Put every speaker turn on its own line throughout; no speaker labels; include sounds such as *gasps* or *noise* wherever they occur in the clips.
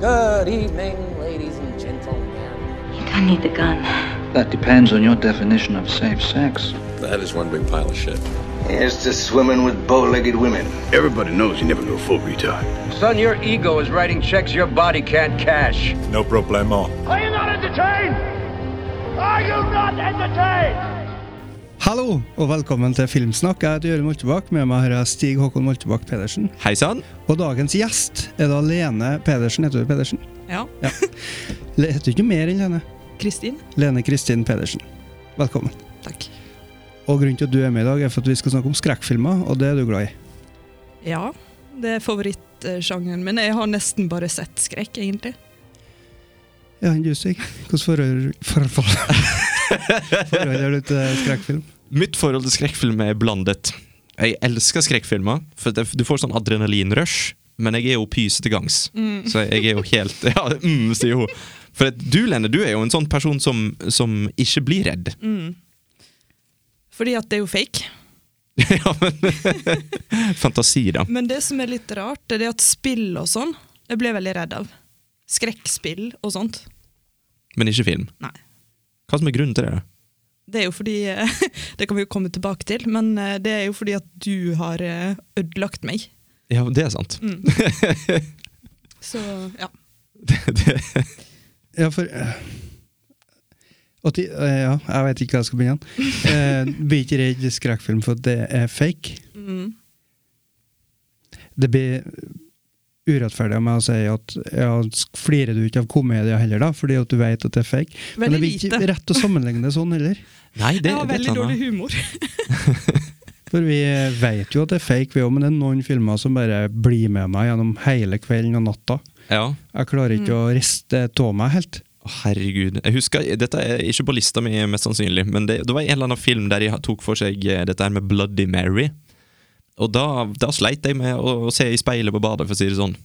Good evening, ladies and gentlemen.
You don't need the gun.
That depends on your definition of safe sex.
That is one big pile of shit.
Here's to swimming with bow-legged women.
Everybody knows you never go full retard.
Son, your ego is writing checks your body can't cash.
No problemo.
Are you not entertained? Are you not entertained?
Hallo, og velkommen til Filmsnakk. Jeg heter Jørund Moltebakk. Med meg har jeg Stig Håkon Moltebakk Pedersen.
Hei sann.
Og dagens gjest er da Lene Pedersen. Heter du Pedersen?
Ja.
Le- Heter du ikke mer enn Lene?
Kristin.
Lene Kristin Pedersen. Velkommen.
Takk.
Og grunnen til at du er med i dag, er for at vi skal snakke om skrekkfilmer, og det er du glad i.
Ja, det er favorittsjangeren min. Jeg har nesten bare sett skrekk, egentlig.
Ja, enn du, Stig? Hvordan forhold, forhold, forhold er du til skrekkfilm?
Mitt forhold til skrekkfilm er blandet. Jeg elsker skrekkfilmer, for det, du får sånn adrenalinrush. Men jeg er jo pysete gangs,
Mm.
så jeg er jo helt *laughs* Ja, mm, sier hun. For at du, Lene, du er jo en sånn person som, som ikke blir redd.
Mm. Fordi at det er jo fake.
*laughs* ja, men *laughs* Fantasi, da.
Men det som er litt rart, det er det at spill og sånn, jeg ble veldig redd av. Skrekkspill og sånt.
Men ikke film.
Nei.
Hva som er grunnen til det? da?
Det er jo fordi eh, *laughs* Det kan vi jo komme tilbake til, men eh, det er jo fordi at du har eh, ødelagt meg.
Ja, det er sant.
Mm. Så ja.
*laughs* Det- det-
Ja, for eh, at de- eh, Ja, jeg vet ikke hva jeg skal begynne. Eh, Blir ikke redd skrekkfilm for at det er fake. Det blir urettferdig av meg å si at ja, sk- flirer du ikke av komedier heller, da, fordi at du vet at det er fake. Men
Veldig
det blir ikke
lite.
rett å sammenligne det sånn heller.
Nei, det,
Jeg har
det
veldig
tar meg.
dårlig humor.
*laughs* For vi vet jo at det er fake, vi òg, men det er noen filmer som bare blir med meg gjennom hele kvelden og natta.
Ja.
Jeg klarer
Mm.
ikke å riste det av meg helt.
Å, Herregud. Jeg husker, Dette er ikke på lista mi, mest sannsynlig, men det, det var en eller annen film der de tok for seg eh, dette her med Bloody Mary. Og da, da sleit jeg med å, å se i speilet på badet, for å si det sånn.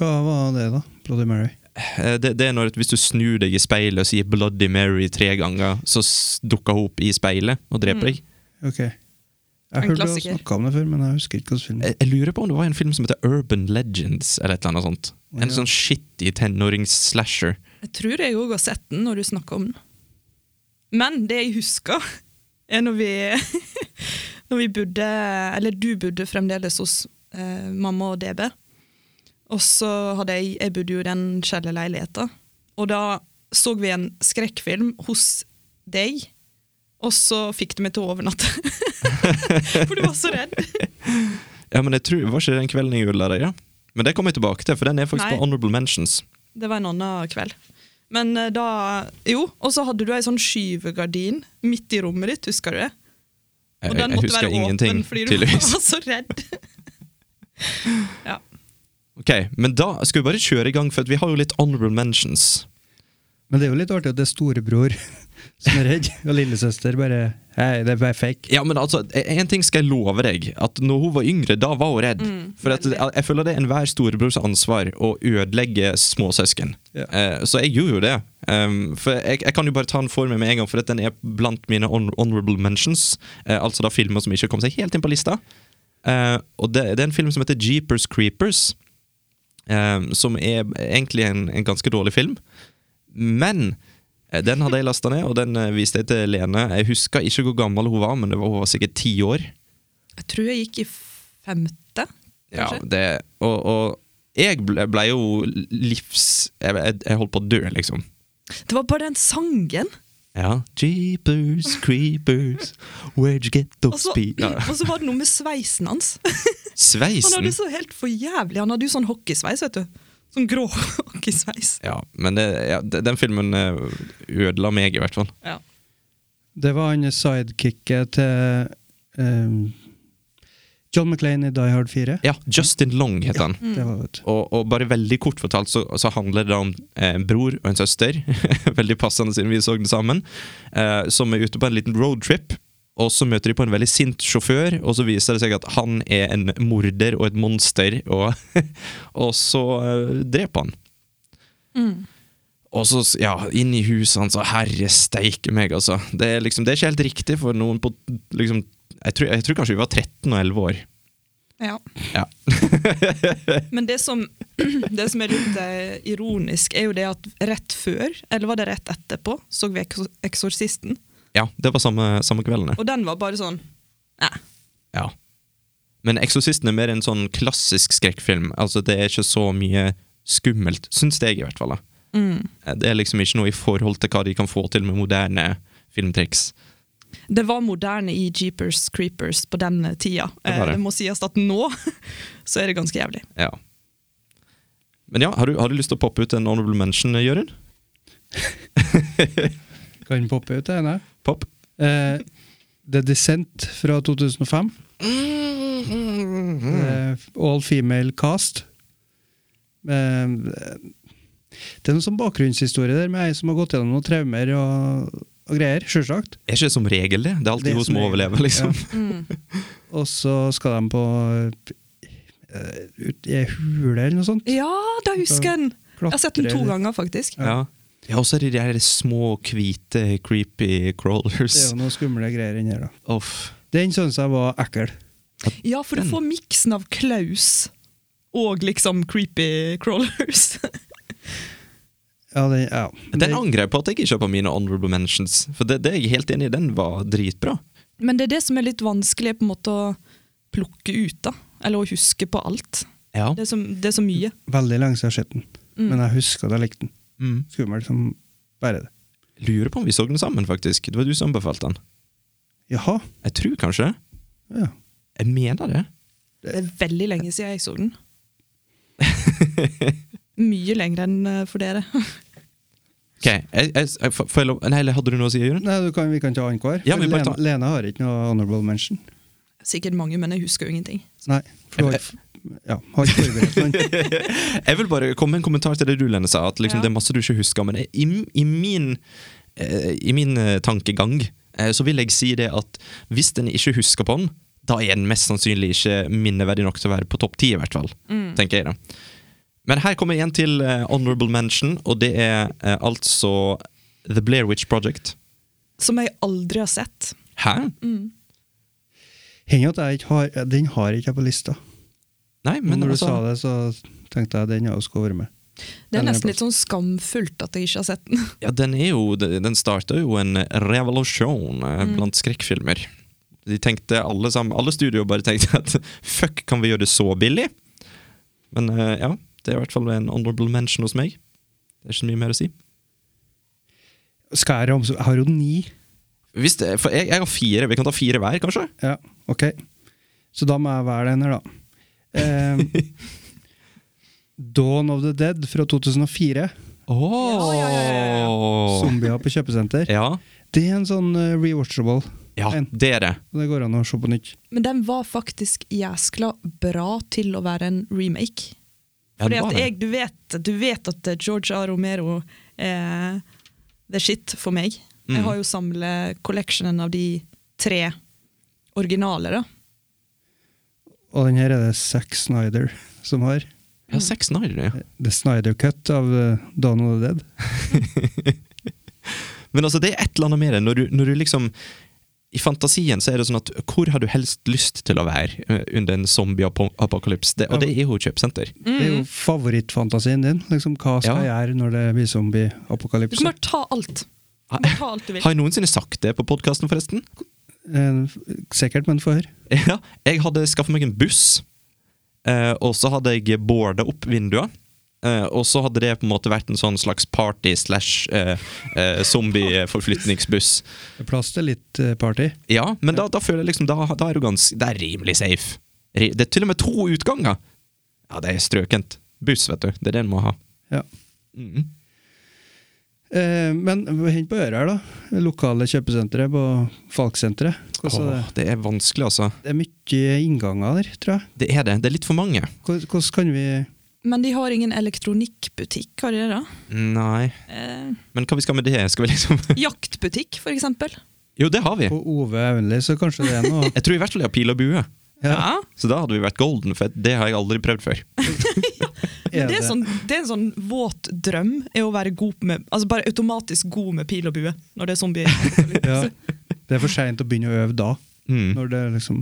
Hva var det, da? Bloody Mary.
Eh, Det, det er når at Hvis du snur deg i speilet og sier 'Bloody Mary' tre ganger, så s- dukker hun opp i speilet og dreper deg.
Ok.
En
Jeg hørte du
klassiker.
snakka om det før, men jeg husker ikke hvilken film.
Jeg, jeg lurer på om det var en film som heter Urban Legends, eller et eller annet sånt. En
Ja.
sånn shitty tenårings-slasher.
Jeg tror jeg òg har sett den når du snakker om den. Men det jeg husker, *laughs* er når vi, *laughs* når vi bodde Eller du bodde fremdeles hos eh, mamma og DB. Og så hadde jeg Jeg bodde jo i den kjellerleiligheta. Og da så vi en skrekkfilm hos deg, og så fikk du meg til å overnatte. *laughs* For du var så redd.
Ja, men jeg tror, Var ikke det den kvelden jeg ulla deg? Ja? Men det kommer jeg tilbake til, for den er faktisk
Nei.
på Honorable Mentions.
Det var en annen kveld. Men eh, da Jo, og så hadde du ei sånn skyvegardin midt i rommet ditt, husker du det? Og
Jeg,
den
jeg
måtte
husker
være
ingenting,
åpen fordi du
tydeligvis.
var så redd. *laughs* ja.
Ok, men da skal vi bare kjøre i gang, for at vi har jo litt honorable mentions.
Men det er jo litt artig at det er storebror *laughs* som er redd, og lillesøster bare Hei, det er bare fake.
Ja, men altså, En ting skal jeg love deg. At når hun var yngre, da var hun redd. for at, jeg, jeg føler det er enhver storebrors ansvar å ødelegge småsøsken.
Ja.
Eh, så jeg gjorde jo det. Um, for jeg, jeg kan jo bare ta den for meg med en gang, for at den er blant mine hon honorable mentions. Eh, altså da filmer som ikke kom seg helt inn på lista. Eh, og det, det er en film som heter Jeepers Creepers. eh, som er egentlig en, en ganske dårlig film. Men eh, den hadde jeg lasta ned, og den eh, viste jeg til Lene. Jeg husker ikke hvor gammel hun var, men det var, hun var sikkert ti år.
Jeg tror jeg gikk i femte,
Ja,
kanskje.
det, og, og jeg ble, ble jo livs jeg, jeg, jeg holdt på å dø, liksom.
Det var bare den sangen!
Ja. Jeepers, creepers, where'd you get
Og
those
så,
pe...
*laughs*
Ja.
og så var det noe med sveisen hans. Han
Sveisen!
hadde så helt for jævlig Han hadde jo sånn hockeysveis, vet du. Sånn grå *laughs* hockeysveis.
Ja, men det, ja, de- den filmen eh, ødela meg, i hvert fall.
Ja.
Det var han sidekicket til ehm, John McClain i Die Hard 4.
Ja, Justin Long het han.
Det var vet du.
Og, og bare veldig kort fortalt så, så handler det da om eh, en bror og en søster, *laughs* veldig passende siden vi så den sammen, eh, som er ute på en liten roadtrip. Og så møter de på en veldig sint sjåfør, og så viser det seg at han er en morder og et monster, og, *laughs* og så eh, dreper han. Og så, s- ja, inn i huset hans, og herre steike meg, altså. Det er liksom, det er ikke helt riktig for noen på liksom, jeg tror, jeg tror kanskje vi var 13 og 11 år.
Ja.
Ja.
Men det som, *clears throat* det som er litt eh, ironisk, er jo det at rett før, eller var det rett etterpå, så vi Eks- Eksorsisten.
ja, det var samme, samme kvelden, det.
Og den var bare sånn Nei.
Ja. Men Exorcisten er mer en sånn klassisk skrekkfilm. Altså, det er ikke så mye skummelt, syns jeg i hvert fall. da. Eh, Det er liksom ikke noe i forhold til hva de kan få til med moderne filmtriks.
Det var moderne i Jeepers Creepers på den tida.
Det
Det,
var det.
det må sies at nå *laughs* så er det ganske jævlig.
Ja. Men ja, har du, har du lyst til å poppe ut en honorable mention, Jørund?
*laughs* Kan poppe ut, det ene.
Pop?
Eh, The Descent fra 2005. Eh, all female cast. Eh, det er noe sånn bakgrunnshistorie der med ei som har gått gjennom noen traumer og, og greier, sjølsagt.
Er ikke det som regel det? Det er alltid
Det er
hun
som
som
regel.
overlever, liksom.
Og så skal de på eh, ut i ei hule eller noe sånt.
Ja, da husker jeg den! Jeg har sett den to
Klatre-
ganger, faktisk.
Ja. Ja, og så er det de der små, hvite, creepy
Det er
crawlers.
jo noen skumle greier inni her, da.
Uff.
Den syns jeg var ekkel.
Ja, for du får miksen av Klaus og liksom creepy crawlers.
*laughs* Ja, den, ja.
Den angrer jeg på at jeg ikke har på mine honorable mentions, for det, det er jeg helt enig i, den var dritbra.
Men det er det som er litt vanskelig på en måte å plukke ut, da. Eller å huske på alt.
Ja.
Det er så, det er så mye. Mm.
Veldig lenge siden jeg har sett den, men jeg husker at jeg likte den.
Mm.
Skummel som bare det.
Lurer på om vi så den sammen, faktisk. Det var du som anbefalte den.
Jaha.
Jeg tror kanskje det.
Ja.
Jeg mener det.
Det er veldig lenge siden jeg så
*laughs*
den. Mye lenger enn eh, for dere.
Ok, jeg, jeg, jeg, får jeg lov Nei, eller hadde du noe å si, Jørund?
Nei, du kan, vi kan ta annenhver.
Ja,
for
vi bare
Lena,
tar-
Lena har ikke noe honorable mention.
Sikkert mange, men jeg husker jo ingenting.
Nei. For hun har ikke- ja, har ikke forberedt noen.
Jeg vil bare komme med en kommentar til det du, Lene, sa. At liksom,
Ja.
det er masse du ikke husker. Men jeg, i, i min, eh, i min eh, tankegang eh, så vil jeg si det at hvis en ikke husker på den, da er den mest sannsynlig ikke minneverdig nok til å være på topp ti, i hvert fall. Tenker jeg da. Men her kommer jeg igjen til eh, honorable mention, og det er eh, altså The Blair Witch Project.
Som jeg aldri har sett.
Hæ?
Mm.
Hender at jeg ikke har Den har ikke jeg på lista.
Nei, men
Når du
altså,
sa det, så tenkte jeg den jeg skulle være med.
Det er
Eller
nesten
på-
litt sånn skamfullt at jeg ikke har sett den.
Ja, den er jo Den starta jo en revolusjon eh, blant skrekkfilmer. De tenkte alle sammen Alle studioer bare tenkte at fuck, kan vi gjøre det så billig? Men eh, ja, det er i hvert fall en honorable mention hos meg. Det er ikke så mye mer å si.
Skal jeg ramse opp? Jeg har jo ni.
Hvis det, for jeg, jeg har fire. Vi kan ta fire hver, kanskje?
Ja, ok. Så da må jeg være den her, da. Ehm, Dawn of the Dead fra 2004.
Oh. Ja,
Zombier på kjøpesenter.
ja,
Det er en sånn eh, rewatchable. En.
det er det.
Så det går an å se på nytt.
Men den var faktisk jæskla bra til å være en remake.
Ja,
Fordi
det var
at
det.
jeg, du, vet, du vet at eh, George A. Romero er the shit for meg.
Mm.
Jeg har jo samlet collectionen av de tre originale, da.
Og den her er det Zack Snyder som har.
Mm. Ja, Sex Nider, ja.
Eh, The Snyder Cut av eh, Dawn of the Dead.
Men altså, det er et eller annet med det. Når du, når du liksom I fantasien så er det sånn at hvor har du helst lyst til å være eh, under en zombie-apokalypse? Det, og det er jo et kjøpesenter.
Det er jo favorittfantasien din. Liksom, hva skal jeg
Ja.
gjøre når det blir
Du kan
zombie-apokalypse?
bare ta alt. Du kan bare ta alt du vil.
Har jeg noensinne sagt det på podkasten, forresten?
Eh, sikkert, men få høre.
Ja, jeg hadde skaffa meg en buss, eh, og så hadde jeg boarda opp vinduene. Eh, og så hadde det på en måte vært en sånn slags party slash eh, eh, zombie-forflytningsbuss.
Det er *laughs* Plass til litt eh, party.
Ja, men da, da føler jeg liksom Da, da er du ganske Det er rimelig safe. Ri- Det er til og med to utganger! Ja, det er strøkent. Buss, vet du. Det er det en må ha.
Ja.
Mm.
Eh, men hent på øret her, da. Lokale kjøpesenteret på Falksenteret. Hvordan er
Åh,
det?
det er vanskelig, altså.
det er mye innganger der, tror jeg.
Det er det. Det er litt for mange.
Hvordan, hvordan kan vi
Men de har ingen elektronikkbutikk, har de det da?
Nei
Eh,
Men hva vi skal med det? Skal vi liksom
jaktbutikk, for eksempel.
Jo, det har vi.
På Ove Aunli, så kanskje det er noe
*laughs* Jeg tror i hvert fall jeg har pil og bue.
Ja.
Så da hadde vi vært golden, for det har jeg aldri prøvd før.
Men det, er sånn, det er en sånn våt drøm er å være god med, altså bare automatisk god med pil og bue
*laughs*
når det er zombier.
ja, Det er for seint å begynne å øve da.
Mm.
Når det liksom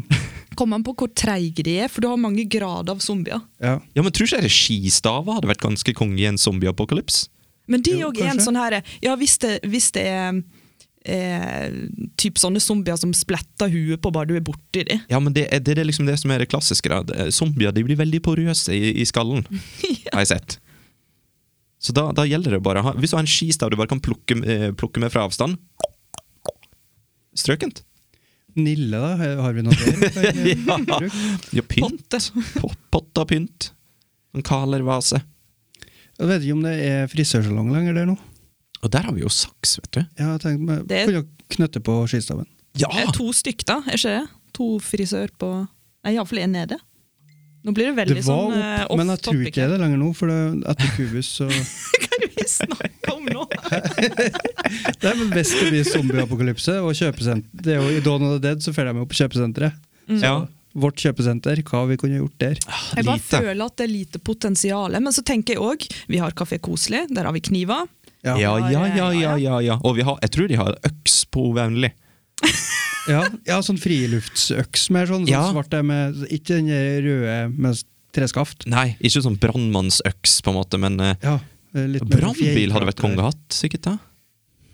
Kommer an på hvor treige de er, for du har mange grader av zombier.
Ja.
Ja, men Tror ikke dere skistaver hadde vært ganske konge i en zombieapokalypse?
Men det
Jo,
òg er en
kanskje.
sånn her Ja, hvis det, hvis det er eh, typ sånne zombier som splatter huet på bare du er borti dem.
Ja, men det er, det er liksom det som er det klassiske. Da. Det- Zombier de blir veldig porøse i, i
*laughs*
skallen, har jeg sett. Så da, da gjelder det bare å ha Hvis du har en skistav du bare kan plukke, eh, plukke med fra avstand Strøkent.
Nille, da? Har vi noe der?
*laughs*
for, eh,
Ja.
bruk?
Ja, pynt. *laughs* Po- Pott av pynt. En kalervase.
Jeg vet ikke om det er frisørsalong lenger der nå.
Og der har vi jo saks, vet du.
Jeg har tenkt meg,
Det-
Kunne jeg knøtte på skistaven.
Ja!
Det er to stykk, da. Er ikke det? To frisør på Nei, iallfall én nede. Nå blir det veldig
Det var
sånn eh,
opp, men jeg tror ikke det er det lenger nå, for det, etter kubus så
*laughs* Hva er det vi snakker om nå?
*laughs* Det er vel best å bli zombieapokalypse og kjøpesenter. Det er jo I Dawn of the Dead så får de jo på kjøpesenteret.
Ja.
Vårt kjøpesenter, hva vi kunne gjort der.
Jeg bare
Lite.
føler at det er lite potensial. Men så tenker jeg òg Vi har Kafé Koselig, der har vi kniver. eh,
Ja.
Ja, ja, ja,
Ja,
ja.
ja.
ja, ja. Og vi har, jeg tror de har øks på Vennlig.
*laughs* Ja, ja sånn friluftsøks mer sånn, sånn
Ja.
svart der med Ikke den der røde med s- treskaft.
Nei, ikke sånn brannmannsøks, på en måte, men eh,
Ja, eh, litt mer
brannbil hadde
fjellkrater.
vært konge å hatt, sikkert. da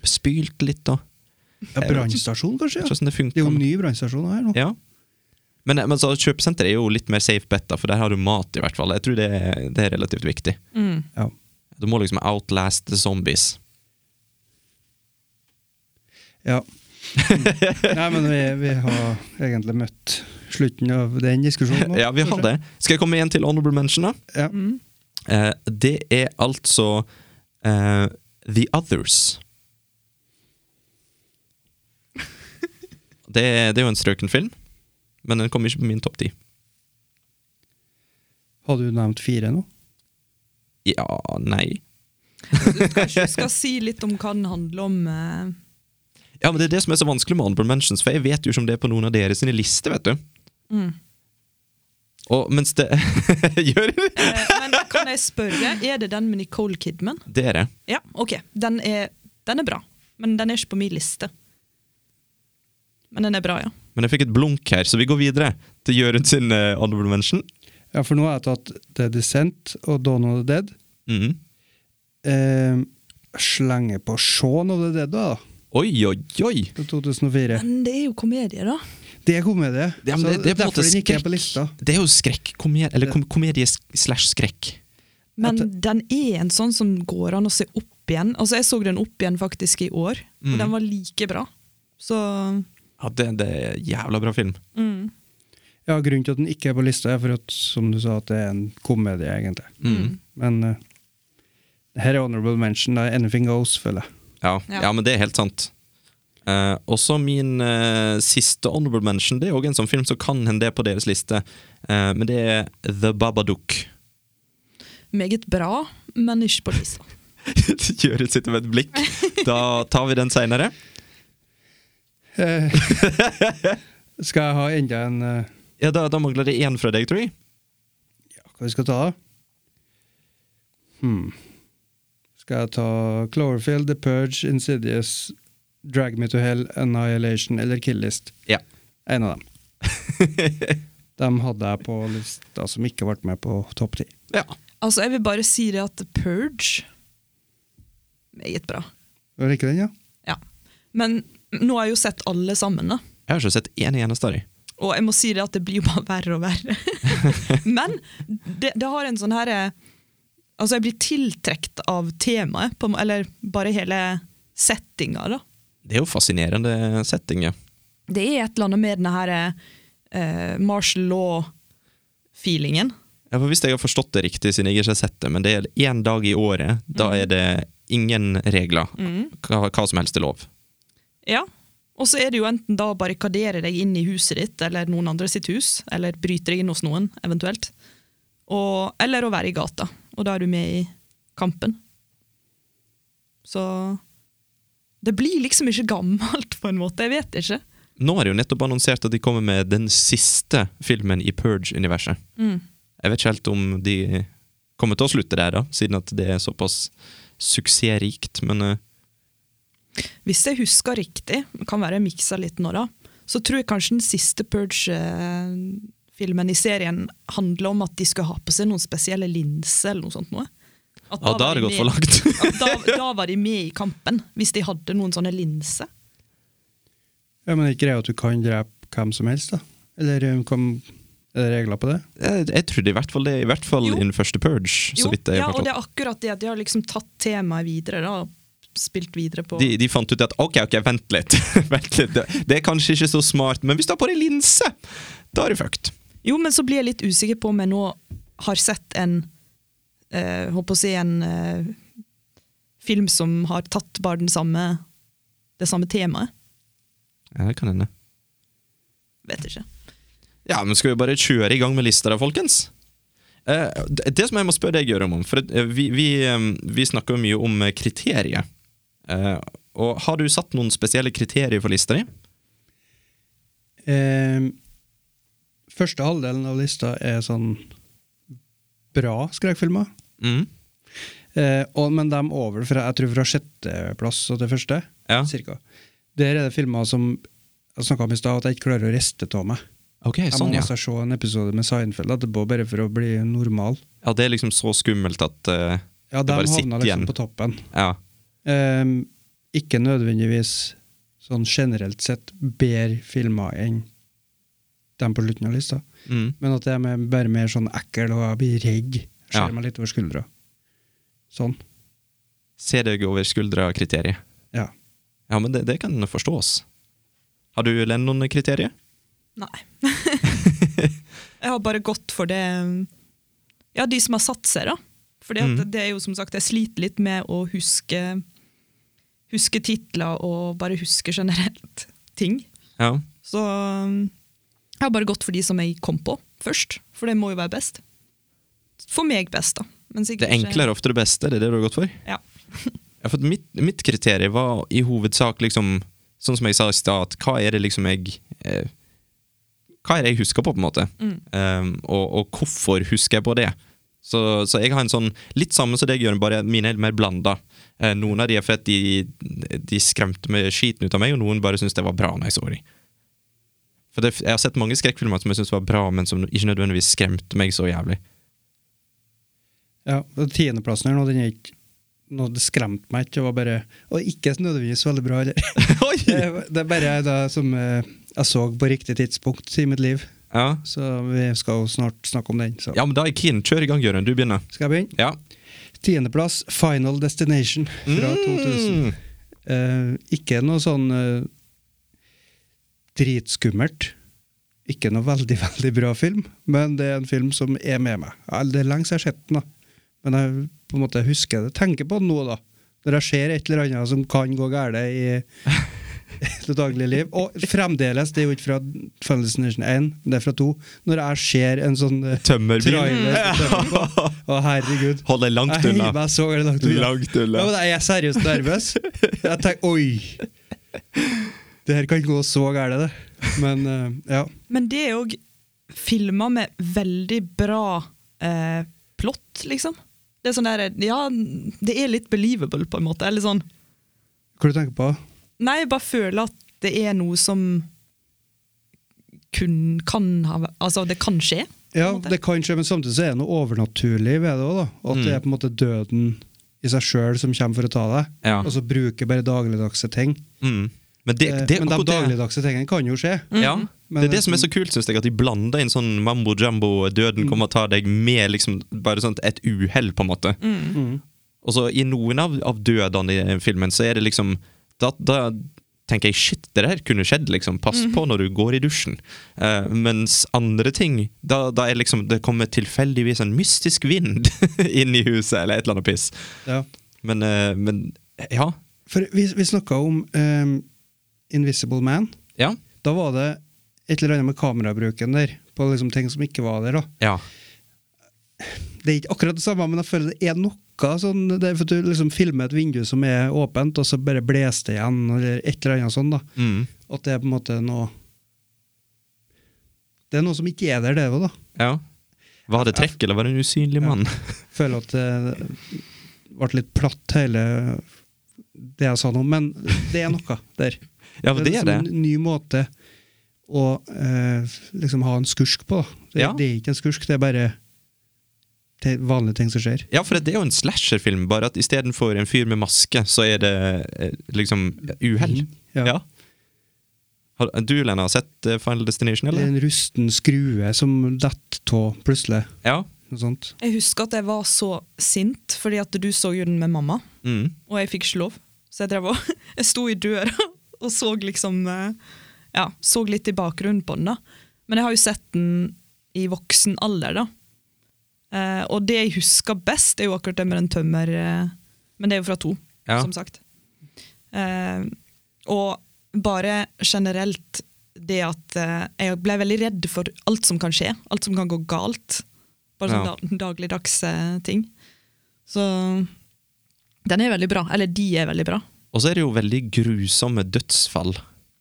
Spylt litt, da.
Ja, brannstasjon, kanskje?
Jeg
ja.
vet
Det
ikke hvordan det
er jo
funker.
en ny brannstasjon her nå.
Ja. Men, men så kjøpesenter er jo litt mer safe bet, da, for der har du mat, i hvert fall. Jeg tror det er, det er relativt viktig.
Ja.
Du må liksom outlast the zombies.
ja. Nei, men vi, vi har egentlig møtt slutten av den diskusjonen nå.
Ja, vi har det. Skal jeg komme igjen til honorable mention, da?
Ja.
Mm.
Eh, det er altså eh, The Others. Det, er- det er jo en strøken film, men den kommer ikke på min topp ti.
Har du nevnt fire nå?
Ja, nei
Kanskje du skal si litt om hva den handler om? eh,
Ja, men Det er det som er så vanskelig med honorable mentions, for jeg vet jo ikke om det er på noen av dere sine lister, vet du. Og mens det *laughs* Gjør det?
eh, Men kan jeg spørre, er det den med Nicole Kidman?
Det er det.
Ja, ok. Den er, den er bra, men den er ikke på min liste. Men den er bra, ja.
Men jeg fikk et blunk her, så vi går videre til Jørund sin eh, honorable mention.
Ja, for nå har jeg tatt The Descent og Dawn of the Dead.
Mhm.
Eh, slenger på Shaun of the Dead, da.
Oi, oi, oi!
Fra 2004.
Men det er jo komedie, da.
Det er komedie.
Ja, men
så
det, det, er på en måte
derfor den ikke er på lista.
skrekk. Det er jo skrekk. Komedie, eller kom, komedie slash skrekk.
Men den er en sånn som går an å se opp igjen. Altså, Jeg så den opp igjen faktisk i år, og
Mm.
den var like bra. Så
Ja, det, det er en jævla bra film.
Ja, Grunnen til at den ikke er på lista, er for at som du sa, at det er en komedie, egentlig. Men eh, her er honorable mention. Da. Anything goes, føler jeg.
Ja, ja.
Ja.
men det er helt sant. Eh, også min eh, siste honorable mention, det er òg en sånn film som kan hende det er på deres liste, eh, men det er The Babadook.
meget bra, men ikke på
*laughs*
lista.
*laughs* Jørund sitter med et blikk. Da tar vi den seinere.
Eh, Skal jeg ha enda en eh,
Ja, da, da mangler det én fra deg, tror jeg.
ja, Hva vi skal ta, da? Hmm. Skal jeg ta Cloverfield, The Purge, Insidious, Drag Me To Hell, Annihilation eller Kill List?
Ja.
En av dem.
*laughs*
De hadde jeg på lista som ikke ble med på topp ti.
ja.
Altså, jeg vil bare si det at The Purge Meget bra.
Var det ikke den, ja?
Ja. Men nå har jeg jo sett alle sammen, da.
Jeg har ikke sett én eneste av dem.
Og jeg må si det at det blir jo bare verre og verre. *laughs* Men det, det har en sånn her eh, Altså, jeg blir tiltrukket av temaet, på, en må- eller bare hele settinga, da.
Det er jo fascinerende setting, ja.
Det er et eller annet med denne her eh, martial law-feelingen.
Ja, for Hvis jeg har forstått det riktig, siden jeg ikke har sett det, men det er én dag i året, da er det ingen regler. Hva, hva som helst er lov.
Ja. Og så er det jo enten da å barrikadere deg inn i huset ditt eller noen andre sitt hus, eller bryte deg inn hos noen, eventuelt. Og, eller å være i gata, og da er du med i kampen. Så Det blir liksom ikke gammelt, på en måte. Jeg vet ikke.
Nå er det jo nettopp annonsert at de kommer med den siste filmen i Purge-universet.
Mm.
Jeg vet ikke helt om de kommer til å slutte der, da, siden at det er såpass suksessrikt. Men eh,
Hvis jeg husker riktig, det kan være jeg miksa litt nå, da, så tror jeg kanskje den siste Purge-filmen i serien handler om at de skulle ha på seg noen spesielle linser eller noe sånt. Noe. At
Ja, da
var
har det
de
gått for
med-
langt. *laughs*
at da, da var de med i kampen, hvis de hadde noen sånne linser.
Ja, men ikke greia at du kan drepe hvem som helst, da? Eller eh, hvem, er det regler på det?
Jeg, jeg trodde i hvert fall det, i hvert fall
Jo.
innen første Purge.
Jo,
så vidt jeg
ja,
har
og det
forstått.
er akkurat det. at De har liksom tatt temaet videre da, og spilt videre på
De, de fant ut at ok, ok, vent litt. *laughs* vent litt. Det, det er kanskje ikke så smart, men hvis du har på deg linse, da er du fucked.
Jo, men så blir jeg litt usikker på om jeg nå har sett en eh, Håper å si en eh, film som har tatt bare den samme, det samme temaet.
Ja, det kan hende.
Vet ikke.
Ja, men skal vi bare kjøre i gang med lista da, folkens? Eh, det det som jeg må spørre deg, Gøran, om For at, eh, vi, vi, eh, vi snakker jo mye om eh, kriterier. Eh, og har du satt noen spesielle kriterier for lista di?
Eh, første halvdelen av lista er sånn bra skrekkfilmer. Mm.
Mhm.
Eh, og, men de over fra, jeg tror fra sjetteplass og til første,
Ja.
cirka. Der er det filmer som jeg snakka om i stad, at jeg ikke klarer å riste av meg.
Ok,
Jeg
sånn,
må
ja.
altså se en episode med Seinfeld etterpå, bare for å bli normal.
ja. Det er liksom så skummelt at eh,
Ja,
Det
de
bare sitter
havna
igjen.
liksom på toppen.
Ja.
Eh, ikke nødvendigvis sånn generelt sett bedre filmer enn dem på slutten av lista.
Mm.
Men at jeg er bare mer sånn ekkel og jeg blir redd. Jeg Ser
Ja.
meg litt over skuldra. Sånn.
Se deg over skuldra-kriteriet.
Ja.
Ja, men det, det kan forstås. Har du, Len, noen kriterier?
Nei. jeg har bare gått for det eh, Ja, de som har satt seg, da. Fordi
Mm.
at det er jo som sagt, jeg sliter litt med å huske Huske titler og bare huske generelt ting.
Ja.
Så um, jeg har bare gått for de som jeg kom på først, for det må jo være best. For meg best, da. Men sikkert
Det enkle er ofte det beste, det er det du har gått for?
ikke- Ja.
Ja, for at mitt, mitt kriterium var i hovedsak liksom Sånn som jeg sa i stad, at hva er det liksom jeg eh, Hva er det jeg husker på, på en måte? Um, og, og hvorfor husker jeg på det? Så, så jeg har en sånn Litt samme som deg, Jørgen, bare mine er mer blanda. Eh, noen av de er fordi de, de skremte med skiten ut av meg, og noen bare syntes det var bra når jeg så dem. For det, jeg har sett mange skrekkfilmer som jeg syntes var bra, men som ikke nødvendigvis skremte meg så jævlig.
ja og Tiendeplassen her nå, den er ikke noe det skremte meg ikke. Det var bare Og ikke nødvendigvis veldig bra heller. *laughs*
Oi!
Det det er bare det som eh, jeg så på riktig tidspunkt i mitt liv.
Ja.
Så vi skal jo snart snakke om den. Så.
ja, men da er jeg keen. Kjør i gang, Jørgen. Du begynner.
Skal jeg begynne?
Ja.
Tiendeplass, Final Destination fra 2000.
Mm.
Eh, ikke noe sånn eh, dritskummelt. Ikke noe veldig, *laughs* veldig bra film, men det er en film som er med meg. Eller Det er lenge siden jeg har sett den, da. men jeg på en måte husker det. Tenker på den nå, da. Når jeg ser et eller annet som kan gå galt i det daglige liv. Og fremdeles, det er jo ikke fra Final Destination 1, men det er fra 2. Når jeg ser en sånn eh,
Tømmerbil.
trailer som tømmer på, Å, herregud.
*laughs* Hold deg langt
Jeg
unna.
hiver meg så langt unna.
Langt unna.
Ja, men jeg er seriøst nervøs. Jeg tenker oi! Det her kan gå så gærent, det. Men eh, ja.
Men det er òg filmer med veldig bra eh, plott, liksom. Det er sånn der, ja, det er litt believable, på en måte. Eller sånn
Hva du tenker på?
Nei, jeg bare føler at det er noe som kun kan ha Altså, det kan skje.
Ja,
På en måte.
det kan skje, men samtidig så er det noe overnaturlig ved det òg, da.
Mm.
At det er på en måte døden i seg sjøl som kommer for å ta deg.
Ja.
Og så bruker bare dagligdagse ting.
Mm. Men det,
Eh,
det,
men de
akkurat det-
dagligdagse tingene kan jo skje.
ja.
Men
det er det
det
som er så kult, synes jeg, at de blander inn sånn mambo jumbo, døden
Mm.
kommer og tar deg, med liksom bare sånt et uhell, på en måte.
Mm.
Og så i noen av, av dødene i filmen, så er det liksom Da, da tenker jeg shit, det der kunne skjedd, liksom. Pass på når du går i dusjen. Eh, mens andre ting, da, da er liksom Det kommer tilfeldigvis en mystisk vind *laughs* inn i huset, eller et eller annet piss.
Ja.
Men, eh, men ja.
For vi, vi snakka om eh, Invisible Man.
Ja.
Da var det et eller annet med kamerabruken der, på liksom ting som ikke var der. da.
Ja.
Det er ikke akkurat det samme, men jeg føler det er noe sånn det er for at Du liksom filmer et vindu som er åpent, og så bare blåser det igjen, eller et eller annet sånn da.
Mm.
At det er på en måte noe Det er noe som ikke er der, det òg, da.
Ja. Var det trekk, eller var det en usynlig *laughs* mann?
Føler at det ble litt platt, hele det jeg sa nå, men det er noe der.
*laughs* Ja, men det er det.
liksom En ny måte og eh, liksom ha en skursk på. Da. Det,
Ja.
det er ikke en skursk, det er bare te- vanlige ting som skjer.
Ja, for det er jo en slasherfilm, bare at istedenfor en fyr med maske, så er det eh, liksom uhell.
Mm. Ja.
Ja. Har, du, Lena, har sett eh, Final Destination,
Det er
eller?
en rusten skrue som detter av plutselig.
Ja.
Noe sånt.
Jeg husker at jeg var så sint, fordi at du så jo den med mamma,
Mm.
og jeg fikk ikke lov. Så jeg drev og *laughs* Jeg sto i døra og så liksom eh, Ja, så litt i bakgrunnen på den, da. Men jeg har jo sett den i voksen alder, da. Eh, og det jeg husker best, er jo akkurat det med den tømmer... eh, men det er jo fra to,
Ja.
som sagt. Eh, og bare generelt det at eh, jeg ble veldig redd for alt som kan skje. Alt som kan gå galt. Bare sånne
Ja.
da, dagligdagse ting. Så den er veldig bra. Eller de er veldig bra.
Og så er det jo veldig grusomme dødsfall.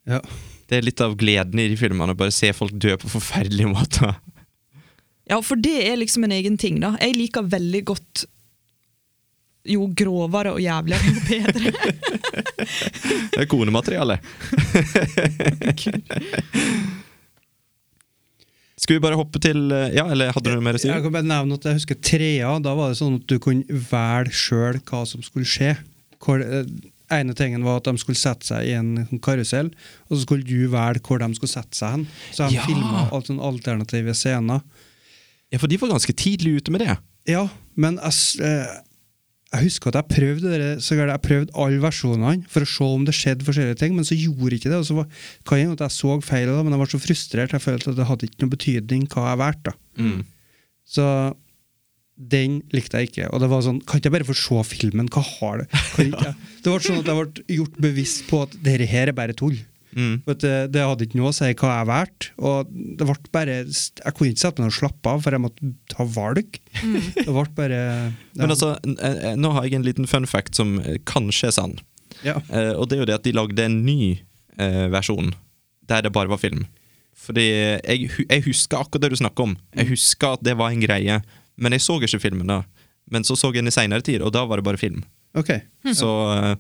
Ja.
Det er litt av gleden i de filmene, å bare se folk dø på forferdelige *laughs* måter.
Ja, for det er liksom en egen ting, da. Jeg liker veldig godt jo grovere og jævligere, jo bedre.
Det er konemateriale. Skal vi bare hoppe til eh, Ja, eller hadde du noe mer å si?
Jeg kan bare nevne at jeg husker trea. Da var det sånn at du kunne velge sjøl hva som skulle skje. Hvor, eh, ene tingen var at de skulle sette seg i en karusell, og så skulle du velge hvor de skulle sette seg hen. Så de
Ja.
filmet filma sånne alternative scener.
Ja, for de var ganske tidlig ute med det.
Ja, men jeg, s- eh, jeg husker at jeg prøvde det, der- så gjerne jeg prøvde alle versjonene for å se om det skjedde forskjellige ting, men så gjorde ikke det. Og så var, kan hende at jeg så feil, da, men jeg var så frustrert. Jeg følte at det hadde ikke noe betydning hva jeg valgte. da.
Mm.
Så den likte jeg ikke. Og det var sånn, kan ikke jeg bare få se filmen? Hva har det?
*laughs*
Kan ikke jeg? Det var sånn at jeg ble gjort bevisst på at dette her er bare tull.
Mm.
For at det, det hadde ikke noe å si hva jeg valgte. Og det ble bare, jeg kunne ikke sette meg ned og slappe av, for jeg måtte ta valg. Det ble bare ja.
Men altså, n- eh, nå har jeg en liten fun fact som eh, kanskje er sann.
ja.
Eh, og det er jo det at de lagde en ny eh, versjon der det bare var film. Fordi jeg, hu- jeg husker akkurat det du snakker om.
Mm.
Jeg husker at det var en greie, men jeg så ikke filmen da. Men så så jeg den i seinere tid, og da var det bare film.
Ok.
*laughs* Så eh,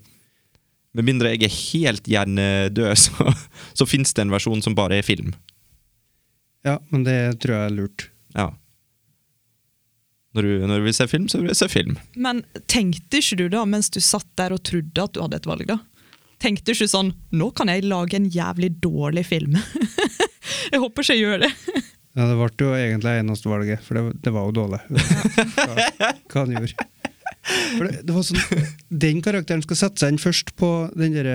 med mindre jeg er helt hjernedød, *laughs* så, så fins det en versjon som bare er film.
Ja, men det tror jeg er lurt.
Ja. Når du, når du vil se film, så vil du se film.
Men tenkte ikke du da, mens du satt der og trodde at du hadde et valg, da? Tenkte ikke du sånn 'nå kan jeg lage en jævlig dårlig film'? *laughs* jeg håper ikke jeg gjør det.
Ja, det ble jo egentlig eneste valget, for det, det var jo dårlig. Hva, hva han gjorde. For det, det var sånn, den karakteren skal sette seg inn først på den der,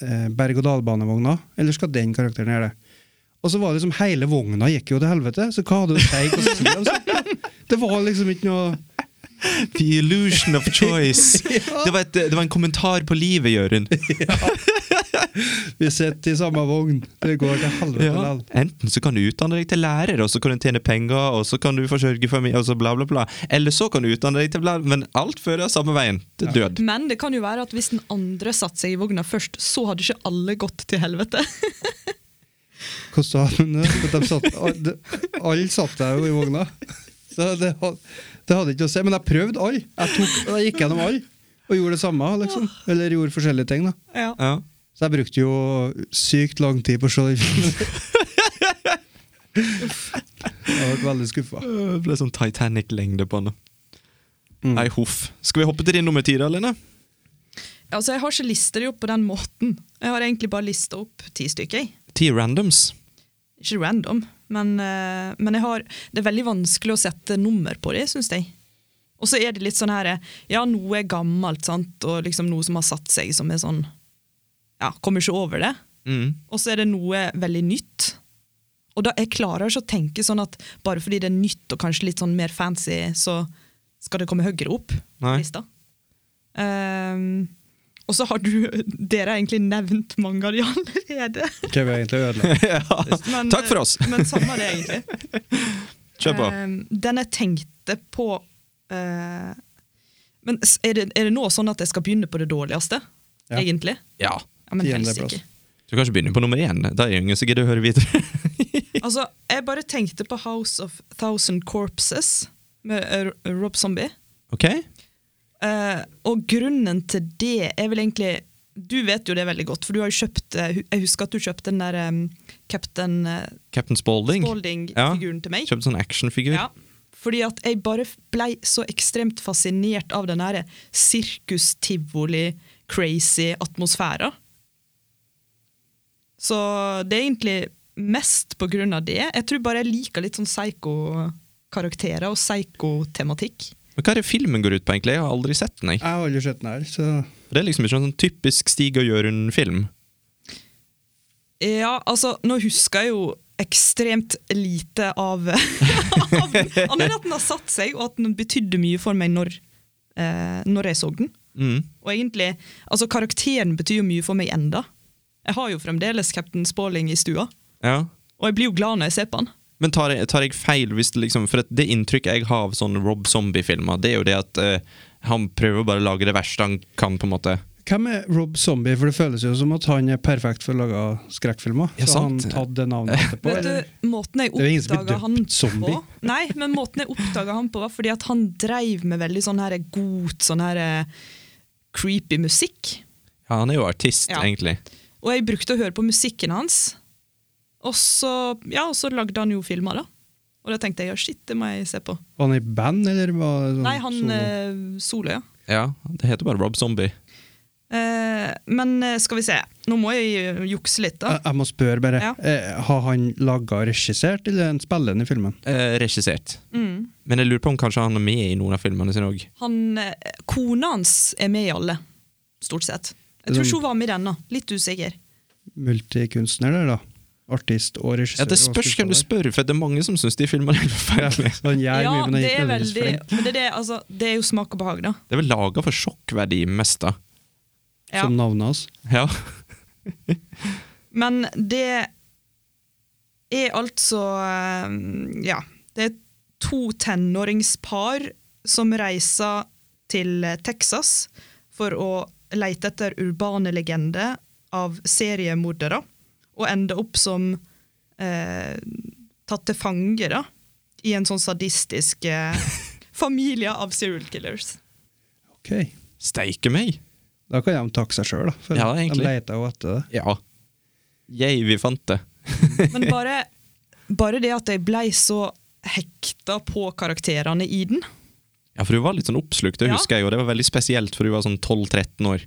eh, berg-og-dal-banevogna, eller skal den karakteren gjøre det? Og så var det liksom hele vogna gikk jo til helvete, så hva hadde du tenkt å si? om sånt? Det var liksom ikke noe
*laughs* The illusion of *laughs* choice. det, var et, det var en kommentar på livet, Jørund.
Vi sitter i samme vogn, det går til helvete
*laughs* Ja.
likevel.
Enten så kan du utdanne deg til lærer, og så kan du tjene penger, og så kan du forsørge familie, og så bla, bla, bla. Eller så kan du utdanne deg til bla, men alt fører samme veien. Til død.
Men det kan jo være at hvis den andre satte seg i vogna først, så hadde ikke alle gått til helvete.
Hvordan sa han det? At de satt, al- de- alle satt der jo i vogna. Så det, had- det hadde ikke å si. Men jeg prøvde alle. Jeg, tok, jeg gikk gjennom alle og gjorde det samme. liksom. Eller gjorde forskjellige ting. da.
ja.
Ja.
Så jeg brukte jo sykt lang tid på å se den filmen. Jeg ble veldig skuffa.
Det ble sånn Titanic-lengde på den. Nei, hoff. Skal vi hoppe til din nummer ti, da, Line?
Altså, jeg har ikke lista det opp på den måten. Jeg har egentlig bare lista opp ti stykker. jeg.
Ti
*laughs*
randoms.
Ikke random, men, eh, men jeg har, det er veldig vanskelig å sette nummer på det, syns jeg. Og så er det litt sånn her Ja, noe er gammelt, sant, og liksom noe som har satt seg, som er sånn Ja, kommer ikke over det.
Mm.
Og så er det noe veldig nytt. Og da, jeg klarer ikke å tenke sånn at bare fordi det er nytt og kanskje litt sånn mer fancy, så skal det komme høyere opp på
Nei.
lista. Ehm, og så har du *laughs* Dere har egentlig nevnt mange av de *laughs* allerede.
Hva vi egentlig ødelagt?
ja.
Men, eh,
Takk for oss!
Men samme det, egentlig.
*laughs* Kjør på.
Ehm, den jeg tenkte på eh, Men s- er det, er det nå sånn at jeg skal begynne på det dårligste?
Ja.
Egentlig?
Ja.
Ja, men helst
Tiendeplass.
ikke.
Du kan ikke begynne på nummer én. Da er det ingen som gidder å høre videre. *laughs*
Altså, jeg bare tenkte på House of Thousand Corpses med eh, Rob Zombie.
ok?
Eh, og grunnen til det er vel egentlig Du vet jo det veldig godt, for du har jo kjøpt eh, hu- Jeg husker at du kjøpte den der um, Captain eh,
Captain Spaulding. Ja.
Spaulding-figuren til meg.
Kjøpte sånn actionfigur.
Ja. Fordi at jeg bare blei så ekstremt fascinert av den her sirkus-tivoli-crazy-atmosfæra. Så det er egentlig mest på grunn av det. Jeg tror bare jeg liker litt sånn psycho-karakterer og psycho-tematikk.
Men hva er det filmen går ut på, egentlig? Jeg har aldri sett den. jeg.
Jeg har aldri sett den her, så
For Det er liksom ikke en sånn typisk Stig og Jørund-film.
Ja, altså, nå husker jeg jo ekstremt lite av *laughs* av den. Annet enn at den har satt seg, og at den betydde mye for meg når, eh, når jeg så den.
Mm.
Og egentlig, altså Karakteren betyr jo mye for meg enda. Jeg har jo fremdeles Captain Spaulding i stua,
Ja.
og jeg blir jo glad når jeg ser på han.
Men tar jeg, tar jeg feil hvis det liksom For at det inntrykket jeg har av sånne Rob Zombie-filmer, det er jo det at eh, han prøver å bare lage det verste han kan, på en måte.
Hvem er Rob Zombie? For det føles jo som at han er perfekt for å lage skrekkfilmer.
Ja,
så har han
sant.
tatt det *laughs* navnet etterpå.
Vet
eller?
du, måten jeg
Det er jo ingen som blir
oppdaga
døpt
han på
zombie.
Nei, men måten jeg oppdaga han på, var fordi at han dreiv med veldig sånn her god, sånn her eh, creepy musikk.
Ja, han er jo artist,
Ja.
egentlig.
Og jeg brukte å høre på musikken hans. Og så, ja, og så lagde han jo filmer, da. Og da tenkte jeg ja, shit, det må jeg se på.
Var han i band, eller var det sånn
Nei, han
solo?
eh, solo, ja.
Ja, Det heter bare Rob Zombie.
Eh, men eh, skal vi se. Nå må jeg eh, jukse litt, da.
Jeg, jeg må spørre, bare.
Ja.
Eh, har han laga og regissert, eller er han spillende i filmen?
Eh, regissert.
Mm.
Men jeg lurer på om kanskje han er med i noen av filmene sine òg.
Han, eh, kona hans er med i alle, stort sett. Jeg
Mm.
tror ikke hun var med i denne. Litt usikker.
Multikunstner, der, da. Artist og regissør.
Ja, det
og
spørs hvem du
skuespiller.
spør, for det er mange som syns de filmene er forferdelige.
Så han gjør mye, men han
det
er
er
ikke nødvendigvis
veldig
flink.
men det, er det, altså, det er jo smak og behag, da.
Det er vel laga for sjokkverdi mest, da.
Ja.
Som navnet hans.
Ja.
Men det er altså eh, Ja. Det er to tenåringspar som reiser til eh, Texas for å leite etter urbane legender av seriemordere, og ender opp som eh, tatt til fange da, i en sånn sadistisk eh, familie av serial killers.
Ok.
Steike meg!
Da kan de takke seg sjøl, da. For
Ja, egentlig.
De leter jo etter det.
Ja. Jeg, vi fant det.
Men bare, bare det at jeg blei så hekta på karakterene i den
Ja, for hun var litt sånn oppslukt, det
Ja. Mm.
husker jeg, og det var veldig spesielt, for hun var sånn 12-13 år.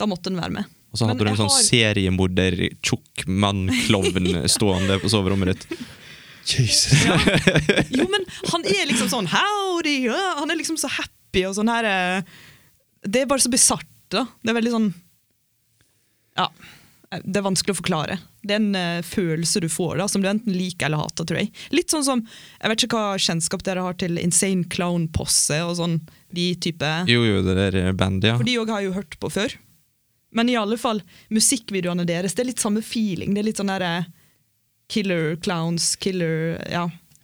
Da måtte den være med.
Og så
Men
hadde du en
jeg
sånn
har-
seriemorder, tjukk mann, klovn
*laughs*
stående på soverommet ditt.
Jesus.
Jo, men han er liksom sånn howdy, ja. han er liksom så happy og sånn her eh, Det er bare så bisart, da. Det er veldig sånn Ja. eh, Det er vanskelig å forklare. Det er en eh, følelse du får, da, som du enten liker eller hater, tror jeg. Litt sånn som Jeg vet ikke hva kjennskap dere har til Insane Clown Posse og sånn de type
Jo, jo, det der bandet, ja.
For de òg har jeg jo hørt på før. Men i alle fall, musikkvideoene deres, det er litt samme feeling. Det er litt sånn derre Killer clowns, killer Ja.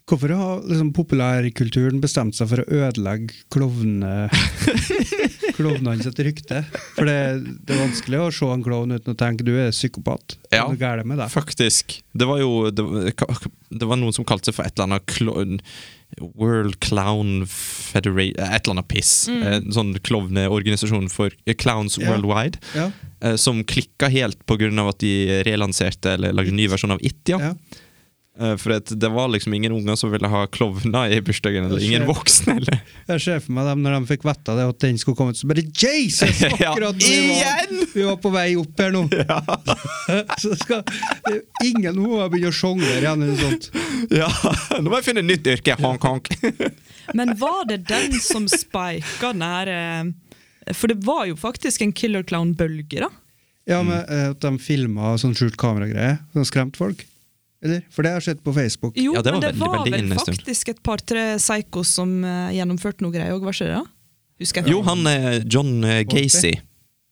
Hvorfor har liksom, populærkulturen bestemt seg for å ødelegge klovne
*laughs*
klovnene sitt rykte? For det, det er vanskelig å se en klovn uten å tenke du er psykopat. Hva
Ja.
er det gærent med deg?
Faktisk. Det var jo Det, var- ka- det var noen som kalte seg for et eller annet klo- World Clown Federation Et eller annet piss. En sånn klovneorganisasjon for eh, Clowns
Ja.
Worldwide.
Ja.
eh, Som klikka helt pga. at de relanserte eller lagde en ny versjon av It. Ja.
Ja.
Eh, For at det var liksom ingen unger som ville ha klovner i bursdagen, eller
Det
ingen
skjer.
voksne. Eller.
Jeg ser for meg dem når de fikk vite det, at den skulle komme ut, så bare Jesus!
*laughs* Ja,
Akkurat når vi var, vi var på vei opp
*laughs*
her nå! *laughs* så skal Ingen må bare begynne å sjonglere igjen eller noe sånt.
Ja, Nå må jeg finne et nytt yrke! Honk-honk.
Men var det den som spika den her eh, For det var jo faktisk en Killer Clown-bølge, da.
Ja,
Mm.
men eh, at de filma sånn skjult kameragreie, sånn skremt folk. Eller? For det har jeg sett på Facebook.
Jo,
Ja, det var
men det
veldig,
var
veldig inne
vel
en stund.
faktisk et par-tre psychos som eh, gjennomførte noe greier òg, var ikke det? da? Husker jeg.
Jo, han eh, John eh, Gacy.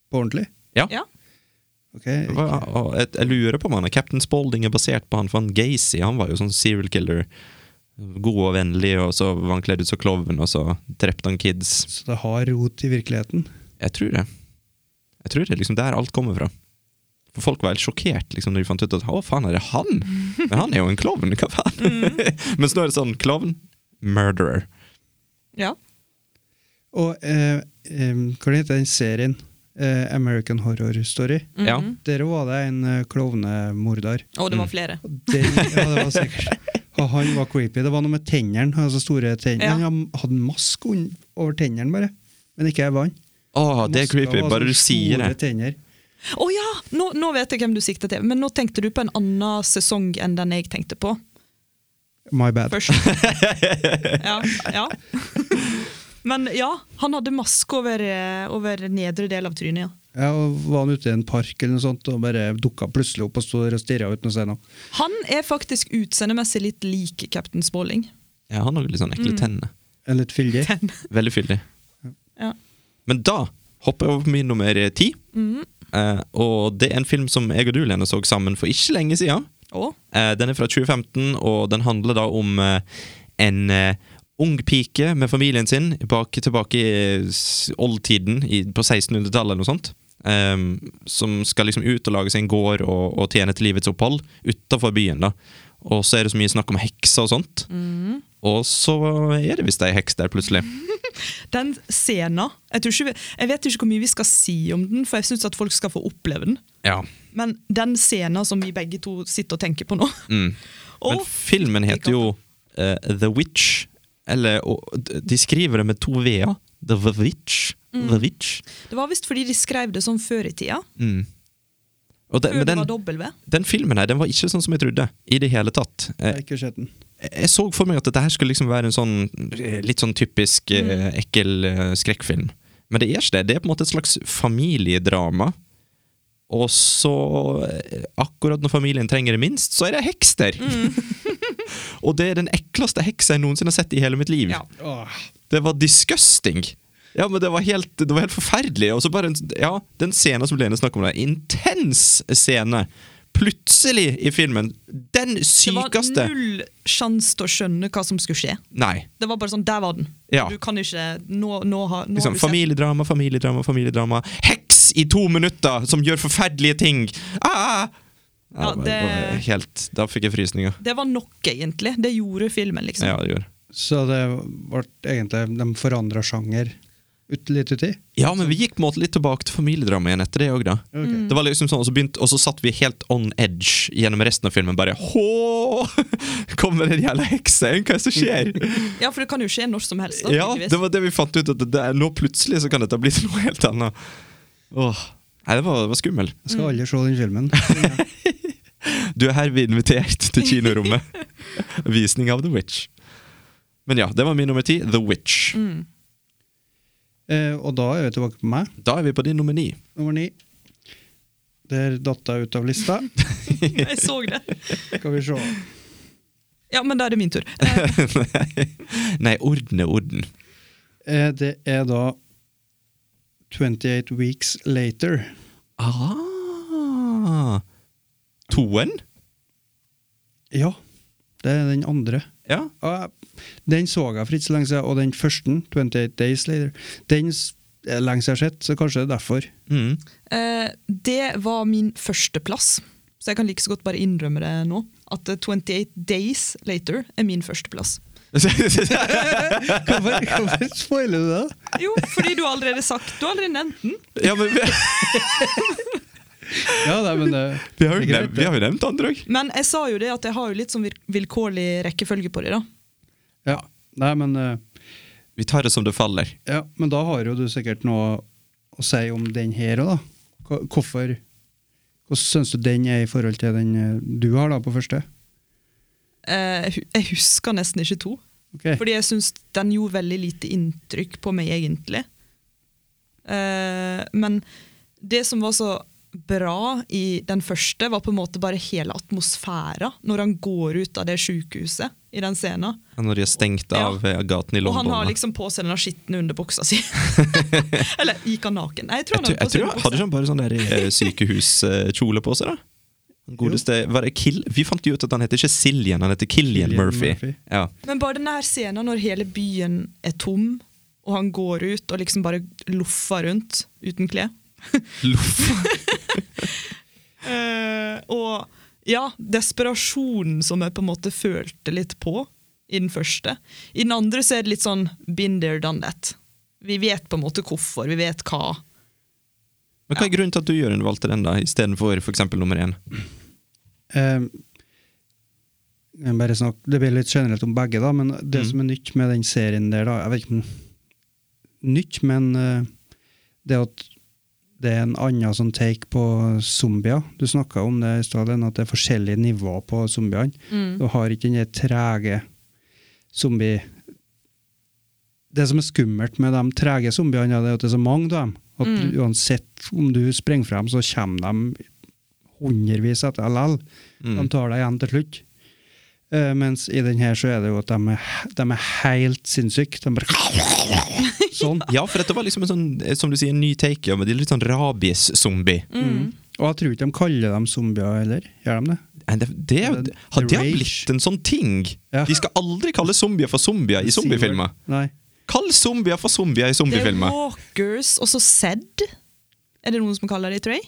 På ordentlig.
Ja.
Ja.
Ok, ikke-
Hva, og jeg, jeg lurer på om han er Captain Spaulding er basert på han, for han Gacy han var jo sånn serial killer. God og vennlig, og så var han kledd ut som klovn, og så drepte han kids.
Så det har rot i virkeligheten.
Jeg tror det. Jeg tror det er liksom der alt kommer fra. For Folk var helt sjokkert liksom, når de fant ut at å faen, er det *laughs* han? Men han er jo en klovn, hva faen? *laughs* Mens nå er det sånn klovn, murderer.
Ja.
Og eh, eh, hva heter den serien? eh, American Horror Story.
Ja.
Der var det en eh, klovnemorder.
Og
Mm.
det var flere.
Den, ja, det var sikkert. Og han var creepy. Det var noe med tennene. Altså store tennene.
Ja.
Han hadde en mask un- over tennene, bare. Men ikke jeg vann.
Å, det er creepy, bare du sier det.
Tenner.
Å ja! Nå, nå vet jeg hvem du sikter til, men nå tenkte du på en annen sesong enn den jeg tenkte på
My bad.
*laughs*
først. ja, ja. Men ja, han hadde maske over, eh, over nedre del av trynet. ja.
Ja, og var han ute i en park eller noe sånt, og bare dukka plutselig opp og sto der og stirra uten å si noe.
Han er faktisk utseendemessig litt lik Captain Spaulding.
Ja, han har litt sånn ekle tenner.
En litt fyldig.
Veldig fyldig.
Ja.
Men da hopper jeg over på min nummer ti. Eh, og det er en film som jeg og du, Lene, så sammen for ikke lenge siden.
Å,
Eh, den er fra 2015, og den handler da om eh, en eh, ung pike med familien sin bak, tilbake i s- oldtiden, i, på 1600-tallet eller noe sånt. Ehm, som skal liksom ut og lage seg en gård og, og tjene til livets opphold utafor byen. da Og så er det så mye snakk om hekser og sånt. Og så er det visst ei heks der, plutselig.
den scenen jeg, tror ikke, vi- jeg vet ikke hvor mye vi skal si om den, for jeg syns at folk skal få oppleve den.
Ja
Men den scenen som vi begge to sitter og tenker på nå
Mm.
Å, *laughs*
Men filmen heter jo eh, The Witch. Eller og, d- De skriver det med to v-er. The Witch. The Witch.
Det var visst fordi de skrev det sånn før i tida.
Mm. Og den,
Før
men
det var
den,
dobbel V.
den filmen her, den var ikke sånn som jeg trodde. I det hele tatt.
Jeg har
Eh,
ikke sett den.
jeg så for meg at dette her skulle liksom være en sånn eh, litt sånn typisk
Mm.
eh, ekkel eh, skrekkfilm. Men det er ikke det. Det er på en måte et slags familiedrama. Og så, eh, akkurat når familien trenger det minst, så er det heks der!
Mm.
*laughs* og det er den ekleste heksa jeg noensinne har sett i hele mitt liv.
Ja.
Åh.
Det var disgusting. Ja, men det var helt, det var helt forferdelig. Og så bare, en- ja, den scenen som Lene snakker om, det, intens scene. Plutselig i filmen. Den
Det var
sykeste
null sjanse til å skjønne hva som skulle skje.
Nei.
Det var bare sånn, der var den.
Ja.
Du kan ikke Nå, nå, har, nå
Liksom,
har du sett
familiedrama, familiedrama, familiedrama. Heks i to minutter som gjør forferdelige ting! Ah! Ja,
Ja,
det...
det-
var helt, da fikk jeg frysninger.
Det var nok, egentlig. Det gjorde filmen, liksom.
Ja, det gjør.
Så det ble egentlig De forandra sjanger ut litt uti.
ja, men vi gikk på en måte litt tilbake til familiedrama igjen etter det òg, da. Det var liksom sånn, og så, begynte, og så satt vi helt on edge gjennom resten av filmen. Bare Hå! *laughs* Kommer den jævla heksa igjen? Hva er det som
*laughs*
skjer?
Ja, for det kan jo skje når som helst. Da,
ja,
Sånn tydeligvis.
det var det vi fant ut. At det, det er, nå plutselig så kan dette bli *laughs* til noe helt annet. Åh. Nei, det var, det var skummel.
Jeg
Mm.
skal aldri se den filmen.
*laughs*
Du er herved invitert *laughs* til kinorommet. Visning av The Witch. Men ja, det var min nummer ti, The Witch.
Mm.
Eh, og da er vi tilbake på meg,
Da er vi på din nummer ni.
nummer ni. Der datt jeg ut av lista.
*laughs* Jeg så det.
Skal vi se.
Ja, men da er det min tur.
*laughs* Nei, orden er orden.
Eh, det er da 28 Weeks Later.
Ah. Toen?
Ja, det er den andre.
Ja. *laughs*
Og jeg- Den så jeg for ikke så lenge siden, og den første, 28 Days Later, den s- er lenge siden jeg har sett, så kanskje det er *laughs* derfor.
Mm.
Eh, det var min førsteplass, så jeg kan like så godt bare innrømme det nå. At eh, 28 Days Later er min førsteplass.
Hvorfor, hvorfor spoiler du det?
Jo, fordi du har allerede sagt Du har allerede nevnt den.
ja, men vi,
Ja, nei, men eh, det,
vi, har
Det
jo
er greit,
nevnt, vi har jo nevnt andre òg.
Men jeg sa jo det at jeg har jo litt sånn vir- vilkårlig rekkefølge på det, da.
ja. Nei, men, eh,
Vi tar det som det faller.
ja, men da har jo du sikkert noe å si om den her òg, da. Hva- Hvorfor Hvordan syns du den er i forhold til den eh, du har da på første?
Eh, jeg hu- jeg husker nesten ikke to.
Ok.
Fordi jeg syns den gjorde veldig lite inntrykk på meg, egentlig. Eh, men det som var så bra i den første, var på en måte bare hele atmosfæra når han går ut av det sjukehuset i den scenen.
Når de er stengt
Ja.
av eh, gaten i
Og han
London.
har
da.
liksom på seg den skitne
*laughs*
underbuksa si. Eller gikk han naken? Nei, jeg tror
Jeg, tror-
han hadde
jeg tror han
på seg
hadde
underbuksa.
sånn bare sånn der eh, sykehuskjole på seg, da. Han Godeste, var det Kill? Vi fant jo ut at han heter ikke Siljan, han heter Killian
Cillian
Murphy.
Murphy.
Ja.
Men bare den her scenen når hele byen er tom, og han går ut og liksom bare loffer rundt uten klær.
Loff.
Eh, og ja, desperasjonen som jeg på en måte følte litt på i den første. I den andre så er det litt sånn been there, done that. Vi vet på en måte hvorfor, vi vet hva.
Men hva er grunnen til at du Jørgen, valgte den da, istedenfor f.eks. nummer én?
Eh, jeg bare snak, det blir litt generelt om begge, da, men det som er nytt med den serien der, da Jeg vet ikke om nytt, men eh, det at det er en annen sånn take på zombier. Du snakka om det i stad, Lene, at det er forskjellige nivåer på zombiene. Du har ikke den der trege zombie... Det som er skummelt med de trege zombiene, ja, det er at det er så mange av dem. At Uansett om du springer frem, så kommer de hundrevis etter LL.
Mm.
De tar deg igjen til slutt. Eh, mens i den her så er det jo at de er, de er helt sinnssyke. De bare
*laughs*
Sånn.
Ja, for dette var liksom en sånn, eh, som du sier, en ny take, ja, men det er litt sånn rabies-zombie.
Og jeg tror ikke de kaller dem zombier heller. Gjør de det?
Nei, Det, det, er jo-
The-
har
the
det
rage.
blitt en sånn ting?
Ja.
De skal aldri kalle zombier for zombier i zombiefilmer.
Nei.
Kall zombier for zombier i
Det er
zombiefilmer!
walkers, og så Zed. Er det noen som kaller det, tror jeg?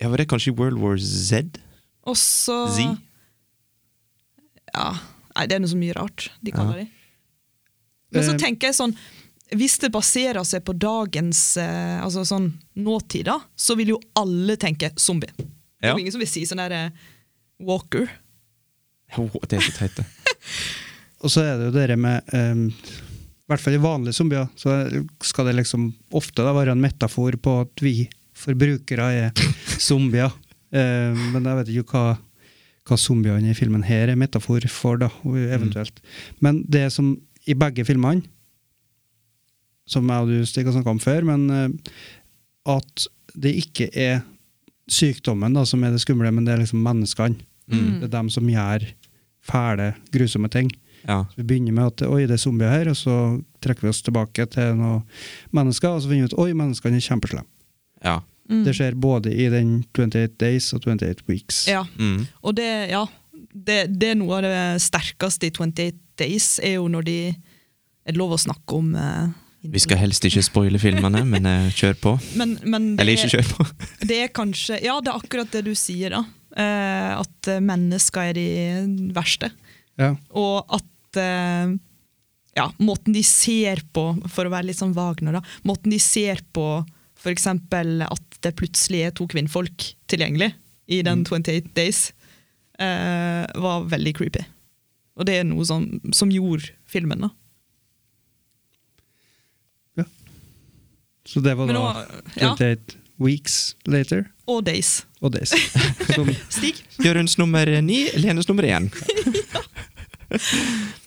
Ja, Var det kanskje i World War Z?
Og så
Z?
Ja. Nei, det er noe så mye rart de kaller de. Men så
Eh,
tenker jeg sånn Hvis det baserer seg på dagens eh, altså sånn nåtid, da, så vil jo alle tenke zombie. Det
Ja.
er jo ingen som vil si sånn der eh, walker.
Åh, det er så teit, det.
Og så er det jo dere med ehm, I hvert fall i vanlige zombier så skal det liksom ofte da være en metafor på at vi forbrukere er zombier. Ehm, men jeg vet ikke hva, hva zombiene i filmen her er metafor for, da, og eventuelt. Men det som i begge filmene, som jeg og du Stig, har snakka om før, men eh, at det ikke er sykdommen da, som er det skumle, men det er liksom menneskene. Det er dem som gjør fæle, grusomme ting.
Ja.
Så Vi begynner med at oi, det er zombier her, og så trekker vi oss tilbake til noen mennesker, og så finner vi ut oi, menneskene er kjempeslemme.
ja.
Mm.
Det skjer både i den 28 Days og 28 Weeks.
Ja.
Mm.
Og det, ja, det, det er noe av det sterkeste i 28 Days, er jo når de er det lov å snakke om eh,
Vi skal helst ikke spoile filmene, men eh, kjør på.
men, men det,
Eller ikke
er,
kjør på.
det er kanskje Ja, det er akkurat det du sier, da. Eh, at eh, mennesker er de verste.
Ja.
Og at eh, ja, måten de ser på, for å være litt sånn Wagner, da, måten de ser på f.eks. at det plutselig er to kvinnfolk tilgjengelig i
Mm.
den 28 Days, eh, var veldig creepy. Og det er noe som, som gjorde filmen. da.
Så det var
Men
da
nå- ja.
28 Weeks later
Og Days.
og Days.
*laughs*
Som,
Stig?
*laughs* Jørunds nummer ni, Lenes nummer *laughs* én.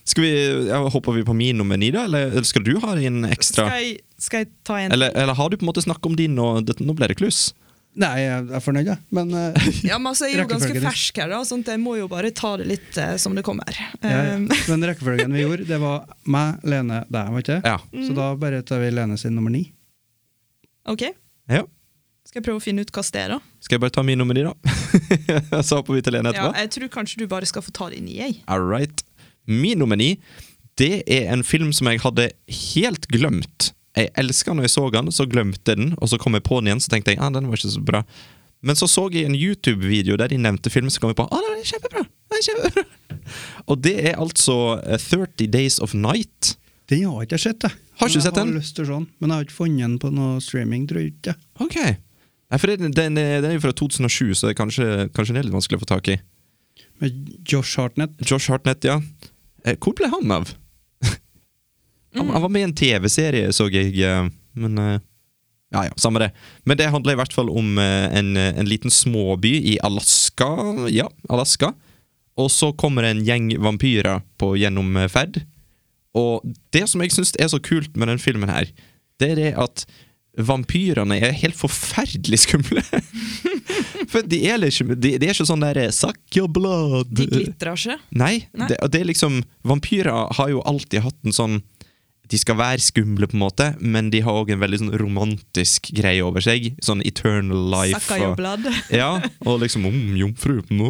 Skal vi, ja, Hopper vi på min nummer ni, da? Eller eller skal du ha en ekstra?
Skal, jeg, skal jeg ta en?
Eller, eller har du på en måte snakket om din, og det, nå ble det kluss?
nei, jeg er fornøyd, jeg. Men eh,
*laughs* Ja, men altså, Jeg er jo ganske
Rekkefølgen.
fersk her, da, sånn at jeg må jo bare ta det litt eh, som det kommer.
ja, ja.
*laughs*
Eh,
den rekkefølgen vi gjorde, det var meg, Lene, deg, var ikke det?
Ja.
Så da
Mm.
bare tar vi Lene sin nummer ni.
ok,
ja.
Skal jeg prøve å finne ut hva det er, da?
Skal jeg bare ta min nummer ni, da? *laughs* Så hopper vi til Lene
Ja,
etterpå.
jeg tror kanskje du bare skal få ta det inn i jeg.
All right. Min nummer ni, det er en film som jeg hadde helt glemt. Jeg elska når jeg så den, så glemte jeg den, og så kom jeg på den igjen, så tenkte jeg ah, den var ikke så bra. Men så så jeg en YouTube-video der de nevnte filmen, så kom jeg på ah, den er kjempebra! Den er kjempebra! *laughs* Og det er altså eh, 30 Days of Night.
Den har ikke jeg sett, jeg.
Har
Men
ikke
jeg
sett den?
Har lyst til å se den, men jeg har ikke funnet den på noe streaming, tror jeg ikke.
Ok. Nei, for den, den, er- den er jo fra 2007, så det er kanskje, kanskje den er litt vanskelig å få tak i.
Med Josh Hartnett.
Josh Hartnett, ja. Eh, Hvor ble han av? *laughs* han, han var med i en TV-serie, så jeg, eh, men eh, Ja, ja, samme det. Men det handler i hvert fall om eh, en, eh, en liten småby i Alaska. Ja, Alaska. Og så kommer en gjeng vampyrer på gjennom eh, ferd. Og det som jeg syns er så kult med den filmen her, det er det at vampyrene er helt forferdelig skumle. *laughs* For de er, liksom, de, de er ikke sånn der eh, 'suck your blood'.
De glitrer ikke.
Nei,
Nei.
Det, og det er liksom Vampyrer har jo alltid hatt en sånn De skal være skumle, på en måte, men de har òg en veldig sånn romantisk greie over seg. Sånn eternal life.
Sucka
og-
your blood.
*laughs* ja, og liksom mm, om jomfru nå.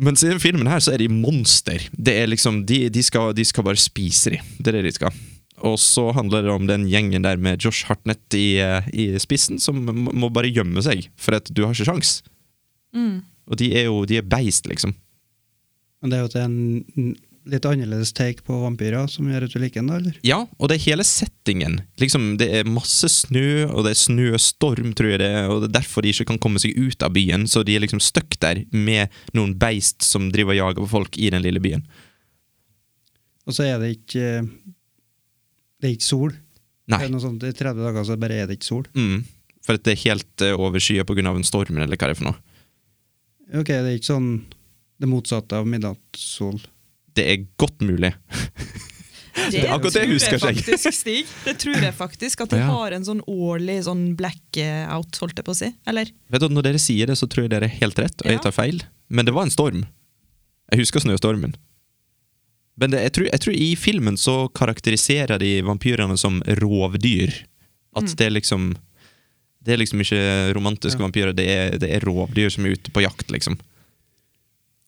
Mens i den filmen her så er de monster. Det er liksom, de, de, skal, de skal bare spise de. Det er det de skal. Og så handler det om den gjengen der med Josh Hartnett i, eh, i spissen, som må må bare gjemme seg, for at du har ikke sjans.
Mm.
Og de er jo de er beist, liksom.
Men det er jo at det er en litt annerledes take på vampyrer som gjør at du liker den, da, eller?
Ja, og det er hele settingen. Liksom, det er masse snø, og det er snøstorm, tror jeg det er, og det er derfor de ikke kan komme seg ut av byen. Så de er liksom stuck der med noen beist som driver og jager på folk i den lille byen.
Og så er det ikke eh, Det er ikke sol. Det
Nei.
er noe sånt, I 30 dager så bare er det ikke sol.
Mm. For at det er helt eh, overskyet på grunn av en storm, eller hva det er for noe.
Ok, det er ikke sånn det motsatte av midnattssol.
Det er godt mulig.
Det,
er akkurat det jeg husker,
tror jeg
Skjegg.
faktisk, Stig. Det tror jeg faktisk. At de
Ja.
har en sånn årlig sånn blackout, holdt jeg på å si. Eller?
Vet du, Når dere sier det, så tror jeg dere er helt rett, og jeg
Ja.
tar feil. Men det var en storm. Jeg husker snøstormen. Men det, jeg, tror, jeg tror i filmen så karakteriserer de vampyrene som rovdyr. At det er liksom Det er liksom ikke romantiske vampyrer, det er, det er rovdyr som er ute på jakt, liksom.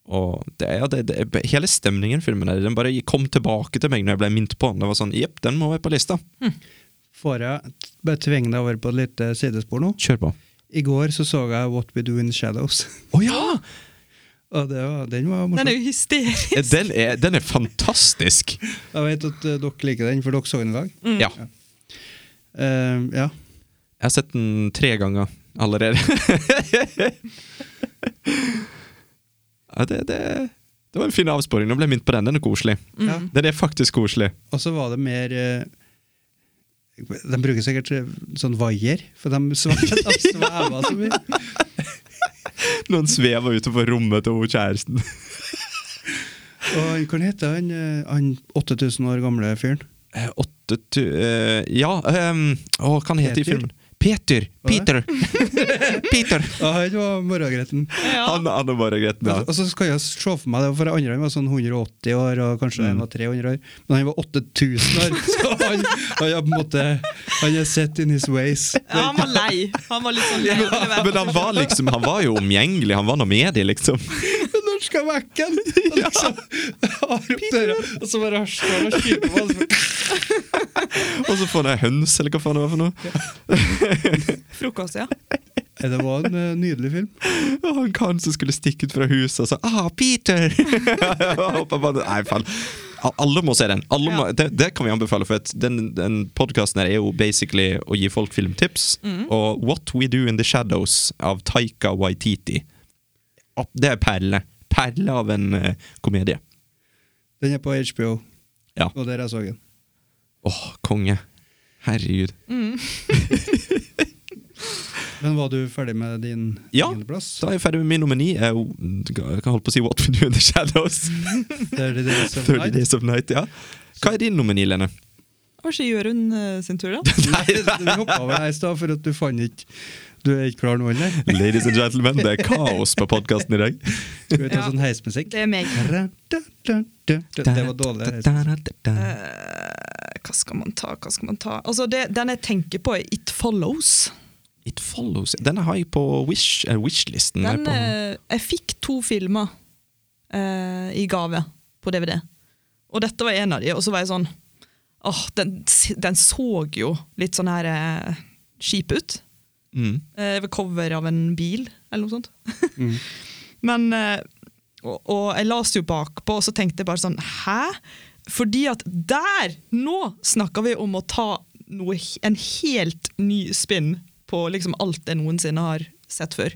Og det, er- ja, det, det, Hele stemningen i filmen der, den bare kom tilbake til meg når jeg ble minnet på den. Det var sånn, jepp, den må være på lista.
Får jeg t- bare tvinge deg over på et lite sidespor nå?
Kjør på.
I går så så jeg What We Do In The Shadows, *laughs*
Å ja!
og det var, den var
Den
morsom.
er jo hysterisk.
Den er, den er fantastisk!
Jeg vet at eh, dere liker den, for dere så den i dag.
Ja.
Eh, ja.
Jeg har sett den tre ganger *laughs* allerede. ja, det, det, det var en fin avsporing. Nå ble jeg minnet på den. Den er koselig.
Ja.
Den er faktisk koselig.
Og så var det mer eh, De bruker sikkert eh, sånn vaier, for de svever, de svever så mye.
Noen svever utenfor rommet til hun kjæresten.
Og han, hva heter han, eh, han 8000 år gamle fyren?
Eh, Åtte tu... eh, ja ehm, Å, hva han heter i
Peter?
filmen? Peter!
Hva
Peter!
*laughs*
Peter!
Ja, han var morgengretten.
Han, han og bare Grete.
Og så kan jeg se for meg det, for andre han var sånn 180 år, og kanskje han var 300 år, men han var 8000 år, *laughs* så han, han er på en måte Han er set in his ways.
Ja, han var lei. Han var litt sånn lei. av det.
Men han var liksom Han var jo omgjengelig. Han var nå med de,
*laughs*
liksom.
Når skal vekken? Og *laughs* liksom, har opp døra, og så bare står han og kikker på oss. *laughs*
Og så får han ei høns, eller hva faen det var for noe.
Frokost, ja.
Ja, Det var en eh, nydelig film.
Og han karen som skulle stikke ut fra huset og sa 'Ah, Peter!' Og pappa bare, Nei, faen. A- Alle må se den. Alle må, det, det kan vi anbefale, for at den, den podkasten her er jo basically å gi folk filmtips. Og 'What We Do In The Shadows' av Taika Waititi. Opp- Det er perle. Perle av en eh, komedie.
Den er på HBO,
Ja.
og der jeg så den.
Åh, konge. Herregud.
Men var du ferdig med din
Ja, sånn.
engelplass?
da er jeg ferdig med min nummer ni. Eh, Jeg kan holde på å si 'What We Do In The Shadows'. *laughs*
30 Days of
30
Night.
Days of Night, ja. Hva er din nummer ni, Lene?
Var ikke Jørund eh, sin
*laughs*
tur, da?
Nei, Vi hoppa over deg i stad, for at du fant ikke Du er ikke klar nå heller.
Ladies and gentlemen, det er kaos på podkasten i dag.
Skal vi ta
Ja.
sånn heismusikk?
Det er meg.
Det var dårlig heis.
Eh, Hva skal man ta, hva skal man ta? Altså, det, Den jeg tenker på, er It Follows.
It follows Den har jeg på wish, eh, wishlisten. her
Den,
på,
eh, jeg fikk to filmer eh, i gave på DVD. Og dette var en av de, og så var jeg sånn Åh, den, den så jo litt sånn her eh, skip ut.
mm.
Eh, ved cover av en bil, eller noe sånt. *laughs* Men eh, og, og jeg las jo bakpå, og så tenkte jeg bare sånn Hæ? Fordi at der! Nå snakker vi om å ta noe, en helt ny spinn på liksom alt jeg noensinne har sett før.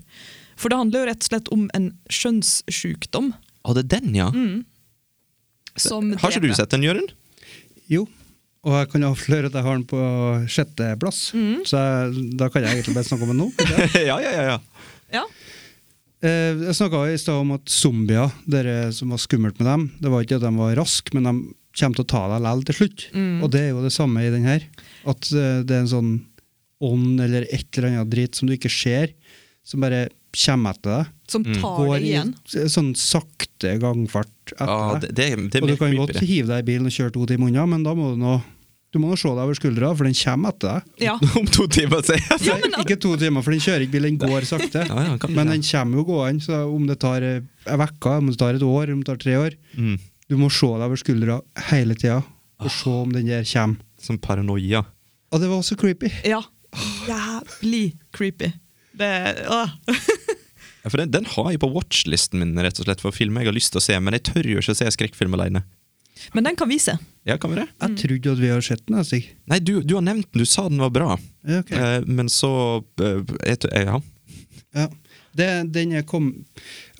For det handler jo rett og slett om en skjønnssjukdom.
Å, det er den, ja.
mm, Som
Har ikke du
dreper.
sett den, Jørund? *laughs*
Jo. Og jeg kan avsløre at jeg har den på sjetteplass,
Mm.
så jeg, da kan jeg egentlig bare snakke om den nå.
*laughs*
ikke sant?
ja, ja, ja, ja.
Ja.
Eh, Jeg snakka i stad om at zombier, dere som var skummelt med dem, det var ikke at de var raske, men de kommer til å ta deg likevel til slutt.
Mm.
Og det er jo det samme i den her. At eh, det er en sånn ånd eller et eller annet drit som du ikke ser, som bare kommer etter deg.
Som
Mm.
tar
Går
det
i
igjen.
s- sånn sakte gangfart etter
Ah,
deg.
det, det, det er
Og du
mer
kan
creepy,
godt
det.
hive deg i bilen og kjøre to timer unna, men da må du nå du må nå se deg over skuldra, for den kommer etter deg.
Ja.
Om to timer, sier jeg.
Ja, men-
Ikke to timer, for den kjører ikke bil, den går sakte.
Ja, ja, han kan-
Men den kommer jo gående, så om det tar eh, en uke, om det tar et år, om det tar tre år
Mm.
Du må se deg over skuldra hele tida og se om den der kommer.
Som paranoia.
Og det var så creepy.
ja. Jævlig creepy. Det, åh.
Ja, for den, den har jeg på watchlisten min, rett og slett, for filmer jeg har lyst til å se, men jeg tør jo ikke å se skrekkfilm alene.
Men den kan vi se.
Ja, kan vi det?
Mm.
Jeg trodde at vi hadde sett den. altså. jeg, Stig.
Nei, du, du har nevnt den. Du sa den var bra.
Ja, ok.
Eh, men så eh, jeg t- eh, Ja.
Ja. Det, den jeg kom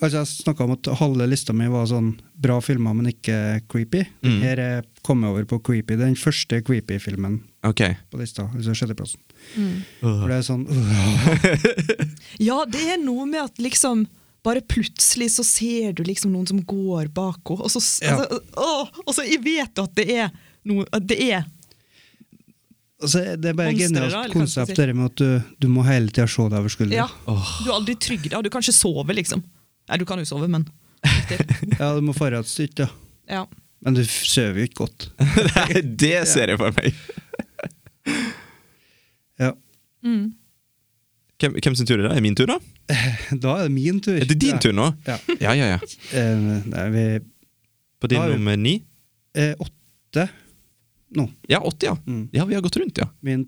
Altså, jeg snakka om at halve lista mi var sånn bra filmer, men ikke creepy. Den
Mm.
Her er kommet over på creepy. Den første creepy-filmen
Ok.
på lista, altså sjetteplassen. For
Mm.
Øh.
det er sånn øh,
Ja, det er noe med at liksom bare plutselig så ser du liksom noen som går bak henne, og så, s-
Ja.
altså, å, og så jeg vet du at det er noe at det er.
altså, Det er bare et
Monstre, da,
genialt
eller hva skal jeg
konsept,
si?
det med at du, du må hele tida se deg over
Ja.
skulderen.
Du er aldri trygg. da. Du kan ikke sove, liksom. Nei, du kan jo sove, men
Ja. du må fare et stykke, ja.
ja.
Men du f- sover jo ikke godt.
Nei, *laughs* det ser jeg for meg.
Ja.
Hvem, hvem sin tur er det? Er det min tur, da?
Da er det min tur.
Er det din tur nå?
Ja.
Ja, ja, ja.
Eh, nei, vi
På din
Ja, jo.
nummer ni?
eh, Åtte nå.
Ja, 80, ja.
Mm.
Ja, vi har gått rundt, ja.
Min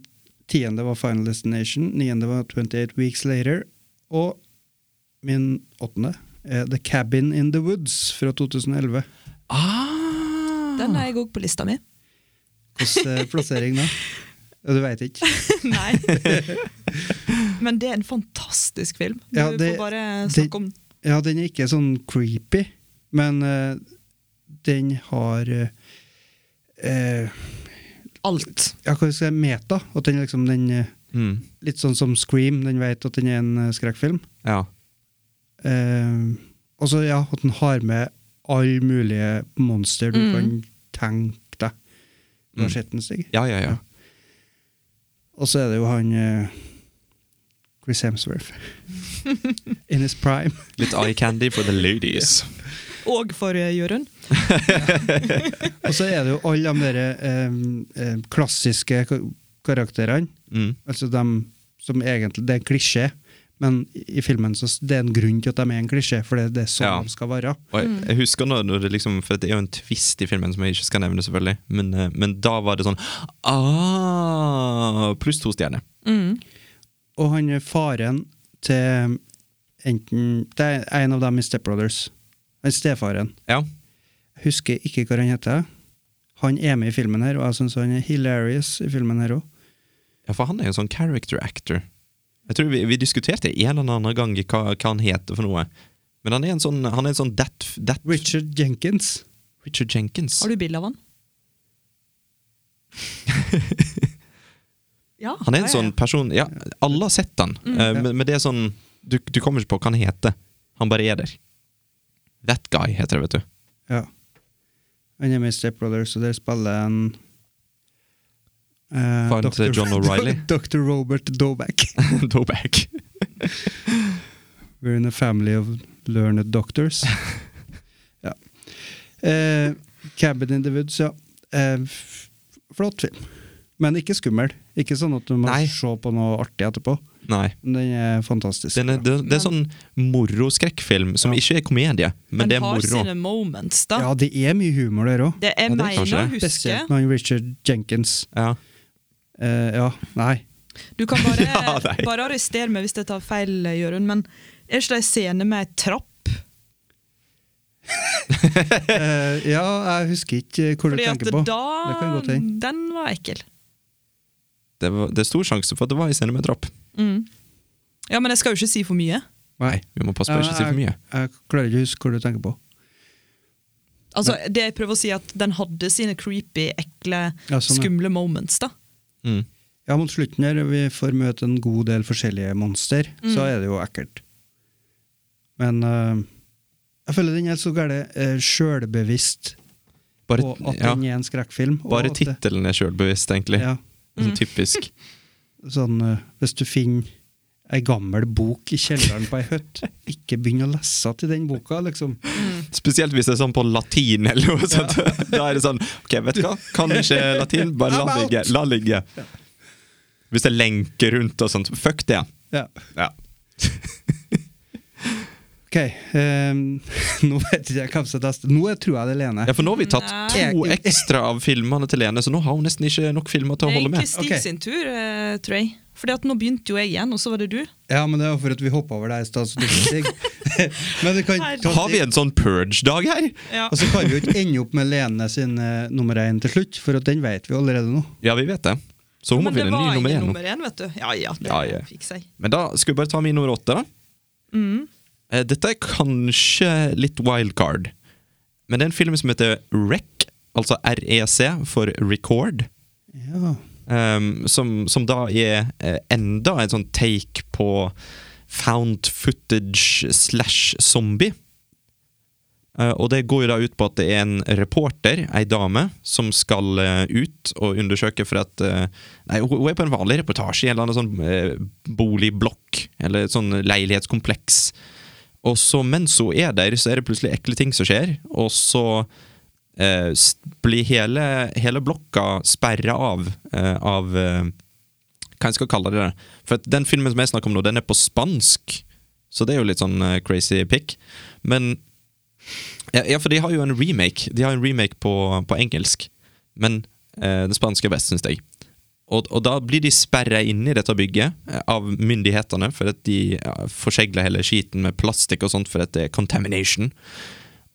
tiende var Final Destination, niende var 28 Weeks Later, og min åttende er The Cabin in the Woods fra 2011.
Ah.
Den er jeg òg på lista mi. *laughs*
Hvordan eh, plassering da? Ja, Du veit ikke.
Nei. *laughs* Men det er en fantastisk film. Du
Ja, det-
får bare
det-
snakke om den.
Ja, den er ikke sånn creepy, men eh, den har eh, eh,
alt.
Ja, hva skal jeg si, meta. At den er liksom den eh,
Mm.
Litt sånn som Scream, den vet at den er en eh, skrekkfilm.
Ja.
Eh, og så ja, at den har med alle mulige monster du
Mm.
kan tenke deg. Du har
Mm.
sett den, Stig.
Ja, ja, ja.
Og så er det jo han eh, Chris
*laughs*
Hemsworth. In his prime.
Litt eye candy for the *laughs* ladies.
Og for eh, Jørund.
Og så er det jo alle de der eh, eh, klassiske ka- karakterene.
Mm.
Altså dem som egentlig Det er en klisjé, men i i filmen så s- det er en grunn til at de er en klisjé, for det, det er sånn
Ja.
de skal være.
Og jeg, jeg husker når, når det liksom For det er jo en twist i filmen som jeg ikke skal nevne, selvfølgelig. Men, eh, men da var det sånn ah, Pluss to stjerner.
Og han er faren til enten Det er en av dem i Step Brothers. Han stefaren.
Ja.
Husker ikke hva han heter. Han er med i filmen her, og jeg syns han er hilarious i filmen her òg.
ja, for han er jo en sånn character actor. Jeg tror vi, vi diskuterte en eller annen gang hva, hva han heter for noe. Men han er en sånn, han er en sånn that, that
Richard Jenkins.
Richard Jenkins.
Har du
*laughs*
bilde av han? ja,
Han er en
ja, ja. Mm.
sånn person Ja, alle har sett han, eh, men, men det er sånn du, du kommer ikke på hva han heter. Han bare er der. That guy heter det, vet du.
Ja. Han er med i Step Brothers, og der spiller han eh,
Faren til
Dr.
John O'Reilly.
*laughs* Dr. Robert Doback.
*laughs* Doback.
We're in a family of learned
*laughs*
doctors. ja. Eh, Cabin in the Woods, ja. Eh, f- flott film. Men ikke skummel. Ikke sånn at du må
Nei.
se på noe artig etterpå.
Nei.
Men den er fantastisk.
Den er, det, det er sånn moro-skrekkfilm som ikke er komedie, men,
Men
det er
har
moro.
sine moments, da.
ja, det er mye humor der òg.
Det
det
er
er
meg
kanskje
å
det.
huske.
Spesielt med han Richard Jenkins.
Ja.
Eh, ja, nei.
Du kan bare,
*laughs* Ja, nei.
bare arrestere meg hvis jeg tar feil, Jørund, men er ikke det en scene med ei trapp?
Eh, ja, jeg husker ikke eh, hvor du
Fordi at
tenker på. Det kan
da
godt hende.
Den var ekkel.
Det, var, det er stor sjanse for at det var i scene med trapp.
Mm. Ja, men jeg skal jo ikke si for mye.
Nei, vi må passe på å ikke si for mye.
Jeg, jeg klarer ikke å huske hvor du tenker på.
Altså, det jeg prøver å si er at Den hadde sine creepy, ekle,
Ja, sånn, ja.
skumle moments. da.
Mm.
Ja, Mot slutten her, vi får møte en god del forskjellige monster, så
Mm.
er det jo ekkelt. Men øh, jeg føler den er så gæren uh, sjølbevisst på
Bare,
at
ja,
den er en skrekkfilm. og
bare
at det-
tittelen er sjølbevisst, egentlig.
Ja,
Sånn
Mm.
typisk.
sånn, øh, hvis du finner ei gammel bok i kjelleren på ei hytt,
*laughs*
ikke begynn å lese til den boka, liksom.
Spesielt hvis det er sånn på latin eller noe sånt. *laughs* Da er det sånn Ok, vet du hva, kan ikke latin, bare la
I'm out.
ligge. La ligge. Hvis det er lenker rundt og sånt. Fuck det.
Ja.
Ja.
Ok, øhm, *laughs* nå vet ikke jeg hvem som er best. Nå tror jeg det er Lene.
ja, for nå har vi tatt
Nei.
to ekstra av filmene til Lene, så nå har hun nesten ikke nok filmer til å holde
Det er
med.
Kristin
Ok.
sin tur, eh, tror jeg. Fordi at nå begynte jo jeg igjen, og så var det du.
Ja, men det var for at vi hoppa over deg i stad, så det er ikke digg. *laughs* Men vi kan ta
Har vi en sånn purge-dag her?
Ja.
Og så kan vi jo ikke ende opp med Lene sin eh, nummer én til slutt, for at den vet vi allerede nå.
Ja, vi vet det. Så hun må
Men det
finne en
var
ny nummer
ingen
én. nå.
nummer én, vet du. Ja ja, det
Ja, ja.
fikk jeg.
Men da skal vi bare ta min nummer åtte, da. Eh, Dette er kanskje litt wildcard. Men det er en film som heter REC, altså REC for Record.
Ja.
ehm, som, som da er eh, enda en sånn take på found footage slash zombie. Eh, og det går jo da ut på at det er en reporter, ei dame, som skal eh, ut og undersøke for at eh, Nei, hun, hun er på en vanlig reportasje i en eller annen sånn eh, boligblokk, eller sånn leilighetskompleks. Og så mens hun er der, så er det plutselig ekle ting som skjer, og så eh, s- blir hele, hele blokka sperra av eh, av eh, hva jeg skal kalle det. da. For at den filmen som jeg snakker om nå, den er på spansk. Så det er jo litt sånn eh, crazy pick. Men ja, ja, for de har jo en remake. De har en remake på, på engelsk. Men eh, den spanske er best, syns jeg. Og, og da blir de sperra inne i dette bygget eh, av myndighetene, for at de ja, forsegler hele skiten med plastikk og sånt, for at det er contamination.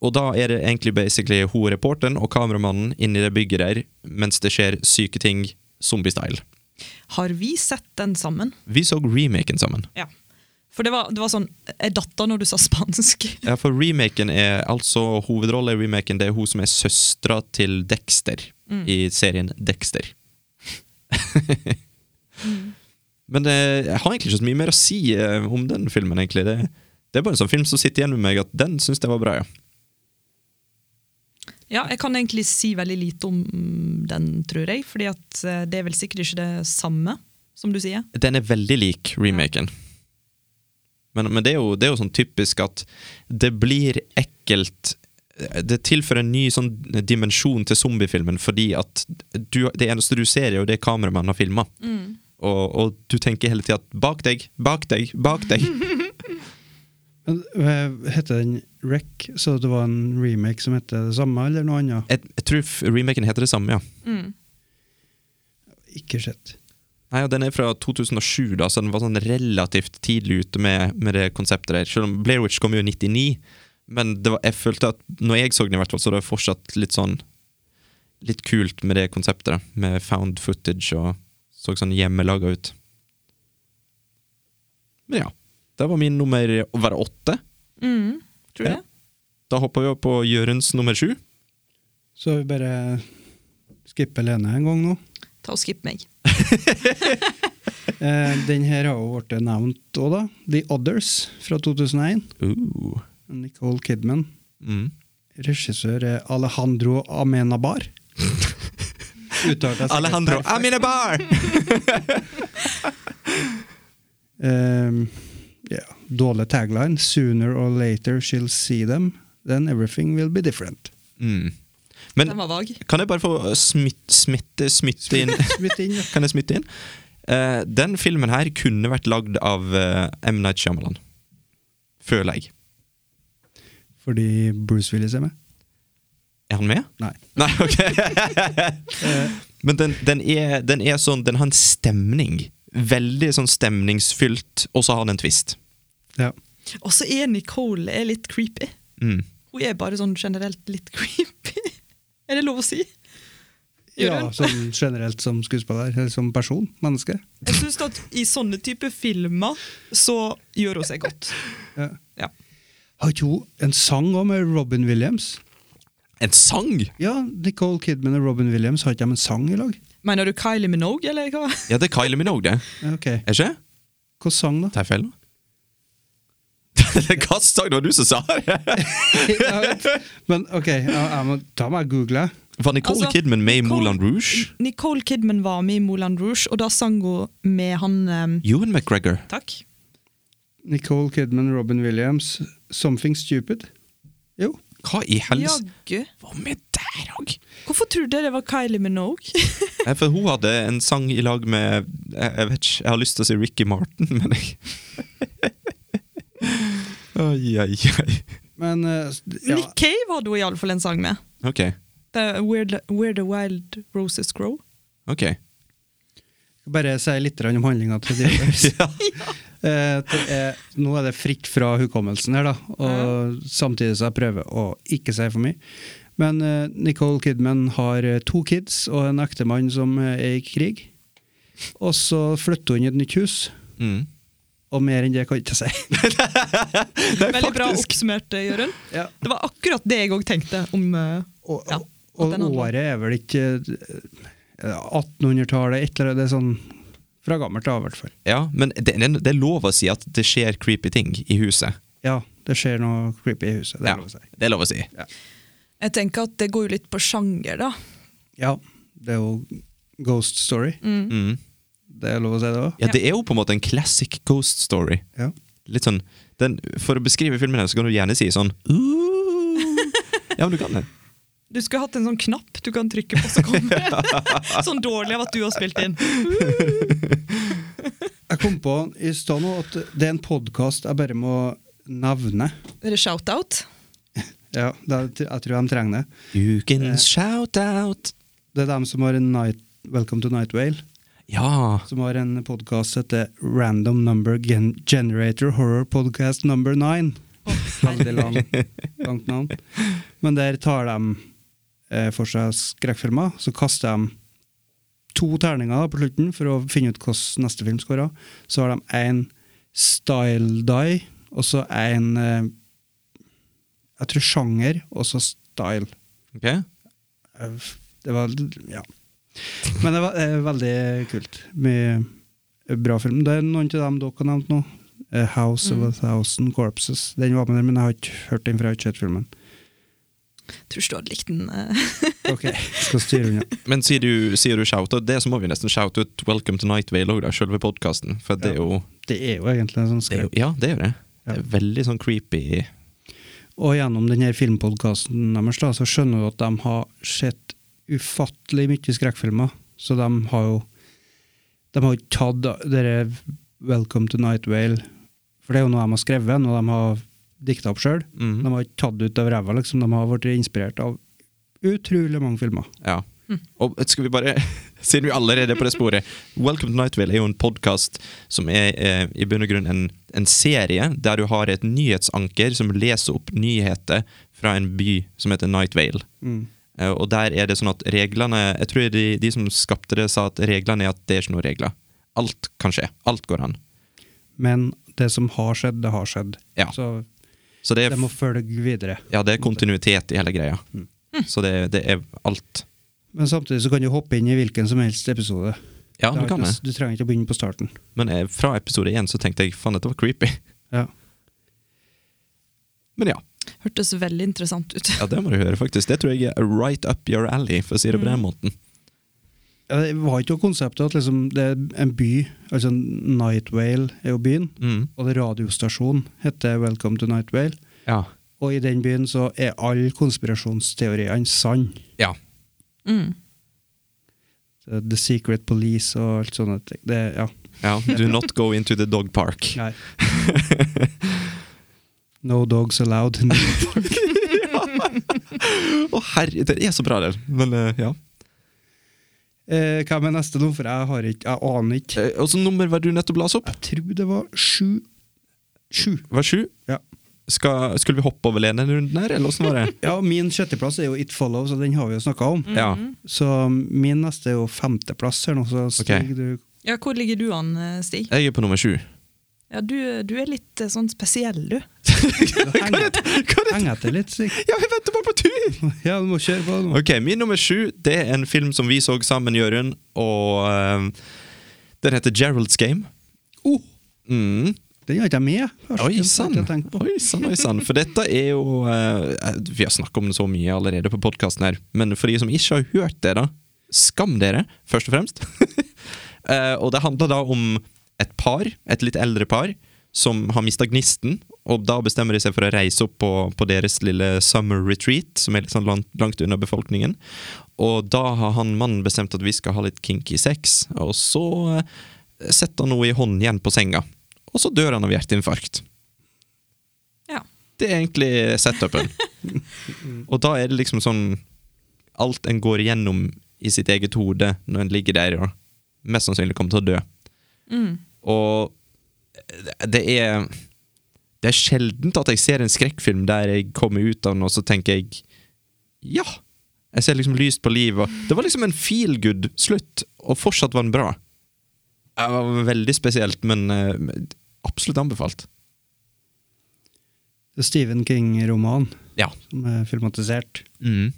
Og da er det egentlig basically hun reporteren og kameramannen inni det bygget der mens det skjer syke ting, zombie-style.
Har vi sett den sammen?
Vi så remaken sammen.
Ja. For det var, det var sånn Jeg datta når du sa spansk. *laughs*
*laughs* Ja, for remaken er altså hovedrollen i remaken Det er hun som er søstera til Dexter i serien Dexter. *laughs* Men eh, jeg har egentlig ikke så mye mer å si eh, om den filmen, egentlig. Det, det er bare en sånn film som sitter igjen med meg at den syns jeg var bra, ja.
Ja, jeg kan egentlig si veldig lite om mm, den, tror jeg. Fordi at eh, det er vel sikkert ikke det samme, som du sier.
Den er veldig lik remaken. Men, men det, er jo, det er jo sånn typisk at det blir ekkelt Det tilfører en ny sånn dimensjon til zombiefilmen fordi at du, det eneste du ser, er jo det kameramannen har filma. Og, og du tenker hele tida at 'bak deg, bak deg, bak deg'.
Men, eh, Heter den REC, så det var en remake som heter det samme, eller noe annet?
jeg, jeg tror f- remaken heter det samme, ja.
Mm.
Ikke sett.
Nei, og Den er fra 2007, da, så den var sånn relativt tidlig ute med, med det konseptet der. Selv om Blair Witch kom jo i 99, men det var, jeg følte at når jeg så den, i hvert fall, så var det fortsatt litt sånn Litt kult med det konseptet, da, med found footage og så sånn hjemmelaga ut. Men ja. Det var min nummer å være åtte.
Tror du
Ja.
det?
Da hopper vi opp på Jørunds nummer sju.
Så vi bare skipper Lene en gang nå.
Ta og Skipp meg.
Eh, den her har jo blitt nevnt òg, da. The Others fra 2001.
Uh.
Nicole Kidman.
Mm.
Regissør er Alejandro Amenabar. Uttaler jeg sikkert
Alejandro
perfekt.
I'm in a bar!
Um, ja, Dårlig tagline. 'Sooner or later she'll see them, then everything will be different'.
Mm. Men
Den var vag.
Kan jeg bare få smitt, smitte, smitte inn
Smitt inn, ja.
Kan jeg smitte inn? Eh, den filmen her kunne vært lagd av eh, M. Night Shyamalan. Føler jeg.
Fordi Bruce Willis er med?
Er han med? *laughs*
Nei.
Nei, ok. Men den, den, er, den er sånn Den har en stemning. Veldig sånn stemningsfylt, og så har den en twist.
Ja.
*laughs* Og så er Nicole er litt creepy.
Mm.
Hun er bare sånn generelt litt *laughs* creepy. Er det lov å si?
ja,
Gjør
sånn generelt som skuespiller. Eller som person. Menneske.
Jeg syns at i sånne type filmer så gjør hun seg godt.
Ja.
Ja.
Har ikke hun en sang òg, med Robin Williams?
En sang?!
Ja, Nicole Kidman og Robin Williams, har ikke de en sang i lag?
Mener du Kylie Minogue, eller hva? *laughs*
Ja, det er Kylie Minogue, det.
Ja, Ok,
Er ikke det?
Hvilken sang, da?
Tar jeg feil nå? *laughs* Hva sang? Det var du som sa det! *laughs*
Men ok, ja, jeg må, da må jeg google.
Var Nicole
Altså,
Kidman med i
Nicole-
Moulin Rouge?
Nicole Kidman var med i Moulin Rouge, og da sang hun med han eh,
Ewan McGregor.
Takk.
Nicole Kidman, Robin Williams, 'Something Stupid'. Jo.
Hva i helse
Jaggu.
Hva med der òg?
Hvorfor trodde jeg det var Kylie Minogue?
For hun hadde en sang i lag med Jeg, jeg vet ikke, jeg har lyst til å si Ricky Martin, *laughs* men jeg Oi, oi, oi.
Men eh, s- ja,
Nick Cave hadde hun iallfall en sang med.
Ok.
The Where, the, Where the Wild Roses Grow.
ok
Skal bare si litt grann om handlinga til Deepers.
Ja.
Eh, det er, nå er det fritt fra hukommelsen her, da, og samtidig så jeg prøver å ikke si for mye. Men eh, Nicole Kidman har eh, to kids og en ektemann som eh, er i krig. Og så flytter hun i et nytt hus,
Mm.
og mer enn det kan jeg ikke si.
Veldig bra oppsummert, eh, Jørund.
Ja.
Det var akkurat det jeg òg tenkte om eh,
Og, og,
Ja, at
og
den handler.
året er vel ikke eh, 1800-tallet, et eller annet. Det er sånn fra gammelt av, i hvert fall.
Ja, men det, det, det er lov å si at det skjer creepy ting i huset.
Ja, det skjer noe creepy i huset. Det er
Ja,
lov å si.
det er lov å si.
Jeg tenker at det går jo litt på sjanger, da.
Ja, det er jo Ghost Story.
Mm.
Det er lov å si, det òg.
Ja, det er jo på en måte en classic ghost story.
Ja.
Litt sånn, den, For å beskrive filmen her, så kan du gjerne si sånn
*laughs*
«Ooh». Ja, men du kan det.
Du skulle hatt en sånn knapp du kan trykke på, så kommer det. Sånn dårlig av at du har spilt inn.
Jeg kom på i stad nå at det er en podkast jeg bare må nevne.
Er det shout-out?
Ja, det er, Jeg tror de trenger det.
Ukens shout-out.
Det er dem som har en night, Welcome to Night Whale,
Ja.
som har en podkast som heter Random Number Gen Generator Horror Podcast Number Nine.
*laughs*
Veldig lang, langt navn. Men der tar de eh, for seg skrekkfilmer, så kaster de to terninger på slutten for å finne ut hvordan neste film skårer. Så har de én style die, og så én eh, Jeg tror sjanger, og så style.
Ok.
Eh, Det var Ja. Men det var eh, veldig kult. Mye bra film. Det er noen av dem dere har nevnt nå. Eh, House of a Thousand Corpses. Den var med der, men jeg har ikke hørt den, for jeg har ikke sett filmen.
Tror ikke du hadde likt den. eh.
Ok, skal styre unna.
Men sier du, sier du shout-out, det så må vi nesten shout-out Welcome to Night Vale òg, selve podkasten. For det er, jo,
Det er jo egentlig en sånn
det er jo
skrekk.
Ja, det er jo det.
Ja.
Det er veldig sånn creepy
Og gjennom denne filmpodkasten deres da, så skjønner du at de har sett ufattelig mye skrekkfilmer. Så de har jo de har jo ikke tatt dere Welcome to Night Vale, for det er jo noe de har skrevet, noe de har dikta opp sjøl.
Mhm.
De har ikke tatt det ut av ræva, liksom. De har blitt inspirert av utrolig mange filmer.
Ja. Og skal vi bare, *laughs* siden vi allerede er på det sporet Welcome to Nightville er jo en podkast som er eh, i bunn og grunn en, en serie der du har et nyhetsanker som leser opp nyheter fra en by som heter Nightvale. Eh, og der er det sånn at reglene Jeg tror de, de som skapte det, sa at reglene er at det er ikke noen regler. Alt kan skje. Alt går an.
Men det som har skjedd, det har skjedd.
Ja.
Så
Så det er,
det må følge videre.
ja, det er kontinuitet i hele greia. Så det, det er alt.
Men samtidig så kan du hoppe inn i hvilken som helst episode.
Ja,
Det
du
har
kan
ikke
det.
noe- du trenger ikke å begynne på starten.
Men eh, fra episode én så tenkte jeg faen, dette var creepy. *laughs*
Ja.
Men ja.
Hørtes veldig interessant ut.
Ja, det må du høre, faktisk. Det tror jeg er right up your alley, for å si det på den måten.
Ja, Det var ikke noe konseptet at liksom, det er en by, altså Night Vale er jo byen,
Mm.
og det radiostasjonen heter Welcome to Night Vale,
Ja.
og i den byen så er alle konspirasjonsteoriene sann.
Ja.
Mm.
The Secret Police og alt sånt. Det, det- ja,
Do not go into the dog park. *laughs*
nei. No dogs allowed. *laughs*
Å, herre, det er så bra, det. Men, eh, ja.
Eh, Hvem er neste nå, for jeg har ikke, jeg aner ikke.
Eh, Og så nummer var du nettopp las opp?
Jeg tror det var sju. Sju.
Var sju?
Ja.
Skal, skulle vi hoppe over Lene en runde her, eller åssen *laughs* var det?
Ja, min sjetteplass er jo It Follows, og den har vi jo snakka om.
Ja.
Så min neste er jo femteplass her nå, så Stig,
Ok. *laughs*
du
Ja, Hvor ligger du an, eh, Stig?
Jeg er på nummer sju.
Ja, du, du er litt eh, sånn spesiell, du.
henger, henger etter litt. Stig.
Ja, vi venter bare på tur!
Ja, du må kjøre på nå.
Ok, Min nummer sju det er en film som vi så sammen, Jørund, og eh, den heter Gerald's Game.
Oh,
Mm.
den har ikke jeg med. Først,
Oi
den
sann!
tenkte jeg tenkt på.
Oi sann, oi sann. For dette er jo eh, Vi har snakka om det så mye allerede på podkasten her, men for de som ikke har hørt det, da, skam dere, først og fremst. *laughs* Eh, og det handler da om et par, et litt eldre par, som har mista gnisten, og da bestemmer de seg for å reise opp på, på deres lille summer retreat, som er litt sånn langt, langt unna befolkningen. Og da har han mannen bestemt at vi skal ha litt kinky sex, og så eh, setter han noe i hånden igjen på senga. Og så dør han av hjerteinfarkt.
Ja.
Det er egentlig setupen. Og da er det liksom sånn Alt en går igjennom i sitt eget hode når en ligger der og mest sannsynlig kommer til å dø. Og det er Det er sjeldent at jeg ser en skrekkfilm der jeg kommer ut av den, og så tenker jeg Ja! Jeg ser liksom lyst på livet. og- Det var liksom en feel good slutt, og fortsatt var den bra. Det var veldig spesielt, men eh, absolutt anbefalt.
Det er Stephen King-roman
Ja.
som er filmatisert.
Mm.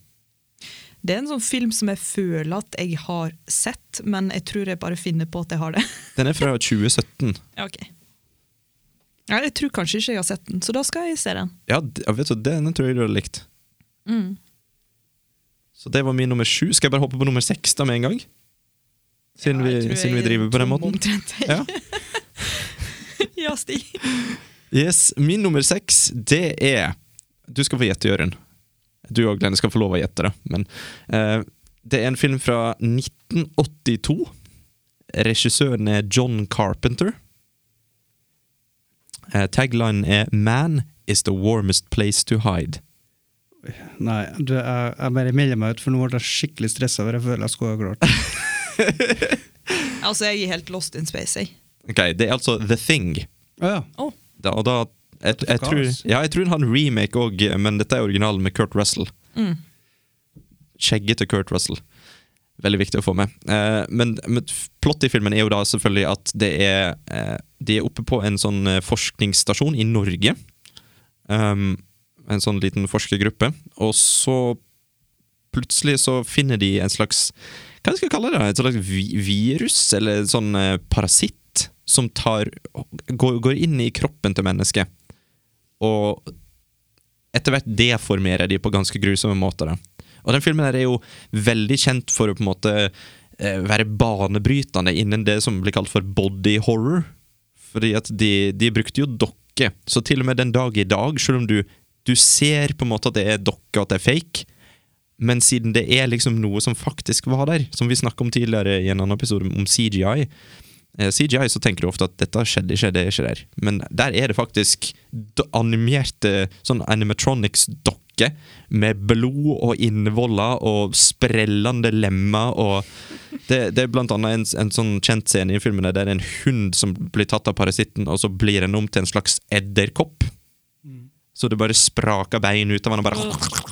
Det er en sånn film som jeg føler at jeg har sett, men jeg tror jeg bare finner på at jeg har det. *laughs*
Den er fra 2017.
Ja, ok. Nei, jeg tror kanskje ikke jeg har sett den, så da skal jeg se den.
Ja, d- ja, vet du, den tror jeg du hadde likt.
Mm.
Så det var min nummer sju. Skal jeg bare hoppe på nummer seks da med en gang? Siden,
Ja, jeg
vi,
tror
siden vi
jeg
driver på den
tom
måten.
Omtrent, jeg.
Ja.
*laughs* ja, Stig.
Yes, Min nummer seks, det er Du skal få gjette, Jørund. Du og Glenn skal få lov å gjette, da. Men eh, det er en film fra 1982. Regissøren er John Carpenter. Eh, taglinen er 'Man is the warmest place to hide'.
Nei, du, jeg, jeg bare melder meg ut, for nå ble jeg skikkelig stressa over jeg føler jeg skulle ha klart.
Altså, jeg er helt lost in space, jeg.
Ok, Det er altså 'The Thing'.
Å ja.
da, og da jeg, jeg, tror,
Gas.
ja, jeg tror han remake òg, men dette er originalen med Kurt Russell. Skjeggete Kurt Russell. Veldig viktig å få med. Eh, men men plottet i filmen er jo da selvfølgelig at det er eh, De er oppe på en sånn eh, forskningsstasjon i Norge. Um, en sånn liten forskergruppe. Og så plutselig så finner de en slags Hva skal jeg kalle det? da? Et slags vi virus, eller en sånn eh, parasitt, som tar, går, går inn i kroppen til mennesket. Og etter hvert deformerer de på ganske grusomme måter. Da. Og den filmen her er jo veldig kjent for å på en måte eh, være banebrytende innen det som blir kalt for body horror. Fordi at de, de brukte jo dokke, så til og med den dag i dag, selv om du, du ser på en måte at det er dokke og at det er fake, men siden det er liksom noe som faktisk var der, som vi snakket om tidligere i en annen episode om CGI, eh, CGI så tenker du ofte at dette skjedde ikke, det er ikke der. Men der er det faktisk d- animerte sånn animatronics-dokke med blod og innvoller og sprellende lemmer og det, det er blant annet en, en sånn kjent scene i filmen der det er en hund som blir tatt av parasitten, og så blir den om til en slags edderkopp. Så det bare spraker bein ut av han og bare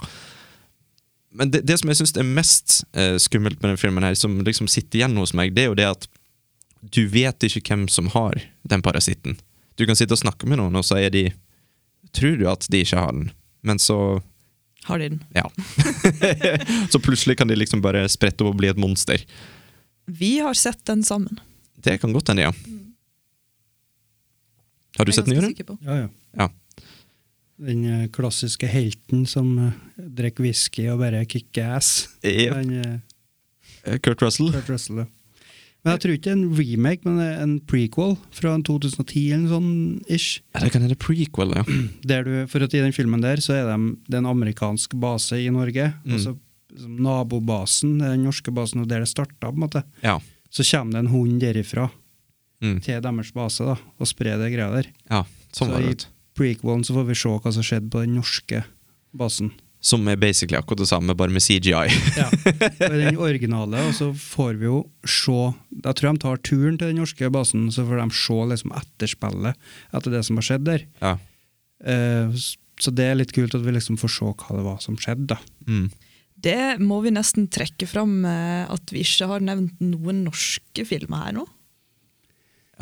Men det, det som jeg syns er mest eh, skummelt med den filmen, her, som liksom sitter igjen hos meg, det er jo det at du vet ikke hvem som har den parasitten. Du kan sitte og snakke med noen, og så er de Tror du at de ikke har den, men så
Har de den?
Ja. *laughs* så plutselig kan de liksom bare sprette opp og bli et monster.
Vi har sett den sammen.
Det kan godt hende, ja. Har du sett den, Jørund?
ja, ja.
Ja.
Den eh, klassiske helten som eh, drikker whisky og bare kicker ass.
Yep.
Den, eh,
Eh, Kurt Russell?
Kurt Russell, ja. Men jeg tror ikke det er en remake, men det er en prequel fra en 2010 eller noe sånn ish.
Ja, det kan hende prequel, ja.
Der du, for at I den filmen der så er det, det er en amerikansk base i Norge.
Mm.
Altså som nabobasen, den norske basen, og der det starta, på en måte.
Ja.
Så kommer det en hund derifra
Mm.
til deres base da, og sprer det greia der.
ja sånn
så
var
i
det. vet du.
prequelen så får vi se hva som skjedde på den norske basen.
Som er basically akkurat det samme, bare med CGI.
Ja. *laughs* Og i den originale, og så får vi jo se Jeg tror de tar turen til den norske basen, så får de se liksom etterspillet etter det som har skjedd der.
*laughs* ja.
Eh, s- Så det er litt kult at vi liksom får se hva det var som skjedde, da.
Mm.
Det må vi nesten trekke fram eh, at vi ikke har nevnt noen norske filmer her nå.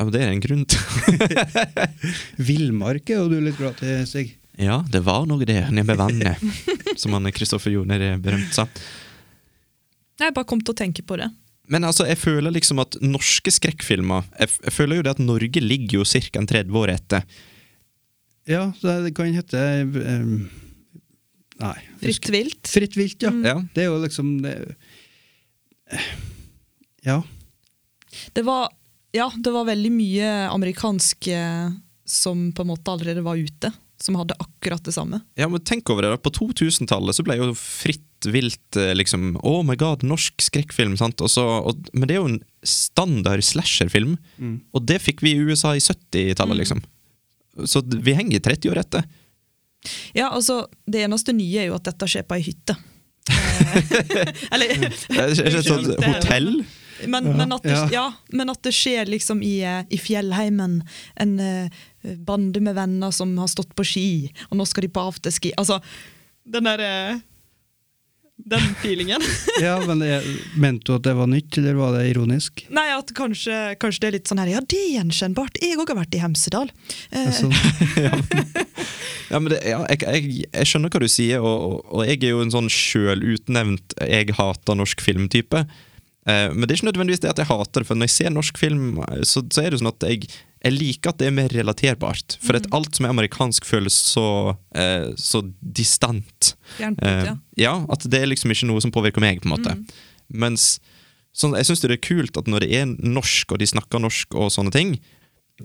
ja, men det er en grunn til
Villmark er jo du litt glad til, Stig.
Ja, det var noe der nede ved vannet,
*laughs*
som han Kristoffer Joner eh, berømt sa.
Jeg bare kom til å tenke på det.
Men altså, jeg føler liksom at norske skrekkfilmer Jeg, f- jeg føler jo det at Norge ligger jo ca. 30 år etter.
Ja, så det kan hete eh, Nei.
Fritt vilt.
Fritt vilt, ja.
Ja.
Det er jo liksom det, Ja.
Det var, ja, det var veldig mye amerikansk eh, som på en måte allerede var ute, som hadde akkurat det samme.
Ja, men tenk over det da, På 2000-tallet så ble jo fritt vilt eh, liksom Oh my god, norsk skrekkfilm. sant? Og så, og, men det er jo en standard slasherfilm,
Mm.
og det fikk vi i USA i 70-tallet, liksom. Så d- vi henger 30 år
*laughs*
etter.
Ja, altså, Det eneste nye er jo at dette skjer på ei hytte. Eh, *laughs* Eller
Det er ikke- ikke et sånt
Unnskyld, det er-
hotell.
Men, men, at det,
Ja.
ja, men at det skjer liksom i, eh, i fjellheimen. En eh, bande med venner som har stått på ski, og nå skal de på afterski. Altså, den der eh, Den
*laughs*
feelingen.
Ja, men jeg, Mente du at det var nytt, eller var det ironisk?
Nei, at kanskje, kanskje det er litt sånn her Ja, det er gjenkjennbart. Jeg òg har vært i Hemsedal. Eh,
Altså,
Ja, men det, ja, jeg, jeg, jeg skjønner hva du sier, og, og jeg er jo en sånn sjølutnevnt 'jeg hater norsk film'-type. Eh, men det er ikke nødvendigvis det at jeg hater det, for når jeg ser norsk film, eh, så, så er det jo sånn at jeg, jeg liker at det er mer relaterbart. For
Mm.
at alt som er amerikansk, føles så, eh, så distant. Eh,
Fjernt ut, ja.
ja, at det er liksom ikke noe som påvirker meg, på en
Mm.
måte. Mens sånn, jeg syns det er kult at når det er norsk, og de snakker norsk og sånne ting,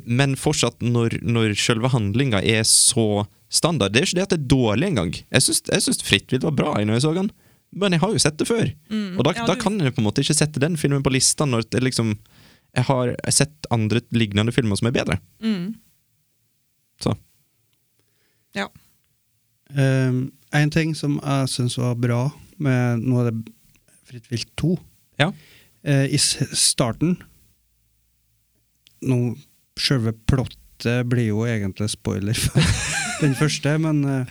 men fortsatt når, når selve handlinga er så standard Det er ikke det at det er dårlig engang. Jeg syns- jeg syns Frittvild var bra jeg, når jeg så den, men jeg har jo sett det før. og da,
Mm. ja,
da
du-
kan jeg på en måte ikke sette den filmen på lista når det liksom jeg har sett andre lignende filmer som er bedre.
Mm.
Så
ja.
ehm, en ting som jeg syns var bra med Nå er det Fritt vilt 2.
ja.
Eh, I s- starten Nå, Selve plottet blir jo egentlig spoiler for *laughs* den første, men eh,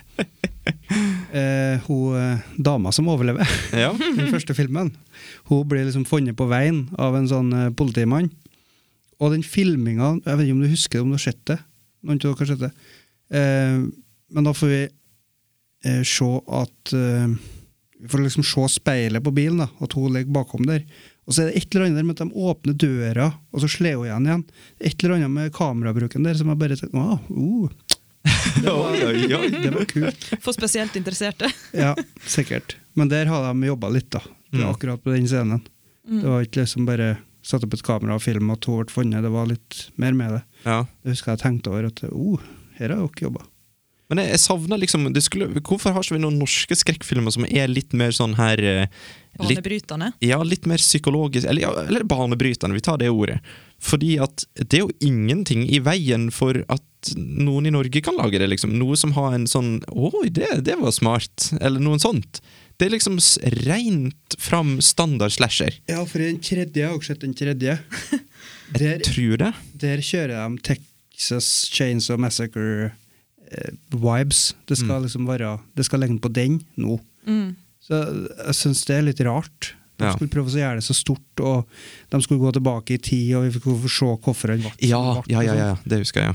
eh, hun eh, dama som overlever
ja.
*laughs* den første filmen, hun blir liksom funnet på veien av en sånn eh, politimann. Og den filminga Jeg vet ikke om du husker det, om du har sett det? Noen av dere har sett det. Eh, men da får vi eh, se at eh, Vi får liksom se speilet på bilen, da, at hun ligger bakom der. Og så er det et eller annet der med at de åpner døra, og så slår hun igjen igjen. Et eller annet med kamerabruken der som jeg bare tenker Å, oh,
Oi, oi, oi.
det var kult.
For spesielt *laughs* interesserte.
Ja, sikkert. Men der har de jobba litt, da. Det var
Mm.
akkurat på den scenen. Det var ikke liksom bare satt opp et kamera og film at hun ble funnet. Det var litt mer med det.
ja.
Det husker jeg tenkte over at oh, her har dere jobba.
Men jeg, jeg savner liksom det skulle, Hvorfor har ikke vi noen norske skrekkfilmer som er litt mer sånn her eh, litt,
Banebrytende.
Ja, litt mer psykologisk Eller, ja, eller banebrytende, vi tar det ordet. Fordi at det er jo ingenting i veien for at noen i Norge kan lage det, liksom. Noe som har en sånn Oi, det, det var smart. Eller noe sånt. Det er liksom s- rent fram standard slasher.
Ja, for i den tredje, jeg har også sett den *laughs* tredje, der,
Tror det.
der kjører de Texas Chainsaw Massacre-vibes. det skal
Mm.
liksom være Det skal ligne på den nå.
Mm.
Så eh, jeg syns det er litt rart. De
Ja.
skulle prøve å gjøre det så stort, og de skulle gå tilbake i tid, og vi fikk få se hvorfor han ble som
Ja,
han ble,
ja,
og
ja,
sånn.
ja, det husker jeg.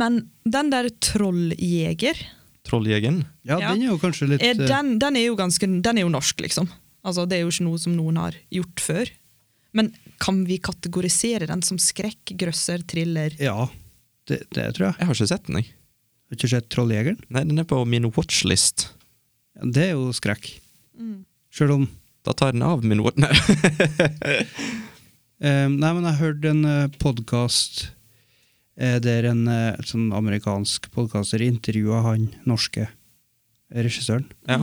Men den der trolljeger,
Trolljegeren.
Ja,
Ja.
den er jo kanskje litt
er
eh,
den, den, er jo ganske, den er jo norsk, liksom. Altså, det er jo ikke noe som noen har gjort før. Men kan vi kategorisere den som skrekk, grøsser, thriller?
eh, Ja, det, det tror jeg.
Jeg har ikke sett den, jeg.
Har du ikke sett Trolljegeren?
Nei, den er på min watchlist.
Ja, Det er jo skrekk.
Mm.
Sjøl om
Da tar den av min watch... Nei.
eh, Nei, men jeg hørte en uh, podkast der en eh, sånn amerikansk podkaster intervjua han norske regissøren.
*laughs* Ja.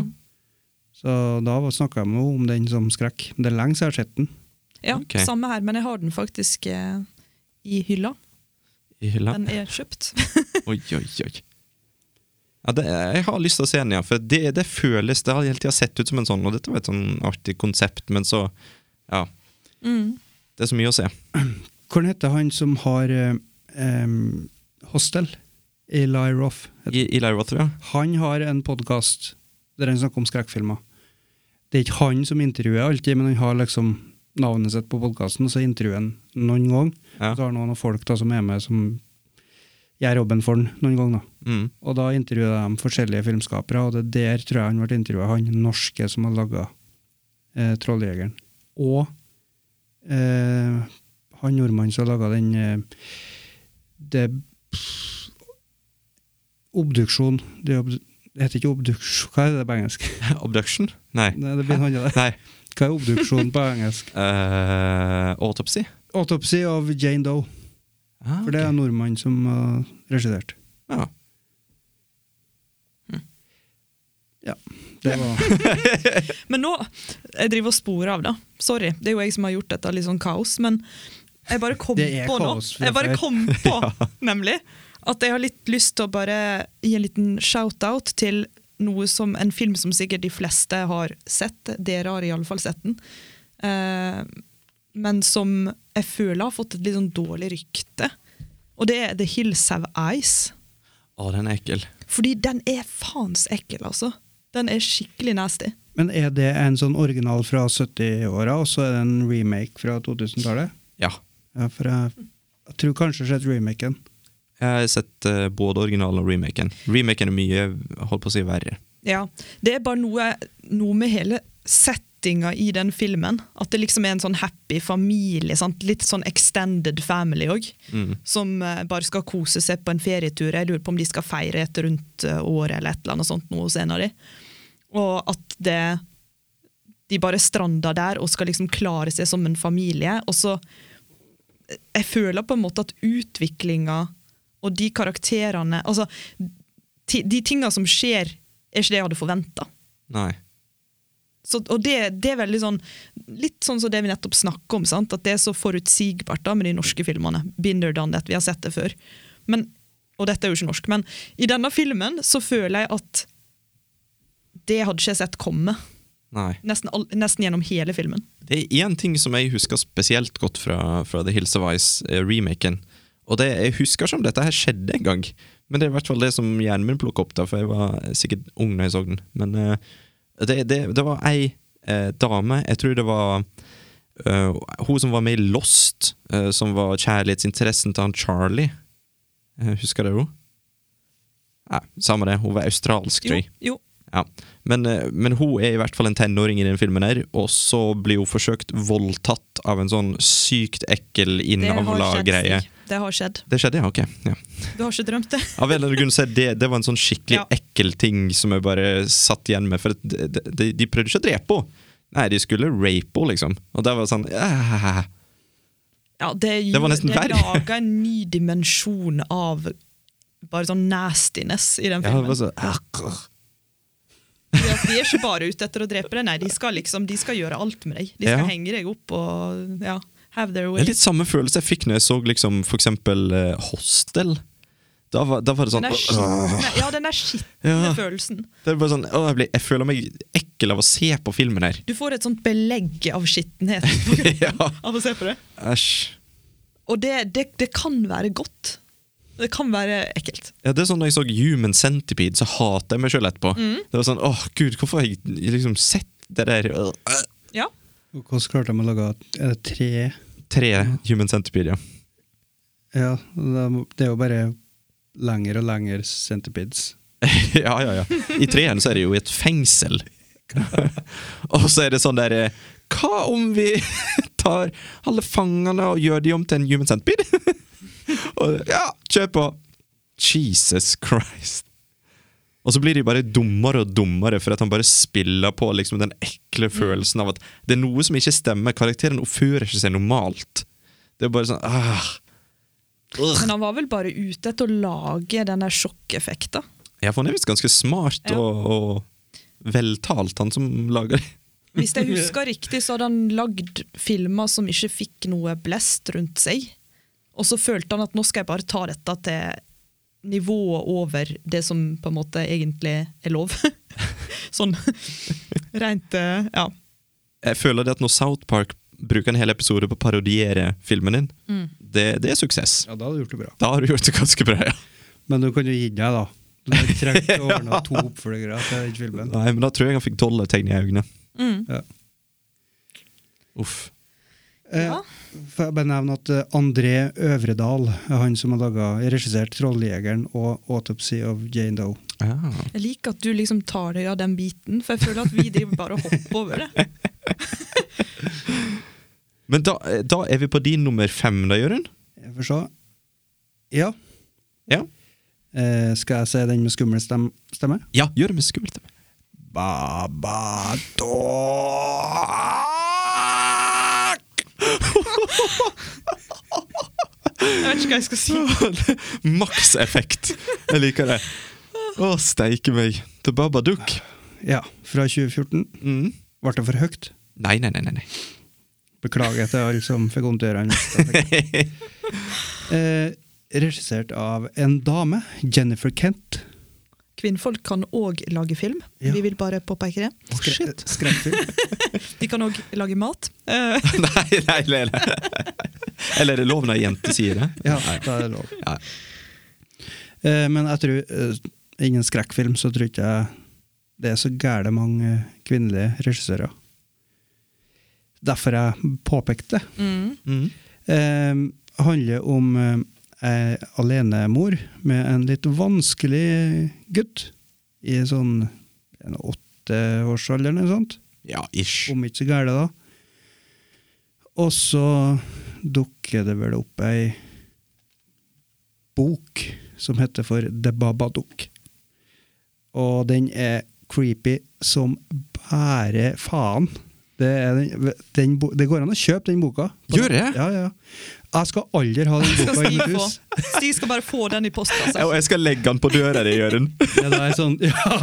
Så da snakka jeg med henne om den som skrekk. Men Det er lenge siden jeg har sett den.
Ja,
Ok.
samme her, men jeg har den faktisk eh, i hylla.
I hylla.
Den er kjøpt. *laughs*
Oi, oi, oi. Ja, det, jeg har lyst til å se den, ja. For det, det føles Det har hele tida sett ut som en sånn, og dette var et sånn artig konsept, men så Ja. Det er så mye å se.
Hvordan heter han som har eh, em, hostel? Eli Roth. heter
I, Eli Roth, ja.
Han har en podkast der han snakker om skrekkfilmer. Det er ikke han som intervjuer alltid, men han har liksom navnet sitt på podkasten, og så intervjuer han noen gang.
Ja.
Så har han noen folk da som er med, som gjør jobben for han noen gang. da.
Mm. *laughs*
Og da intervjuer de forskjellige filmskapere, og det er der tror jeg han ble intervjua, han norske som har laga eh, 'Trolljegeren'. Og eh, han nordmannen som har laga den eh, det, pff, Obduksjon det, er obd, det heter ikke obduksjon Hva er det på
*laughs*
engelsk?
Obduction? Nei.
Nei, det blir noe annet der.
Nei.
Hva er obduksjon på engelsk?
Eh, autopsy?
Autopsy of Jane Doe.
Ah,
For det er
ok.
en nordmann som har regissert.
ja.
Det var
Men nå Jeg driver og sporer av, da. Sorry. Det er jo jeg som har gjort dette litt sånn kaos. Men jeg bare kom
Det er
på nå.
kaos fra
Jeg bare
før.
kom
*laughs*
på, nemlig, at jeg har litt lyst til å bare gi en liten shout-out til noe som en film som sikkert de fleste har sett. Dere har iallfall sett den. Eh, men som jeg føler har fått et litt sånn dårlig rykte. Og det er The Hills Have Eyes.
Å, den er ekkel.
Fordi den er faens ekkel, altså. Den er skikkelig nasty.
Men er det en sånn original fra 70-åra, og så er det en remake fra 2000-tallet?
Ja.
Ja, for jeg, jeg tror kanskje jeg har sett remaken.
Jeg har sett eh, både originalen og remaken. Remaken er mye holdt på å si verre.
Ja, Det er bare noe, noe med hele settinga i den filmen. At det liksom er en sånn happy familie. Sant? Litt sånn extended family òg. Som eh, bare skal kose seg på en ferietur. Jeg lurer på om de skal feire et rundt eh, året eller et eller annet sånt noe senere. Og at det de bare strander der og skal liksom klare seg som en familie. Og så eh, Jeg føler på en måte at utviklinga og de karakterene Altså, ti- de tinga som skjer, er ikke det jeg hadde forventa.
Nei.
Så, og det, det er veldig sånn litt sånn som det vi nettopp snakka om, sant? at det er så forutsigbart da med de norske filmene. Binder done that, vi har sett det før. Men, og dette er jo ikke norsk, men i denne filmen så føler jeg at det hadde ikke jeg sett komme.
Nei.
Nesten, all, nesten gjennom hele filmen.
Det er én ting som jeg husker spesielt godt fra, fra The Hills of Ice-remaken. Og det, jeg husker ikke om dette her skjedde en gang, men det er i hvert fall det som hjernen min plukker opp, da, for jeg var sikkert ung da jeg så den. Men eh, det, det, det var ei eh, dame, jeg tror det var eh, hun som var med i Lost, eh, som var kjærlighetsinteressen til han Charlie. Eh, husker dere henne? Nei, samme det, hun var australsk, tror
Jo,
jeg.
jo.
Ja. Men, eh, men hun er i hvert fall en tenåring i den filmen, her og så blir hun forsøkt voldtatt av en sånn sykt ekkel
Det har
innavla
skjedd,
greie.
Stig. Det har skjedd.
Det skjedde, ja. Ok. Ja.
Du har ikke
*laughs*
drømt det?
Av en eller annen grunn så er det, det var en sånn skikkelig
Ja.
ekkel ting som jeg bare satt igjen med. For at de, de, de prøvde ikke å drepe henne. Nei, de skulle rape henne, liksom. Og det var det sånn «Ah».
Ja, det,
Det var nesten verre.
laga en ny dimensjon av bare sånn nastiness i
Ja,
den
det
filmen.
var så, «Ah».
Fordi at de er ikke bare ute etter å drepe deg, nei, de skal liksom, de skal gjøre alt med deg. De
Ja.
skal henge deg opp og ja, have their
Det
way.
er litt sånn samme følelse jeg fikk når jeg så liksom, for eksempel eh, Hostel. Da var, da var det
Den
sånn
er skitne, ja, den er skitne
Ja.
følelsen.
Det er bare sånn, å, jeg, blir, jeg føler meg ekkel av å se på filmen her.
Du får et sånt belegg av skittenhet *laughs* på kroppen
Ja.
av å se på det.
Æsj.
Og det, det, det kan være godt. Det kan være ekkelt.
Ja, det er sånn Da jeg så Human Centipede, så hater jeg meg sjøl etterpå. Det var sånn, åh gud, hvorfor har jeg liksom sett det der øh, øh».
Ja.
Og hvordan klarte de å lage er det tre
Tre Human Centipede, ja.
Ja, det det er jo bare lengre og lengre centipedes.
*laughs* ja, ja, ja. I treeren så er det jo et fengsel. og så er det sånn der eh, Hva om vi *laughs* tar alle fangene og gjør de om til en Human Centipede? *laughs* og, ja, kjør på! Jesus Christ. Og så blir de bare dummere og dummere for at han bare spiller på liksom den ekle følelsen av at det er noe som ikke stemmer. Karakteren oppfører ikke seg normalt. Det er bare sånn ah. Ugh.
Men han var vel bare ute etter å lage den der sjokkeffekten.
Ja, for han er visst ganske smart
Ja.
og, og veltalt, han som lager det.
Hvis jeg husker riktig, så hadde han lagd filmer som ikke fikk noe blest rundt seg. Og så følte han at nå skal jeg bare ta dette til nivået over det som på en måte egentlig er lov. *laughs* sånn rent eh, Ja.
Jeg føler det at når South Park bruker en hel episode på å parodiere filmen din, det, det er suksess.
Ja, da hadde du gjort det bra.
Da har du gjort det ganske bra, ja.
Men du kan jo gi deg, da. Du hadde trengt *laughs* å ordne to oppfølgere til den filmen.
Nei, men da tror jeg han fikk dollartegn i øynene.
Ja.
Uff.
Eh,
Ja.
Får jeg bare nevne at eh, André Øvredal er han som har laget, regissert 'Trolljegeren' og 'Autopsy of Jane Doe'.
Ah.
Jeg liker at du liksom tar deg av den biten, for jeg føler at vi driver bare og hopper over det.
Men da, da er vi på din nummer fem, da, Jørund.
Jeg får se. Ja.
Ja.
Eh, skal jeg si den med skummel stem stemme?
ja, gjør det med skummelt. *laughs*
Jeg vet ikke hva jeg skal si.
Makseffekt. Jeg liker det. Å, steike meg. The Babadook.
Ja, fra 2014.
Mm.
Ble det for høyt?
Nei, nei, nei, nei. nei.
Beklager til alle som fikk vondt i ørene.
*laughs*
Eh, regissert av en dame, Jennifer Kent.
Kvinnfolk kan òg lage film.
Ja.
Vi vil bare påpeke det.
Oh, shit.
eh, Skrekkfilm.
De kan òg lage mat. Eh,
nei, nei, nei, nei. Eller er det lov når ei jente sier det?
Ja, da er det lov.
Nei.
Eh, Men jeg tror eh, Innen skrekkfilm så tror ikke jeg det er så gære mange eh, kvinnelige regissører. Derfor jeg påpekte det.
Mm.
Eh, handler om eh, ei alenemor med en litt vanskelig gutt i sånn en åtteårsalder eller noe sånt.
Ja, ish.
Om ikke så gære, da. Og så dukker det vel opp ei bok som heter for The Babadook. Og den er creepy som bare faen. Det, er den, den, bo- det går an å kjøpe den boka.
Gjør det?
Ja, ja. Jeg skal aldri ha
*laughs*
den
skal
boka i
Stig,
mitt
få.
hus.
Stig skal bare få den i altså. postkassa.
Og jeg skal legge den på døra di, Jørund.
Ja, det er sånn, *laughs* ja,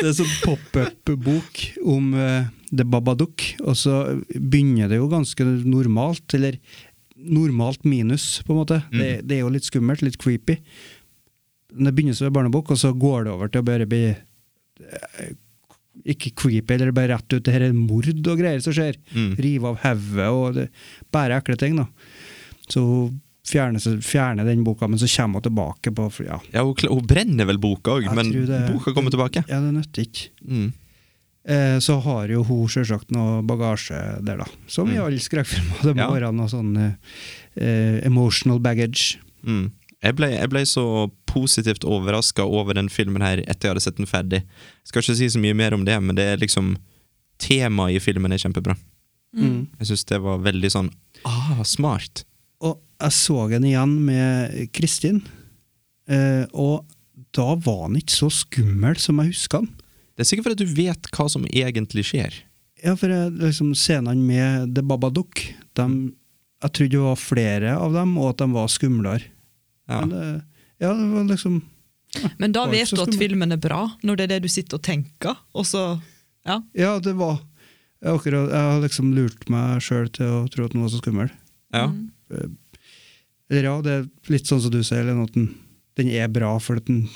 det er sånn pop-up-bok om eh, The Babadook, og så begynner det jo ganske normalt, eller normalt minus, på en måte. Det, det er jo litt skummelt, litt creepy. Men Det begynner som en barnebok, og så går det over til å bare bli eh, ikke creepy, eller bare rett ut. Det her er mord og greier som skjer. Rive av hodet og det, bare ekle ting, da. Så hun fjerner, seg- fjerner den boka, men så kommer hun tilbake på Ja,
Ja, hun, kla- hun brenner vel boka òg,
Jeg
men
tror det-
boka kommer tilbake.
ja det nytter ikke.
Mm.
Eh, så har jo hun selvsagt noe bagasje der, da. Som i alle skrekkfilmer. Det må
Mm. Ja.
være noe sånn eh, eh, emotional baggage.
Mm. Jeg, ble, jeg ble så positivt overraska over den filmen her etter jeg hadde sett den ferdig. Jeg skal ikke si så mye mer om det, men det er liksom Temaet i filmen er kjempebra. Jeg syns det var veldig sånn ah, smart.
Og jeg så den igjen med Kristin, eh, og da var han ikke så skummel som jeg husker han.
Det er sikkert fordi du vet hva som egentlig skjer.
Ja, for jeg, liksom, scenene med The Babadook
Mm.
dem- Jeg trodde det var flere av dem, og at de var skumlere.
Ja.
Men, eh, ja, det var liksom
Men da
Oi,
vet
så
du at
skummelt.
filmen er bra, når det er det du sitter og tenker. Og så, ja.
Ja, det var Jeg, akkurat, jeg har liksom lurt meg sjøl til å tro at den var så skummel.
Ja.
Eller ja, det er litt sånn som du sier, Lene, at den, den er bra for at den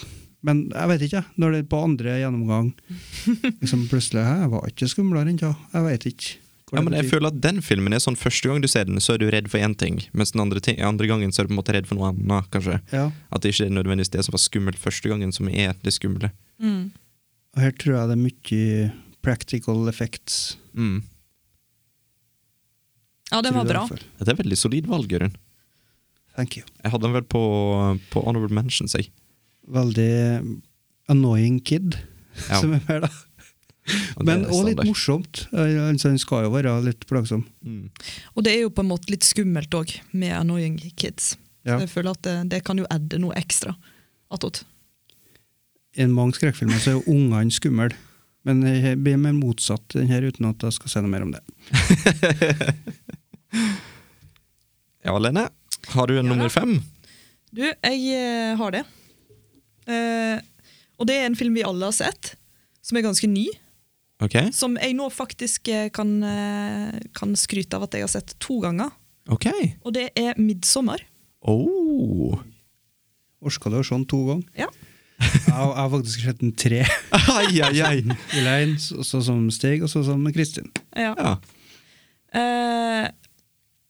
Men jeg vet ikke, jeg. når det er på andre gjennomgang
*laughs*
liksom plutselig Hæ, jeg var ikke skumlere enn da. Jeg vet ikke. hva
Ja, men jeg
betyr.
føler at den filmen er sånn Første gang du ser den, så er du redd for én ting, mens den andre, ting, andre gangen så er du på en måte redd for noe annet, kanskje.
ja,
At det ikke er nødvendigvis det som var skummelt første gangen, som er det skumle.
og her tror jeg det er mye practical effects.
Mm.
ja, den
tror
var
jeg
bra.
i hvert fall.
Det er veldig solid valg, Jørund.
Thank you.
Jeg hadde den vel på, på Honorable Mentions, jeg.
Veldig annoying kid,
Ja.
som er med, da.
Og det
Men
er
òg litt
standard.
morsomt. Altså, Han skal jo være litt plagsom.
Mm.
Og det er jo på en måte litt skummelt òg, med Annoying Kids.
Ja.
Jeg føler at det, det kan jo adde noe ekstra. Attåt.
I mange skrekkfilmer så er jo ungene skumle. Men det blir mer motsatt i den her, uten at jeg skal si noe mer om det.
Ja, Lene. Har du en
Ja da.
nummer fem?
Du, jeg eh, har det. Eh, og det er en film vi alle har sett, som er ganske ny.
Ok.
Som jeg nå faktisk eh, kan, eh, kan skryte av at jeg har sett to ganger.
Ok.
Og det er 'Midtsommer'.
Oh. *laughs*
Orka du å se den to ganger?
Ja.
Jeg, jeg har faktisk sett den tre. *laughs*
Ai, ai, ai.
I leien, så, så som Stig, og så som Kristin.
ja.
Ja.
Eh,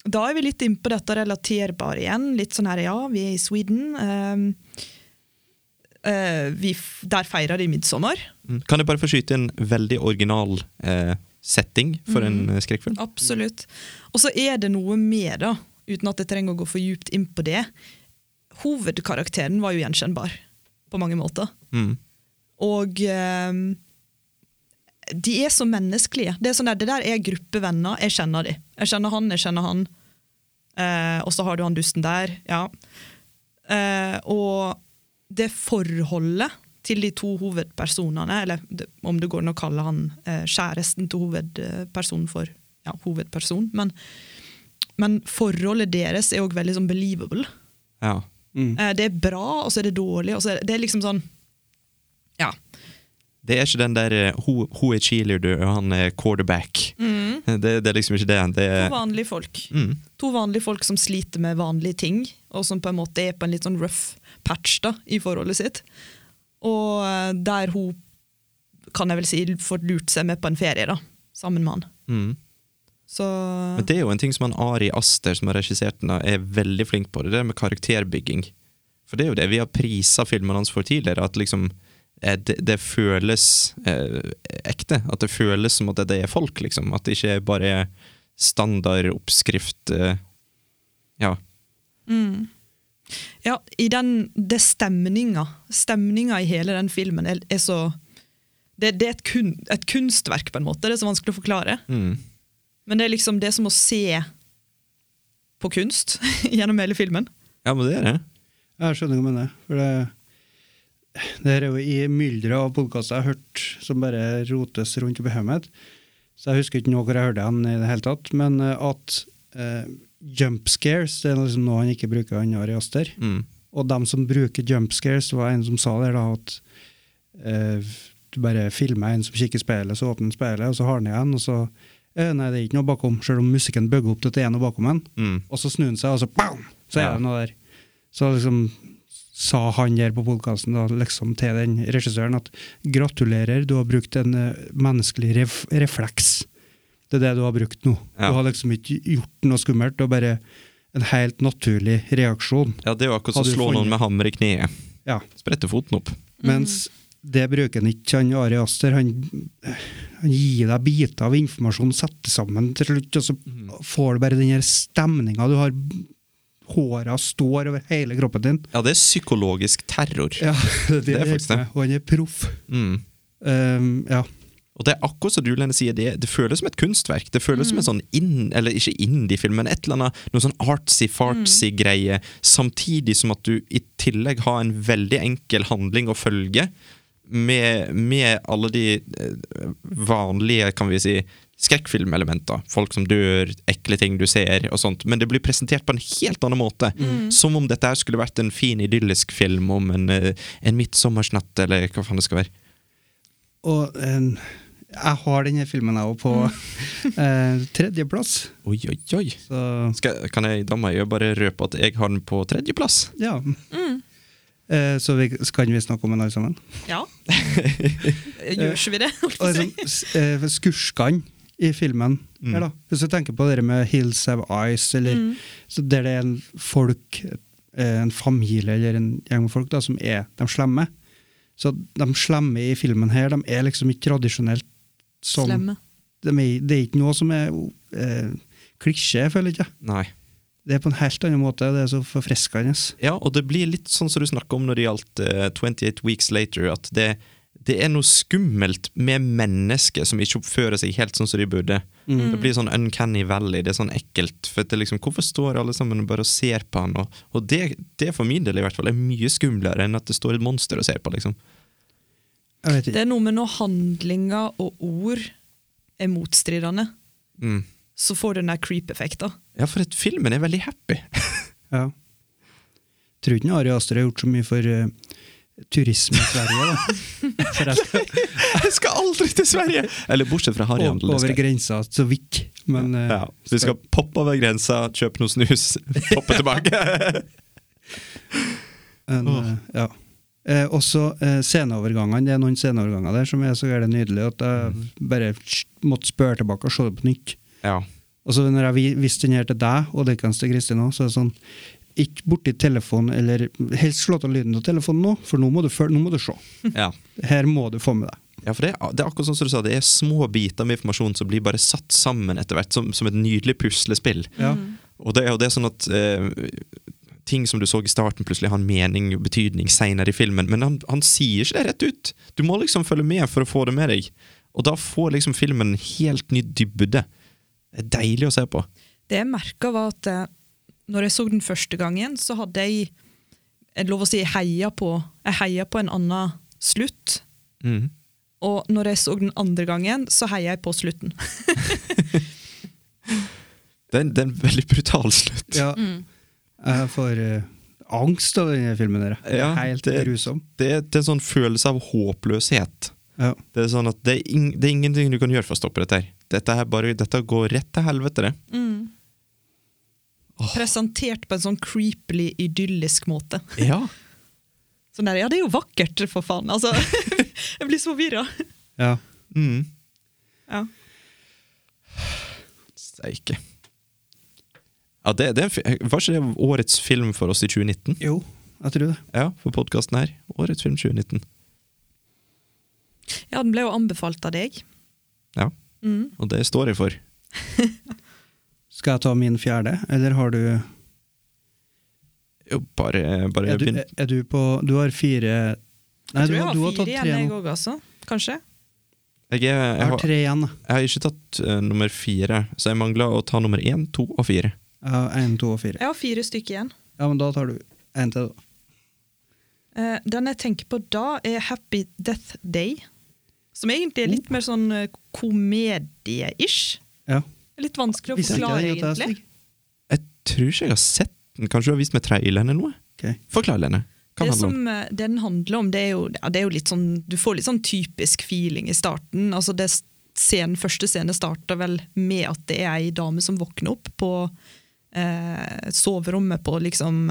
da er vi litt innpå dette relaterbare igjen. Litt sånn her, ja, vi er i Sweden. eh, eh, vi, f- der feirer de midtsommer.
Mm. Kan jeg bare få skyte en veldig original eh, setting for
Mhm.
en eh, skrekkfilm?
Absolutt. Og så er det noe med, da, uten at jeg trenger å gå for djupt inn på det. Hovedkarakteren var jo gjenkjennbar på mange måter.
Mm.
Og eh, de er så menneskelige. Det, er sånn der, det der er gruppevenner. Jeg kjenner de. Jeg kjenner han, jeg kjenner han. Eh, og så har du han dusten der. Ja. Eh, og det forholdet til de to hovedpersonene, eller det- om det går an å kalle han eh, kjæresten til hovedpersonen for ja, hovedperson, men, men forholdet deres er òg veldig sånn believable.
Ja.
Eh, det er bra, og så er det dårlig. Og så er det, det er liksom sånn Ja.
Det er ikke den der eh, ho, 'ho er cheerleader, og han er quarterback'.
Mm.
Det, det er liksom ikke det. det
To
er,
vanlige folk.
mm.
To vanlige folk som sliter med vanlige ting, og som på en måte er på en litt sånn rough patch da, i forholdet sitt. Og eh, der hun, kan jeg vel si, får lurt seg med på en ferie, da, sammen med han.
Mm.
Så
Men det er jo en ting som han Ari Aster, som har regissert den, da, er veldig flink på. Det er det med karakterbygging. For det er jo det vi har prisa filmene hans for tidligere. At liksom eh, det, det føles eh, ekte. At det føles som at det er folk, liksom. At det ikke er bare er standard oppskrift eh, Ja.
ja, i den det er stemninga. Stemninga i hele den filmen er, er så det, det er et, kun, et kunstverk, på en måte. Det er så vanskelig å forklare.
Mm.
Men det er liksom det er som å se på kunst *laughs* gjennom hele filmen.
Ja, men det er det.
Jeg skjønner hva du mener. For det, det her er jo i mylderet av podkaster jeg har hørt som bare rotes rundt oppi hodet mitt. Så jeg husker ikke nå hvor jeg hørte han i det hele tatt. Men eh, at eh, jump scares det er liksom noe han ikke bruker han har i Aster.
Mm.
Og dem som bruker jump scares, det var en som sa det, da, at eh, du bare filmer en som kikker i speilet, så åpner han speilet, og så har han igjen, og så eh, Nei, det er ikke noe bakom, selv om musikken bugger opp til at det er noe bakom en.
Mm.
Og så snur han seg, og så bam! Så er
Ja.
det noe der. Så liksom sa han der på podkasten liksom, til den regissøren at gratulerer, du har brukt en eh, menneskelig ref refleks. Det er det du har brukt nå.
Ja.
Du har liksom ikke gjort noe skummelt, det er bare en helt naturlig reaksjon.
Ja, det er jo akkurat
Har
som å
du
slå
funnet-
noen med hammer i kneet.
Ja.
Sprette foten opp.
Mens det bruker han ikke, han Ari Aster. Han, han gir deg biter av informasjon, setter sammen til slutt, og så får du bare den her stemninga du har. Håra står over hele kroppen din.
Ja, det er psykologisk terror.
Ja, det,
*laughs* Det er
er
faktisk
det.
det.
Og han er proff.
Mm.
Um, ja.
Og det er akkurat som du Lene, sier, det, det føles som et kunstverk. Det føles som en sånn inn, eller ikke indie-film, men et eller annet noe sånn artsy-fartsy greie, samtidig som at du i tillegg har en veldig enkel handling å følge, med, med alle de eh, vanlige, kan vi si, skrekkfilmelementer. Folk som dør, ekle ting du ser, og sånt. Men det blir presentert på en helt annen måte. Som om dette her skulle vært en fin, idyllisk film om en, eh, en midtsommersnatt, eller hva faen det skal være.
Og um, jeg har denne filmen jeg òg på *laughs* eh, tredjeplass.
Oi, oi, oi.
Så
Skal, kan jeg da må jeg jo bare røpe at jeg har den på tredjeplass?
ja. Eh, så vi, så kan vi snakke om den alle sammen.
Ja. Gjør ikke vi det? holdt
Og
på å si?
liksom, s- eh, skurkene i filmen her da. Hvis du tenker på det med Hills Have Eyes, eller
Mm.
så der det er en folk, eh, en familie eller en gjeng med folk da, som er de slemme. Så de slemme i filmen her, de er liksom ikke tradisjonelt sånn som
Slemme.
De er, det er ikke noe som er eh, klisjé, føler jeg ikke.
Nei.
Det er på en helt annen måte, det er så forfriskende.
Ja, og det blir litt sånn som du snakka om når det gjaldt eh, 28 Weeks Later, at det, det er noe skummelt med mennesker som ikke oppfører seg helt sånn som de burde. Det blir sånn uncanny valley, det er sånn ekkelt. For at det liksom, Hvorfor står alle sammen og bare og ser på han? Og, og det, det for min del i hvert fall er mye skumlere enn at det står et monster og ser på, liksom.
Jeg vet
Det
ikke.
er noe med når handlinger og ord er motstridende,
Mm.
så får du den der creep-effekten.
Ja, for at filmen er veldig happy. *laughs*
Ja. Tror ikke Ari Aster har gjort så mye for eh, turisme i Sverige,
*laughs*
da. Forresten.
Jeg skal aldri til Sverige! Eller bortsett fra
Over,
harryhandel. det skal
over
jeg.
grensa, så vidt. Men eh,
Ja, så vi skal poppe over grensa, kjøpe noe snus, *laughs* poppe tilbake.
en, eh, ja. Eh, også eh, sceneovergangene. Det er noen sceneoverganger der som er så gærent nydelige at jeg
Mm.
bare sh- måtte spørre tilbake og se det på nytt.
*laughs* ja.
Og så når jeg vi- viste den her til deg, og likens til Kristin òg, så er det sånn Ikke borti telefonen, eller helst slå av lyden av telefonen nå, for nå må du, føl- nå må du se.
ja.
Her må du få med deg.
Ja, for det, er- det er akkurat sånn som du sa, det er små biter med informasjon som blir bare satt sammen etter hvert, som, som et nydelig puslespill.
Ja.
Og det er jo det sånn at eh, ting som du så i starten, plutselig har en mening og betydning seinere i filmen, men han, han sier ikke det rett ut. Du må liksom følge med for å få det med deg. Og da får liksom filmen en helt ny dybde. Det er deilig å se på.
Det jeg merka, var at eh, når jeg så den første gangen, så hadde jeg jeg lov å si jeg heia på, jeg heia på en annen slutt.
Mm.
Og når jeg så den andre gangen, så heia jeg på slutten.
Det, er en, det er en veldig brutal slutt.
Ja. Jeg får eh, angst av denne filmen. Der. Det
Ja,
er Helt
det-
grusom.
det, er- det er en sånn følelse av håpløshet.
Ja.
Det er sånn at det er, ing, det er ingenting du kan gjøre for å stoppe dette. her. Dette, her bare, dette går rett til helvete, det.
*laughs*
Presentert på en sånn creepily idyllisk måte.
Ja.
Sånn der, ja, det er jo vakkert, for faen. Altså, *laughs* jeg blir så forvirra.
Ja.
Mm.
Ja.
Steike. Ja, det, det er en fi- var ikke det årets film for oss i 2019?
Jo, jeg tror det.
Ja, for podkasten her. Årets film 2019.
ja, den ble jo anbefalt av deg.
Ja,
Mm.
og det står jeg for.
Skal jeg ta min fjerde, eller har du
Jo, bare, bare
Er du, eh,
begynn.
er du på Du har fire Nei,
Jeg
du,
tror jeg
har-
har
du har
fire
tatt
igjen,
tre
jeg
nå.
òg, altså. Kanskje.
Jeg, er, jeg,
Jeg har
har,
tre igjen. da.
jeg har ikke tatt eh, nummer fire, så jeg mangler å ta nummer én, to og fire.
Jeg har én, to og fire.
Jeg har fire stykker igjen.
Ja, men da tar du én til, da.
Eh, den jeg tenker på da, er Happy Death Day. Som egentlig er litt
Oh.
mer sånn eh, komedie-ish.
Ja.
Litt vanskelig å
Visste ikke
forklare,
jeg at jeg er
egentlig.
stygg.
Jeg tror ikke jeg har sett den. Kanskje du har vist meg traileren eller noe?
Ok.
Forklar, Lene. Hva
det
handler om?
som eh, den handler om, det er jo, ja, det er jo litt sånn Du får litt sånn typisk feeling i starten. Altså det s- scenen, første scene starter vel med at det er ei dame som våkner opp på eh, soverommet på liksom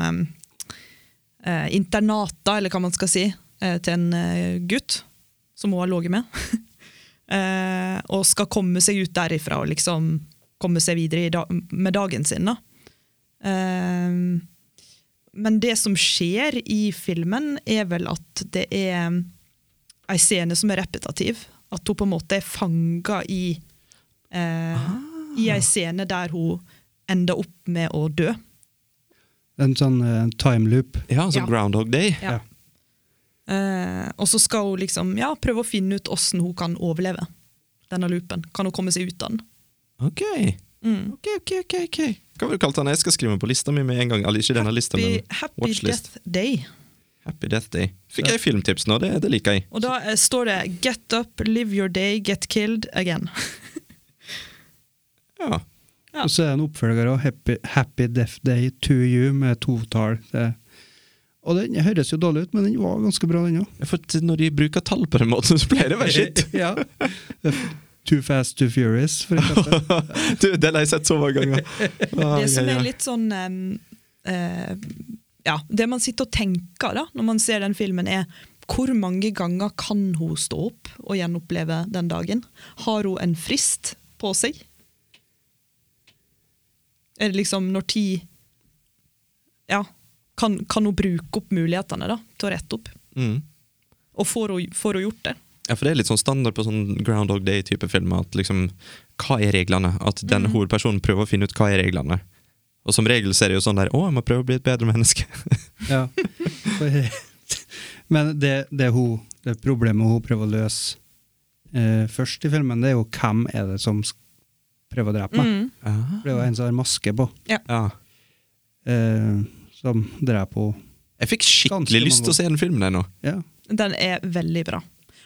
eh, eh, internata, eller hva man skal si, eh, til en eh, gutt som hun har ligget med. *laughs* eh, og skal komme seg ut derifra og liksom komme seg videre i da med dagen sin, da. Eh, men det som skjer i filmen, er vel at det er ei scene som er repetitiv. At hun på en måte er fanga i eh, I
Ah.
ei scene der hun ender opp med å dø.
En sånn uh, timeloop.
Ja, som
Ja.
Groundhog Day.
Ja. Eh, og så skal hun liksom ja, prøve å finne ut åssen hun kan overleve denne loopen. Kan hun komme seg ut av den? Mm.
Ok. ok, ok, ok, ok. Hva var det du kalte den? Jeg skal skrive den på lista mi med en gang. Eller ikke denne lista,
Happy,
men
happy
watchlist.
Death Day.
Happy Death Day. Fikk jeg filmtips nå, det, det liker jeg.
Og da eh, står det 'Get up, live your day, get killed again'.
Ja.
Ja.
Og så er det en oppfølger òg, Happy, 'Happy Death Day to You', med totall. Det- Og den høres jo dårlig ut, men den var ganske bra, den òg.
Ja, For t- når de bruker tall på den måten, *laughs* så pleier det å være shit.
ja. Too Fast, Too Furious, for eksempel.
du, den har jeg sett så mange ganger. Ah,
Det som
ja,
er
ja.
litt sånn em, eh, Ja, det man sitter og tenker da, når man ser den filmen, er hvor mange ganger kan hun stå opp og gjenoppleve den dagen? Har hun en frist på seg? Er det liksom når tid Ja, kan, kan hun bruke opp mulighetene da, til å rette opp?
Mm.
Og får hun, får hun gjort det?
Ja, for det er litt sånn standard på sånn Groundhog Day-type filmer at liksom, hva er reglene? At den
Mm.
hovedpersonen prøver å finne ut hva er reglene. Og som regel så er det jo sånn der, å, jeg må prøve å bli et bedre menneske.
Ja. For- *laughs* Men det, det, er hun, det problemet hun prøver å løse eh, først i filmen, det er jo hvem er det som sk- prøver å drepe meg.
Ah.
For Det er jo en som har maske på,
Ja.
eh, som dreper henne.
Jeg fikk
Ganske
skikkelig lyst
mange
til å se den filmen der nå.
Ja.
Den er veldig bra.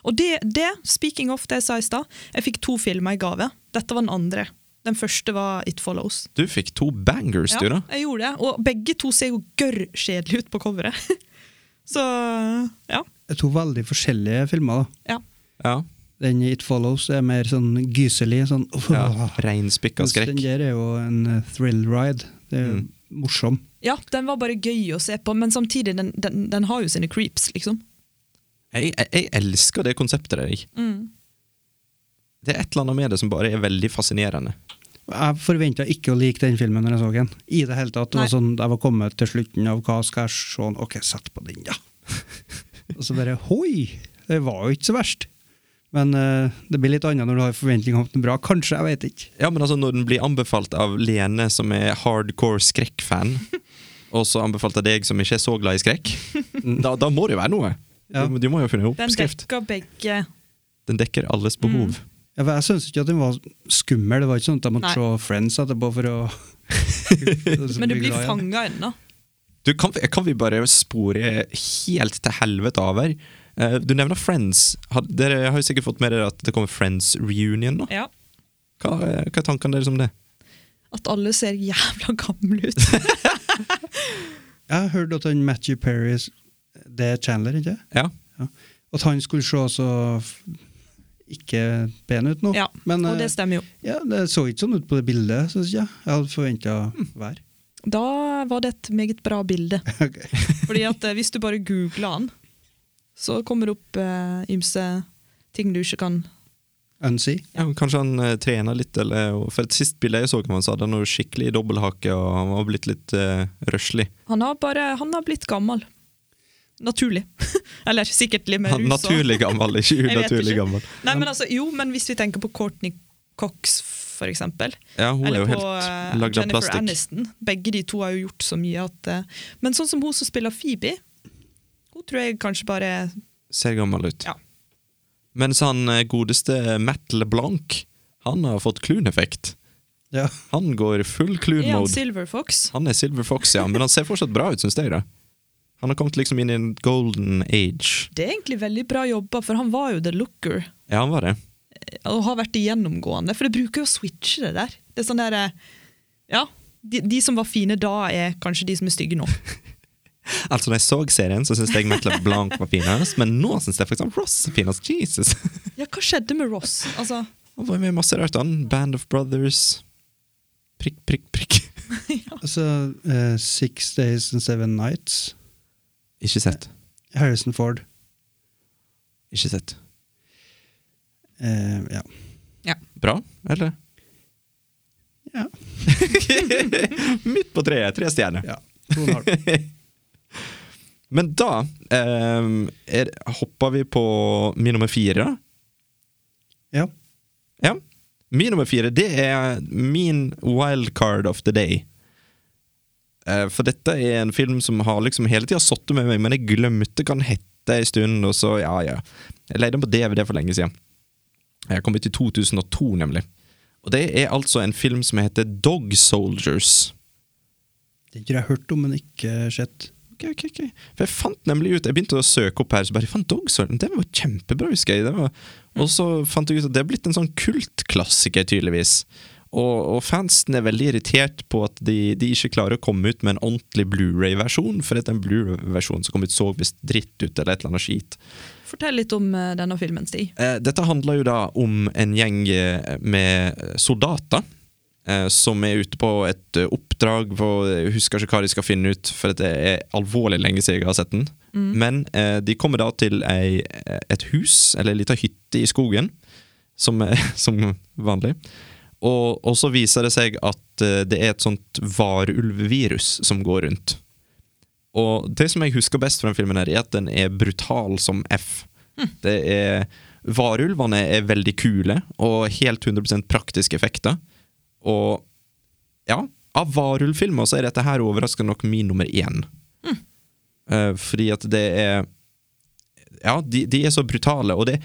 Og det, det speaking of det jeg sa i stad, jeg fikk to filmer i gave. Dette var den andre. Den første var It Follows.
Du fikk to bangers,
Ja,
du da.
jeg gjorde det. Og begge to ser jo gørr kjedelige ut på coveret. *laughs* Så ja.
Det er to veldig forskjellige filmer. da.
ja.
Ja.
Den i It Follows er mer sånn gyselig. sånn *laughs*
ja.
Mens
Reinspikka skrekk.
Den der er jo en eh, thrill ride. Det er jo
Mm.
morsom.
Ja, den var bare gøy å se på, men samtidig, den, den, den har jo sine creeps, liksom.
Jeg, jeg, jeg elsker det konseptet der, jeg.
Mm.
Det er et eller annet med det som bare er veldig fascinerende.
Jeg forventa ikke å like den filmen når jeg så den. I det hele tatt. Det var
Nei.
sånn, jeg var kommet til slutten av hva skal jeg se Ok, sett på den, ja. *laughs* og så bare hoi! Det var jo ikke så verst. Men eh, det blir litt annet når du har forventninger om at den er bra. Kanskje, jeg vet ikke.
Ja, men altså Når den blir anbefalt av Lene, som er hardcore
*laughs*
skrekkfan, og så anbefalt av deg, som ikke er så glad i skrekk, da, da må det jo være noe.
Ja.
Du, du må jo finne en
Den
oppskrift.
dekker begge
Den dekker alles
Mm.
behov.
Ja, for jeg syns ikke at den var skummel. Det var ikke sånn at jeg måtte
Nei.
se Friends etterpå for
*laughs*
å
Men du blir fanga ennå.
Du, kan, vi- kan vi bare spore helt til helvete av her? Eh, Du nevner Friends. Har, dere har jo sikkert fått med dere at det kommer Friends reunion nå?
Ja.
Hva, er- hva er tankene deres om det?
At alle ser jævla gamle ut.
Jeg hørte at han Matthew Perry Det er Chandler, ikke
Ja,
Ja. At han skulle se så f- ikke pen ut nå.
*laughs* Ja,
Men,
Og
eh,
det stemmer jo.
Ja, det så ikke sånn ut på det bildet, synes jeg. Jeg hadde forventa vær.
Da var det et meget bra bilde.
*laughs*
Ok.
Fordi at eh, Hvis du bare googler han, Så kommer det opp eh, ymse ting du ikke kan
Unsee.
Ja, men kanskje han eh, trener litt, eller For et sist bilde jeg så av han, så hadde han noe skikkelig dobbelthake, og han var blitt litt eh, røslig.
Han har bare han har blitt gammel. Naturlig. *laughs* Eller sikkert litt med
Han
rus. og-
naturlig gammel, ikke
Jeg vet
unaturlig
ikke.
gammel.
Nei, men altså, jo, men hvis vi tenker på Courtney Cox, for eksempel.
Ja, hun er
Eller
jo
på
helt
eh,
lagd av
Jennifer
plastikk.
Aniston. Begge de to har jo gjort så mye at eh, Men sånn som hun som spiller Phoebe, hun tror jeg kanskje bare
Ser gammel ut.
Ja.
Mens han eh, godeste Matt LeBlanc, han har fått kluneffekt.
Ja.
Han går full
Er han
klun-mode.
Silver Fox?
Han er Silver Fox, ja, men han ser fortsatt bra ut, syns jeg. da. Han har kommet liksom inn i en golden age.
Det er egentlig veldig bra jobba, for han var jo The Looker. eh,
Ja, han var det.
Og har vært det gjennomgående, for det bruker jo å switche det der. Det er sånn der eh, Ja. De, de som var fine da, er kanskje de som er stygge nå.
Altså, når jeg så serien, så syns jeg Matt LeBlanc var finest, men nå syns jeg faktisk Ross er finest. Jesus!
*laughs* Ja, hva skjedde med Ross? Altså,
Han var med i masse rart. Han. Band of Brothers Prikk, prikk, prikk.
Altså eh, Six Days and Seven Nights.
Ikke sett.
Harrison Ford.
Ikke sett.
Eh, ja.
Bra, eller? *laughs*
Ja.
Midt på treet. Tre stjerner.
ja. To og en halv.
Men da ehm, er, hopper vi på min nummer fire.
ja.
Ja. Min nummer fire, det er min wildcard of the day. Eh, For dette er en film som har liksom hele tida sittet med meg, men jeg glemte hva den hette en stund, og så, ja, ja. Jeg leide den på DVD for lenge siden. Jeg kom ut i 2002, nemlig. Og det er altså en film som heter Dog Soldiers.
Det tror jeg har hørt om, men ikke sett.
Ok, ok, ok. For jeg fant nemlig ut Jeg begynte å søke opp her, så bare jeg fant Dog Soldiers. Den var kjempebra, husker jeg. Den var, og så fant jeg ut at det er blitt en sånn kultklassiker, tydeligvis. Og, og fansen er veldig irritert på at de, de ikke klarer å komme ut med en ordentlig Blu-ray-versjon, for at den Blu-ray-versjonen som kom ut, så visst dritt ut, eller et eller annet skit.
fortell litt om eh, denne filmen, Stig.
Eh, Dette handler jo da om en gjeng eh, med soldater eh, som er ute på et eh, oppdrag på, Jeg husker ikke hva de skal finne ut, for det er alvorlig lenge siden jeg har sett den. Men eh, de kommer da til ei, eh, et hus, eller ei lita hytte i skogen, som, er- *laughs* som vanlig. Og, og så viser det seg at eh, det er et sånt varulvvirus som går rundt. Og det som jeg husker best fra den filmen, her er at den er brutal som F. Det er Varulvene er veldig kule og helt 100 praktiske effekter. Og ja, av varulvfilmer så er dette her overraskende nok min nummer én. Eh, fordi at det er Ja, de, de er så brutale. Og det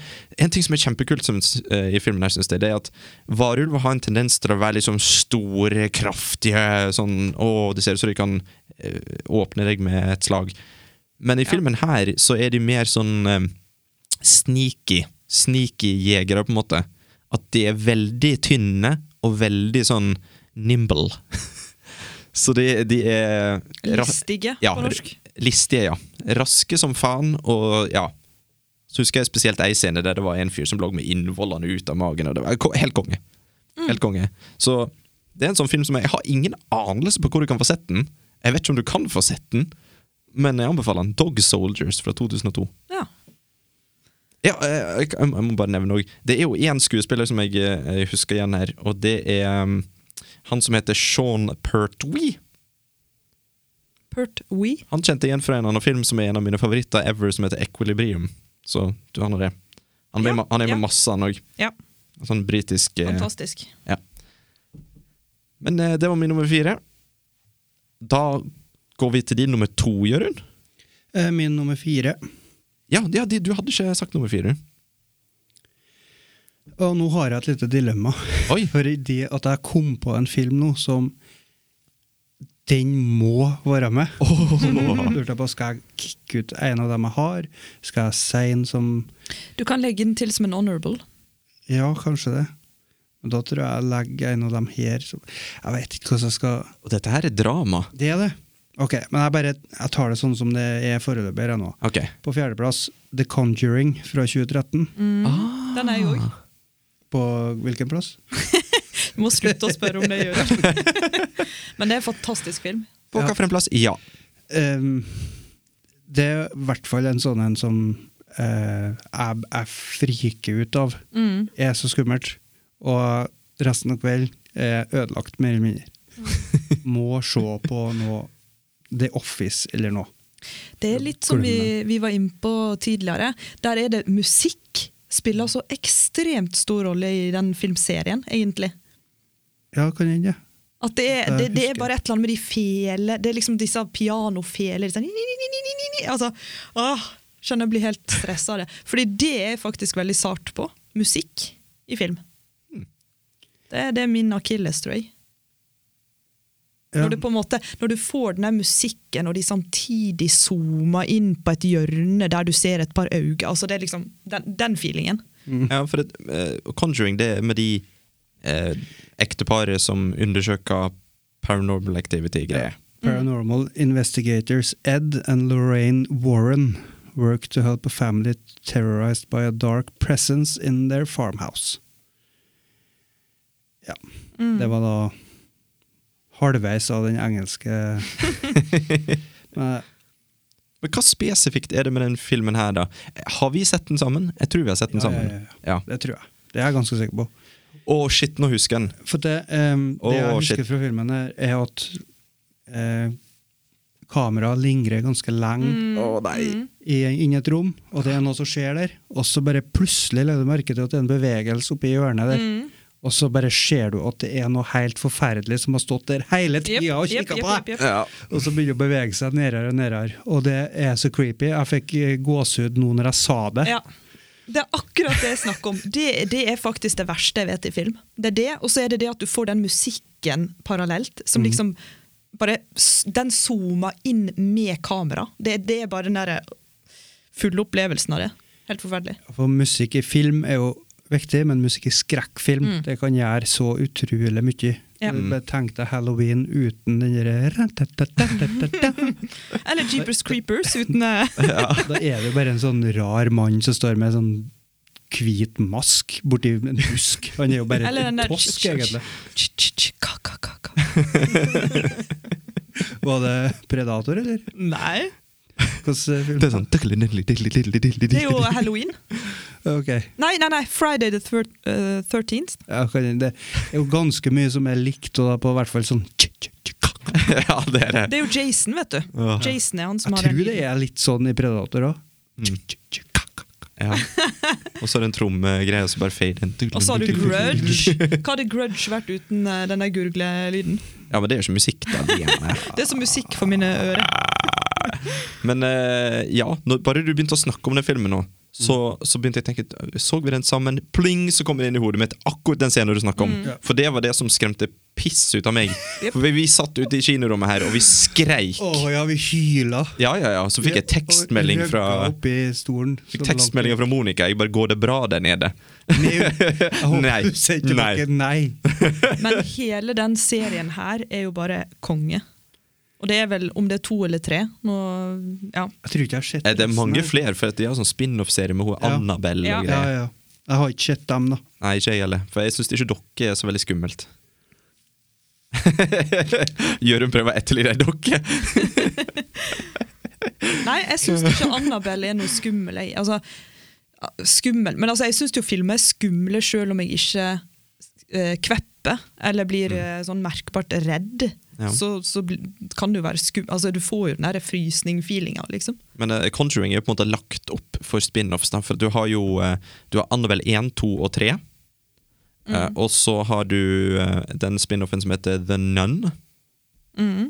en ting som er kjempekult som, eh, i filmen, her, synes jeg, det er at varulver har en tendens til å være liksom store, kraftige sånn Å, det ser ut som de kan eh, åpne deg med et slag. Men i filmen her så er de mer sånn eh, sneaky, sneaky jegere, på en måte. At de er veldig tynne og veldig sånn nimble. *laughs* så de, de er
Listige,
ja,
på norsk.
Listige, ja. Raske som faen, og ja. Så husker jeg spesielt ei scene der det var en fyr som lå med innvollene ut av magen. Og det var ko- helt konge. Helt konge. Så det er en sånn film som jeg, jeg har ingen anelse på hvor du kan få sett den. Jeg vet ikke om du kan få sett den, men jeg anbefaler den. Dog Soldiers fra 2002.
Ja.
Ja, eh, jeg, jeg må bare nevne òg. Det er jo én skuespiller som jeg, eh, husker igjen her, og det er um, han som heter Sean Pertwee.
Pert We.
Han kjente igjen fra en annen film som er en av mine favoritter ever, som heter Equilibrium. Så du aner det. Han er med,
Ja,
han er med
ja.
masse, han òg.
Ja,
Sånn britisk eh,
fantastisk.
ja. Men eh, det var min nummer fire. Da går vi til din nummer to, Jørund.
Eh, Min nummer fire.
Ja, ja de, du hadde ikke sagt nummer fire.
Og nå har jeg et lite dilemma. *laughs*
Oi.
For i det at jeg kom på en film nå som Den må være med. Så lurte jeg på, skal jeg kicke ut en av dem jeg har? Skal jeg si en som
Du kan legge den til som en honorable.
Ja, kanskje det. Men da tror jeg jeg legger en av dem her. som- Jeg vet ikke hvordan jeg skal
Og dette her er drama.
Det er det. Ok, men jeg bare jeg tar det sånn som det er foreløpig her nå.
Ok.
På fjerdeplass The Conjuring fra 2013.
Den er jo òg.
På hvilken plass?
Du må slutte å spørre om det gjør *laughs* Men det er en fantastisk film.
På hvilken plass? Ja.
Ehm, det er i hvert fall en sånn en som eh, jeg, jeg friker ut av, er så skummelt. Og resten av kvelden er ødelagt, mer eller mindre. Må se på noe The Office eller noe.
Det er litt som vi, vi var inne på tidligere. Der er det musikk spiller så ekstremt stor rolle i den filmserien, egentlig.
Ja, kan hende.
At det er,
Jeg
det, det er
husker.
bare et eller annet med de fele Det er liksom disse pianofeler disse, ni, ni, ni, ni, ni, ni, ni, altså, åh, Skjønner jeg blir helt stressa av det. Fordi det er jeg faktisk veldig sart på. Musikk i film. Det, er- det er min akillestrøy.
Ja.
Når, du på en måte, når du får den der musikken, og de samtidig zoomer inn på et hjørne der du ser et par øyne altså det er liksom, den, den feelingen.
Ja, for det, eh, Conjuring, det er med de eh, ekteparet som undersøker paranormal activity-greier.
Paranormal investigators Ed and Lorraine Warren work to help a family terrorized by a dark presence in their farmhouse. Ja. Det var da halvveis av den engelske Men
Men hva spesifikt er det med den filmen her, da? Har vi sett den sammen? Jeg tror vi har sett den
Ja, ja,
sammen. Ja.
det tror jeg. Det er jeg ganske sikker på.
Å, shit, nå husker jeg den.
For det, ehm, det jeg
Åh,
husker
shit.
fra filmen, er, er at eh, kameraet lingrer ganske lenge
Å, nei.
i, inn i et rom, og det er noe som skjer der, og så bare plutselig legger du merke til at det er en bevegelse oppe i hjørnet der, og så bare ser du at det er noe helt forferdelig som har stått der hele tida og
Jep,
kikka
jep,
på
jep,
deg!
jep, jep.
Ja.
Og så begynner det å bevege seg nedere og nedere, og det er så creepy. Jeg fikk eh, gåsehud nå når jeg sa det.
Ja. Det er akkurat det jeg snakker om. Det, det er faktisk det verste jeg vet i film. Det er det, Og så er det det at du får den musikken parallelt, som
Mm.
liksom bare s- Den zoomer inn med kamera. Det, det er bare den derre fulle opplevelsen av det. Helt forferdelig.
For musikk i film er jo viktig, men musikk i skrekkfilm det kan gjøre så utrolig mye.
Ja.
Mm. Bare Tenk deg halloween uten den derre
Eller Jeepers Creepers uten eh,
Da er det jo bare en sånn rar mann som står med en sånn hvit mask borti en busk. Han er jo *laughs* bare
Eller den
en
der
tosk, egentlig.
Ka-ka-ka-ka.
Var det Predator, eller?
Nei.
Hvordan eh, film?
Det er sånn Det
Det er jo halloween.
Ok.
Nei, nei, nei, Friday the thir eh, 13th.
Ja, kan- det er jo ganske mye som er likt, og da på hvert fall sånn
*laughs* Ja, det er det.
Det er jo Jason, vet du.
Ja.
Jason er han som
Jeg
har den
tror det er litt sånn i Predator òg.
Mm. Ja. Og så er det en trommegreie, og så bare fade inn.
*laughs* Og så har du grudge. Hva hadde grudge vært uten eh, denne gurglelyden?
Ja, men det er jo ikke musikk, da. det gjerne.
Det er som musikk for mine ører.
Men eh, ja, når, bare du begynte å snakke om den filmen nå, så, så begynte jeg å tenke Så vi den sammen? Pling, så kom det inn i hodet mitt akkurat den scenen du snakker
Mm.
om. For det var det som skremte piss ut av
*laughs*
meg. For vi, vi satt ute i kinorommet her, og vi skreik.
Å ja, vi hyla.
Ja, ja, ja. Så fikk jeg tekstmelding
Røgga
fra
Oppi stolen.
Fikk tekstmelding fra Monica. Jeg bare 'Går det bra der
*laughs*
nede?'
Nei.
Nei.
Du sier ikke
Nei.
noe nei.
Men hele den serien her er jo bare konge. Og det er vel om det er to eller tre. Nå, ja.
Jeg tror ikke jeg har sett
Eh, Det er
resten
mange
her.
flere, for at de har sånn spin-off-serie med hun
Ja.
Annabelle
Ja.
Ja,
og greier.
ja. Jeg har ikke sett dem, da.
Nei, ikke jeg heller. For jeg syns ikke dokker er så veldig skummelt. *laughs* Jørund prøver å etterligne ei dokke.
Nei, jeg syns ikke Annabelle er noe skummel. Jeg. Altså, skummel. Men altså, jeg syns jo filmer er skumle sjøl om jeg ikke eh, kvepper eller blir eh, sånn merkbart redd.
Ja.
Så, så bl- kan det jo være skum... Altså, du får jo den der frysning-feelinga, liksom.
Men eh, Conjuring er jo på en måte lagt opp for spin-offs. da, For du har jo eh, Du har Annabelle 1, 2 og 3. Eh,
Mm.
og så har du eh, den spin-offen som heter The Nun.
Mm.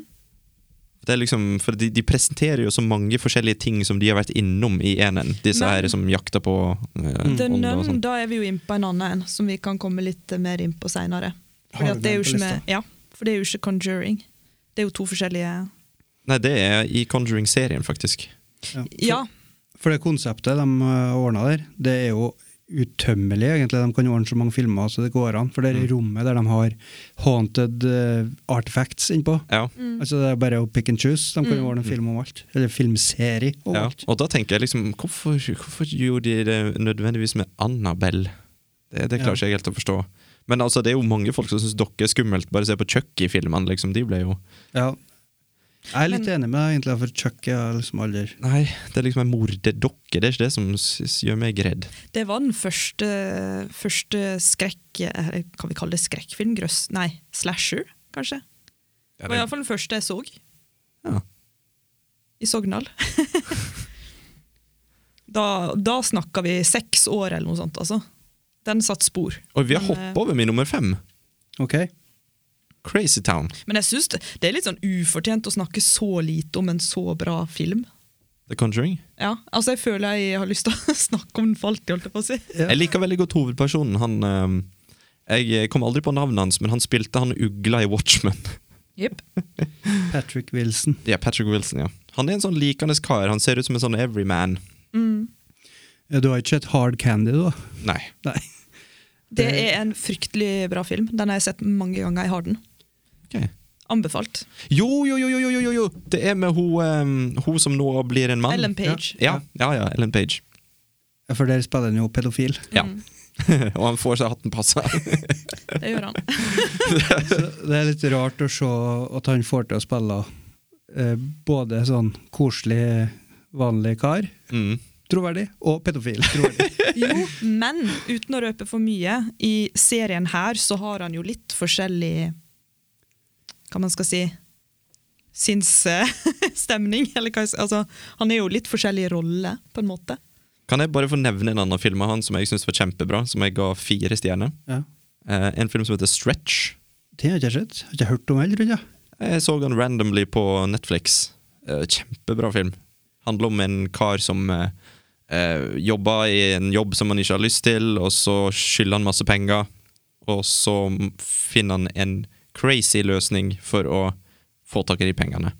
Det er liksom, for de, de presenterer jo så mange forskjellige ting som de har vært innom i enen. Disse
Men-
her som jakter på eh,
Mm,
The
ånder og
Nun,
sånt.
da er vi jo inne på en annen en, som vi kan komme litt mer inn på seinere. For
Har du
det er
den
jo
på
ikke
lista?
med Ja, for det er jo ikke Conjuring. Det er jo to forskjellige
Nei, det er i Conjuring-serien, faktisk.
Ja,
For det konseptet de eh, ordna der, det er jo utømmelig, egentlig. De kan ordne så mange filmer så det går an. For det er rommet der de har haunted eh, artifacts innpå.
Ja.
Altså Det er bare å pick and choose. De kan jo ordne en film om alt. Eller filmserie om
Ja.
alt.
Og da tenker jeg liksom hvorfor, hvorfor gjorde de det nødvendigvis med Annabelle? Det, det klarer
Ja.
ikke jeg helt å forstå. Men altså, det er jo mange folk som syns dere er skummelt. Bare se på Chucky-filmene. Liksom. De ble jo
Ja. Jeg er litt enig med deg, egentlig, for Chuck er liksom aldri
Nei, det er liksom en morderdokke. Det er ikke det som s- s- gjør meg redd.
Det var den første, første skrekk... eh, Kan vi kalle det skrekkfilm? Grøss? Nei, slasher, kanskje? Det var iallfall den første jeg så.
Ja.
I Sogndal. *laughs* da da snakka vi seks år eller noe sånt, altså. Den satt spor.
Og vi har
Men,
hoppet over min nummer fem.
OK?
Crazy Town.
Men jeg syns det, det er litt sånn ufortjent å snakke så lite om en så bra film.
The Conjuring.
Ja, altså Jeg føler jeg har lyst til å *laughs* snakke om den for alltid, holdt jeg på å si.
Ja.
Jeg liker veldig godt hovedpersonen. Han, eh, jeg kom aldri på navnet hans, men han spilte han ugla i Watchmen. *laughs*
Yep.
Patrick Wilson.
Ja, Patrick Wilson, ja. Han er en sånn likende kar. Han ser ut som en sånn everyman.
Ja, Eh, Du har ikke sett Hard Candy, da?
Nei.
Nei.
Det er en fryktelig bra film. Den har jeg sett mange ganger. Jeg har den.
Ok.
Anbefalt.
Jo, jo, jo, jo, jo, jo, jo, jo! Det er med hun, eh, hun som nå blir en mann.
Ellen Page.
Ja, ja, ja Ellen Page. *laughs*
Ja, For der spiller han jo pedofil.
Ja. Og han får seg hatten passa.
Det gjør *laughs* han.
Så det er litt rart å se at han får til å spille eh, både sånn koselig, vanlig kar,
*laughs* Mm.
troverdig, og pedofil. *laughs* Troverdig.
Jo, men uten å røpe for mye, i serien her så har han jo litt forskjellig Hva man skal si Sinnsstemning, *laughs* eller hva jeg skal Altså, han er jo litt forskjellig rolle, på en måte.
Kan jeg bare få nevne en annen film av han som jeg syns var kjempebra, som jeg ga fire stjerner?
ja.
Eh, en film som heter Stretch.
Det har jeg ikke sett. Har ikke hørt om heller, tror jeg.
Jeg så den randomly på Netflix. Eh, kjempebra film. Handler om en kar som eh, eh, jobber i en jobb som han ikke har lyst til, og så skylder han masse penger, og så m- finner han en crazy løsning for å få tak i de pengene.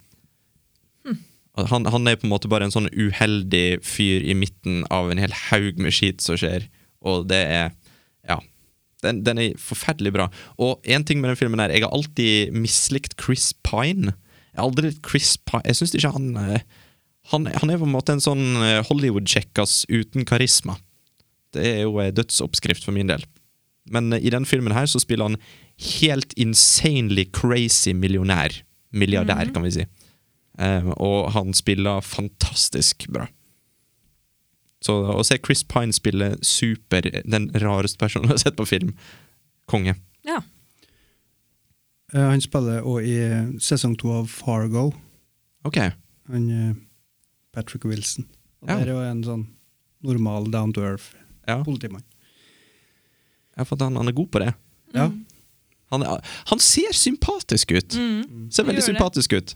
Og Han, han er på en måte bare en sånn uheldig fyr i midten av en hel haug med skit som skjer, og det er Ja. Den, den er forferdelig bra. Og én ting med den filmen her Jeg har alltid mislikt Chris Pine. Jeg har aldri likt Chris Pine Jeg syns ikke han eh, han, han er på en måte en sånn eh, Hollywood-kjekkas uten karisma. Det er jo en dødsoppskrift for min del. Men eh, i den filmen her så spiller han helt insanely crazy millionær. Milliardær, kan vi si. Eh, og han spiller fantastisk bra. Så å se Chris Pine spille super den rareste personen jeg har sett på film, konge.
Ja.
Eh, han spiller òg i eh, sesong to av Fargo,
Ok.
han eh, Patrick Wilson. Og
Ja.
Der er jo en sånn normal down to earth
Ja.
politimann.
Jeg har fått han, han er god på det.
Ja.
Han, er, han ser sympatisk ut. Ser veldig
Mm. Gjør det.
sympatisk ut.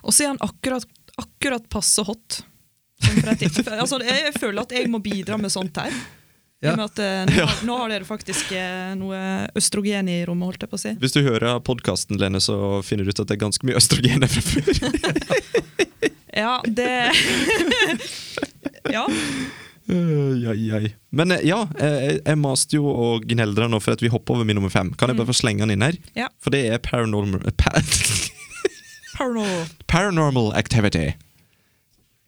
Og så er han akkurat, akkurat passe hot. Sånn for et *laughs* tips. Altså, jeg føler at jeg må bidra med sånt her. I
Ja.
og med at eh, nå, har- nå har dere faktisk eh, noe østrogen i rommet, holdt jeg på å si.
Hvis du hører podkasten, Lene, så finner du ut at det er ganske mye østrogen der fra *laughs* før.
Ja,
*laughs*
det Ja.
Øh, jai, jai. Men eh, ja, eh, jeg, jeg maste jo og gneldra nå for at vi hopper over min nummer fem. Kan jeg bare få slenge den inn her?
Mm. Ja.
For det er paranormal *laughs* pa
Paranormal.
Paranormal Activity.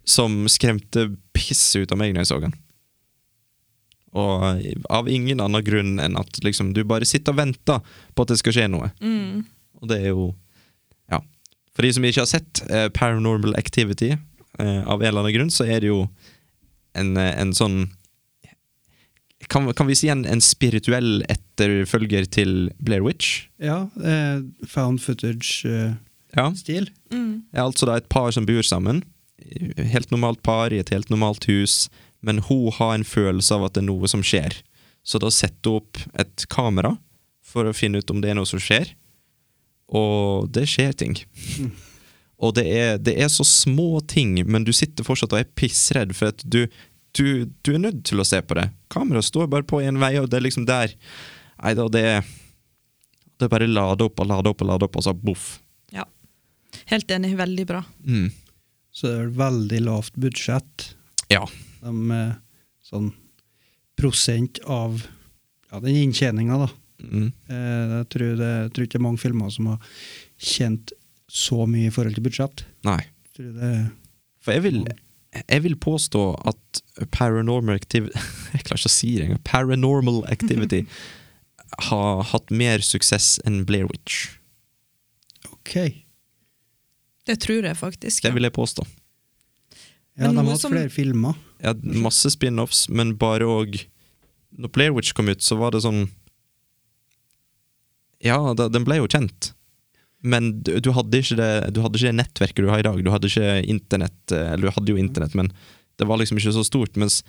Som skremte pisset ut av meg når jeg så den. Og av ingen annen grunn enn at liksom, du bare sitter og venter på at det skal skje noe. Og det er jo Ja. For de som ikke har sett eh, Paranormal Activity, eh, av en eller annen grunn, så er det jo en, eh, en sånn kan, kan vi si en, en spirituell etterfølger til Blair Witch?
ja eh, found eh, footage-stil.
Ja. er altså da et par som bor sammen. Helt normalt par i et helt normalt hus, men hun har en følelse av at det er noe som skjer. Så da setter hun opp et kamera for å finne ut om det er noe som skjer, og det skjer ting. Og det er, det er så små ting, men du sitter fortsatt og er pissredd, for at du, du, du er nødt til å se på det. Kameraet står bare på én vei, og det er liksom der. Nei da, det er Det er bare lade opp og lade opp og lade opp, og så boff.
Ja. Helt enig. Veldig bra.
Mm.
Så det er veldig lavt budsjett.
Ja.
De eh, sånn prosent av ja, den inntjeninga, da.
Mm.
Eh, Jeg tror, det, jeg tror ikke det er mange filmer som har tjent så mye i forhold til budsjett.
Nei.
Jeg tror det
For jeg vil, jeg vil påstå at paranormal activity *laughs* Jeg klarer ikke å si det engang. Paranormal activity har hatt mer suksess enn Blair Witch.
OK.
Det tror jeg faktisk.
Det vil jeg påstå.
Ja,
Men
de har
noe
hatt
som-
flere filmer.
Jeg hadde masse spin-offs, men bare òg Når Player Witch kom ut, så var det sånn Ja, da, den ble jo kjent. Men du, du, hadde ikke det, du hadde ikke det nettverket du har i dag. Du hadde ikke internett, eh, eller du hadde jo internett, men det var liksom ikke så stort. Mens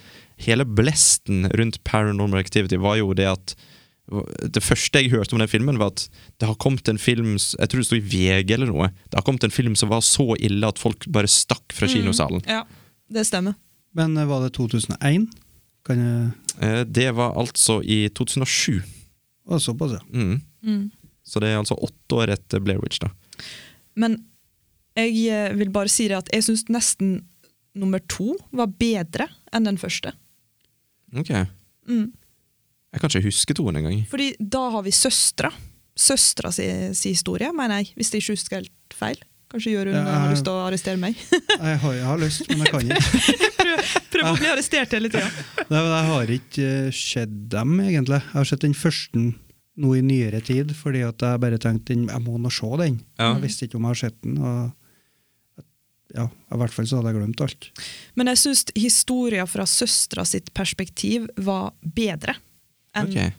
hele blesten rundt Paranormal Activity var jo det at det første jeg hørte om den filmen, var at det har kommet en film s- Jeg tror det sto i VG eller noe. Det har kommet en film som var så ille at folk bare stakk fra kinosalen.
Mm. Ja, det stemmer.
Men eh, var det 2001? Kan jeg
Eh, Det var altså i 2007.
Å, såpass, ja.
Mm. Så det er altså åtte år etter Blair Witch, da.
Men jeg eh, vil bare si det at jeg syns nesten nummer to var bedre enn den første. Mm.
Ok. Jeg kan ikke huske toen engang.
Fordi da har vi søstra. Søstra si, si historie, mener jeg, hvis jeg ikke husker helt feil. Kanskje Jørund
Ja,
har
jeg-
lyst til å arrestere meg.
Jeg har, jeg har lyst, men jeg kan
*laughs*
ikke.
Prøv å bli arrestert hele tida.
Nei, men jeg har ikke eh, sett dem, egentlig. Jeg har sett den første nå i nyere tid, fordi at jeg bare tenkte den- jeg må nå se den.
Ja.
Jeg visste ikke om jeg har sett den. og ja, I hvert fall så hadde jeg glemt alt.
Men jeg syns historia fra søstra sitt perspektiv var bedre enn
Ok,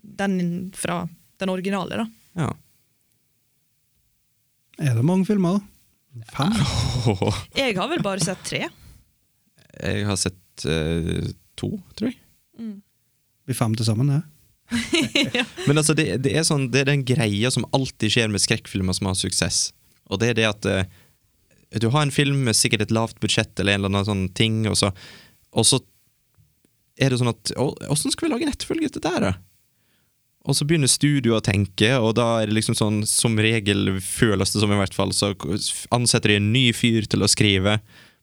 den fra den originale, da.
ja.
Er det mange filmer, da? Fem?
Jeg har vel bare sett tre.
Jeg har sett eh, to, tror jeg.
Blir fem til sammen, det.
Men altså, det, det, er sånn, det er den greia som alltid skjer med skrekkfilmer som har suksess. Og det er det at eh, du har en film med sikkert et lavt budsjett eller en eller annen sånn ting, og så, og så er det sånn at «Å, Åssen skal vi lage en etterfølge til det her, da? Og så begynner studioet å tenke, og da er det liksom sånn, som regel føles det som i hvert fall, så ansetter de en ny fyr til å skrive.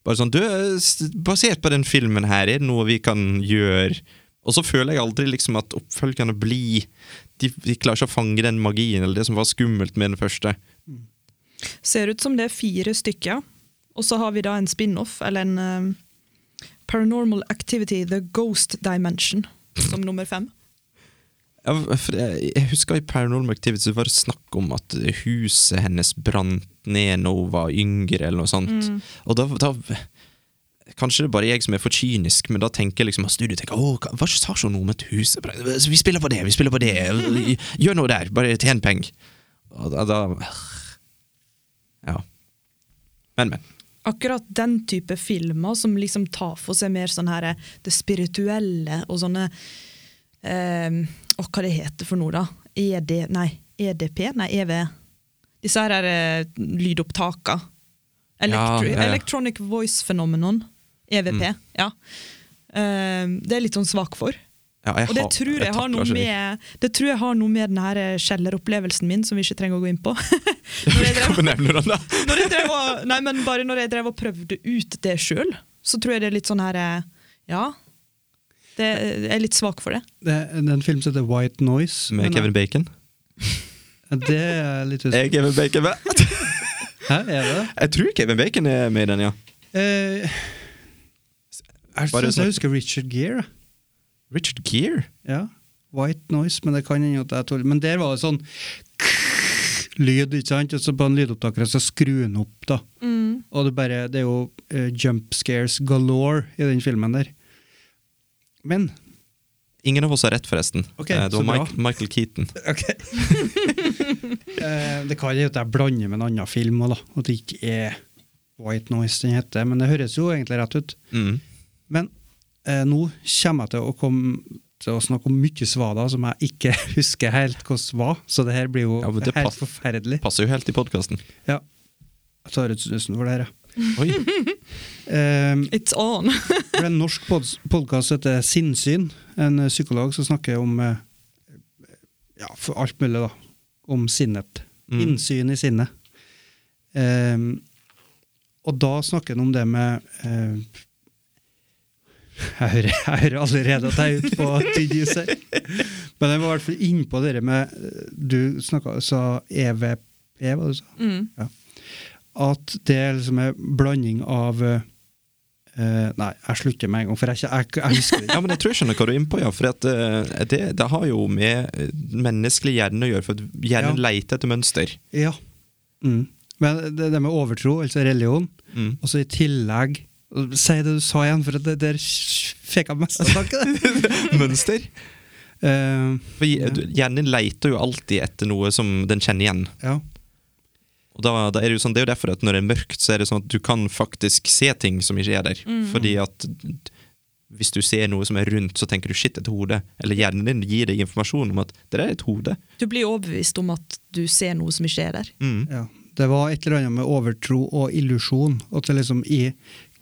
Bare sånn, du, s- basert på den filmen her, er det noe vi kan gjøre? Og så føler jeg aldri liksom at oppfølgerne blir de, de klarer ikke å fange den magien eller det som var skummelt med den første.
Ser ut som det er fire stykker. Og så har vi da en spin-off, eller en eh, Paranormal Activity The Ghost Dimension, som nummer fem.
Ja, for jeg, jeg husker i Paranormal Activity så var det snakk om at huset hennes brant ned når hun var yngre, eller noe sånt.
Mm.
Og da, da Kanskje det er bare jeg som er for kynisk, men da tenker jeg liksom at studiet tenker Åh, hva- hva sa hun om et hus? Vi spiller på det, vi spiller på det. Gjør noe der, bare tjen penger. Og da, da Ja. Men, men.
Akkurat den type filmer som liksom tar for seg mer sånn her, eh, det spirituelle og sånne eh, Og hva det heter for noe, da? ED, nei, EDP? Nei, EV. Disse her er eh, lydopptaka.
Ja, Mm.
Electri
ja, ja.
Electronic Voice Phenomenon. EVP. Ja. Eh, det er litt sånn svak for.
Ja, jeg
Og det
har-
tror jeg, har
takler
noe
ikke det.
med, det tror jeg har noe med den her eh, kjelleropplevelsen min som vi ikke trenger å gå inn på. *laughs* Når
*laughs*
jeg drev-
Hvorfor nevner du den, da?
når jeg drev og, nei, men bare når jeg drev og prøvde ut det sjøl, så tror jeg det er litt sånn her eh, Ja. Det, jeg er litt svak for det.
Det er det er en film som heter White Noise.
Med
men-
Kevin Bacon?
Det er jeg litt
Er
usikker
Kevin Bacon med?
på. Hæ, er det det?
Jeg tror Kevin Bacon er med i den, ja.
Eh, jeg
Bare
synes jeg
snakk-
husker Richard Gere. jeg.
Richard Gere?
Ja. White Noise, men det kan hende at jeg tåler Men der var det sånn lyd, ikke sant? Og så på en lydopptaker, så skrur den opp, da. Og det, bare, det er jo eh, jump scares galore i den filmen der. Men
Ingen av oss har rett, forresten.
Ok,
Eh, det
så
var
bra.
Mike, Michael Keaton.
Ok. Eh, det kan jo at jeg blander med en annen film òg, da. At det ikke er White Noise den heter. Men det høres jo egentlig rett ut.
Mm.
Men eh, nå kommer jeg til å komme til å snakke om mye svada som jeg ikke *laughs* husker helt hvordan var, så det her blir jo
Ja, men det
helt
pass-
forferdelig.
Passer jo helt i podkasten.
Ja. Jeg tar ut snusen for det her, ja.
Oi.
Eh,
It's on. *laughs*
det er en norsk podkast som heter Sinnsyn. En eh, psykolog som snakker om eh, ja, for alt mulig, da. Om sinnet.
Mm.
Innsyn i sinnet. Eh, og da snakker han om det med eh, *laughs* jeg, hører, jeg hører allerede at jeg er ute på tynn is her. Men jeg var i hvert fall innpå det med eh, Du snakka, sa E EVP, hva du sa? Ja. At det er liksom en blanding av eh, eh, Nei, jeg slutter med en gang, for jeg, jeg, jeg husker
*laughs*
det ikke.
Ja, men Jeg tror jeg skjønner hva du er inne på. Ja, for at, eh, det, det har jo med eh, menneskelig hjerne å gjøre. For at hjernen
Ja.
leter etter mønster.
Ja. Mm. Men det, det med overtro, altså religion,
Mm.
og så i tillegg Si det du sa igjen, for det der fikk jeg mest av tanken.
*laughs* Mønster.
Eh,
For je- du- Hjernen leter jo alltid etter noe som den kjenner igjen.
ja.
Og da, da er Det jo sånn, det er jo derfor at når det er mørkt, så er det sånn at du kan faktisk se ting som ikke er der. Fordi at hvis du ser noe som er rundt, så tenker du 'shit, et hode'. Eller hjernen din gir deg informasjon om at 'det der er et hode'.
Du blir overbevist om at du ser noe som ikke er der.
Mm.
Ja. Det var et eller annet med overtro og illusjon. At det liksom i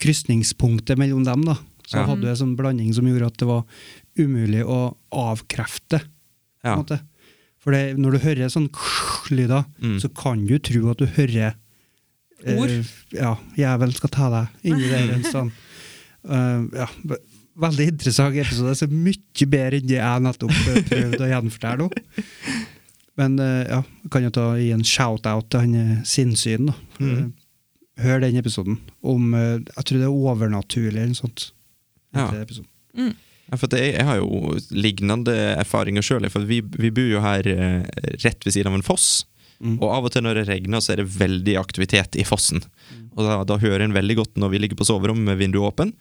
krysningspunktet mellom dem, da, så
Ja.
hadde du en sånn blanding som gjorde at det var umulig å avkrefte. på en
Ja.
måte. For det, når du hører sånn lyder,
Mm.
så kan du tro at du hører eh,
Ord.
ja, jævelen skal ta deg inni der en sånn. Eh, ja, ve- veldig interessant episode. Så mye bedre enn det jeg nettopp eh, prøvde å gjenfortelle henne. Men eh, ja, jeg kan jo ta gi en shout-out til han eh, sinnssyn. da. For, eh,
Mm.
Hør den episoden om eh, Jeg tror det er overnaturlig eller noe sånt.
Ja.
Etter episoden.
Mm.
Ja, for at jeg, jeg har jo lignende erfaringer sjøl. For vi, vi bor jo her eh, rett ved siden av en foss.
Mm.
Og av og til når det regner, så er det veldig aktivitet i fossen. Og da, da hører en veldig godt når vi ligger på soverommet med vinduet åpen.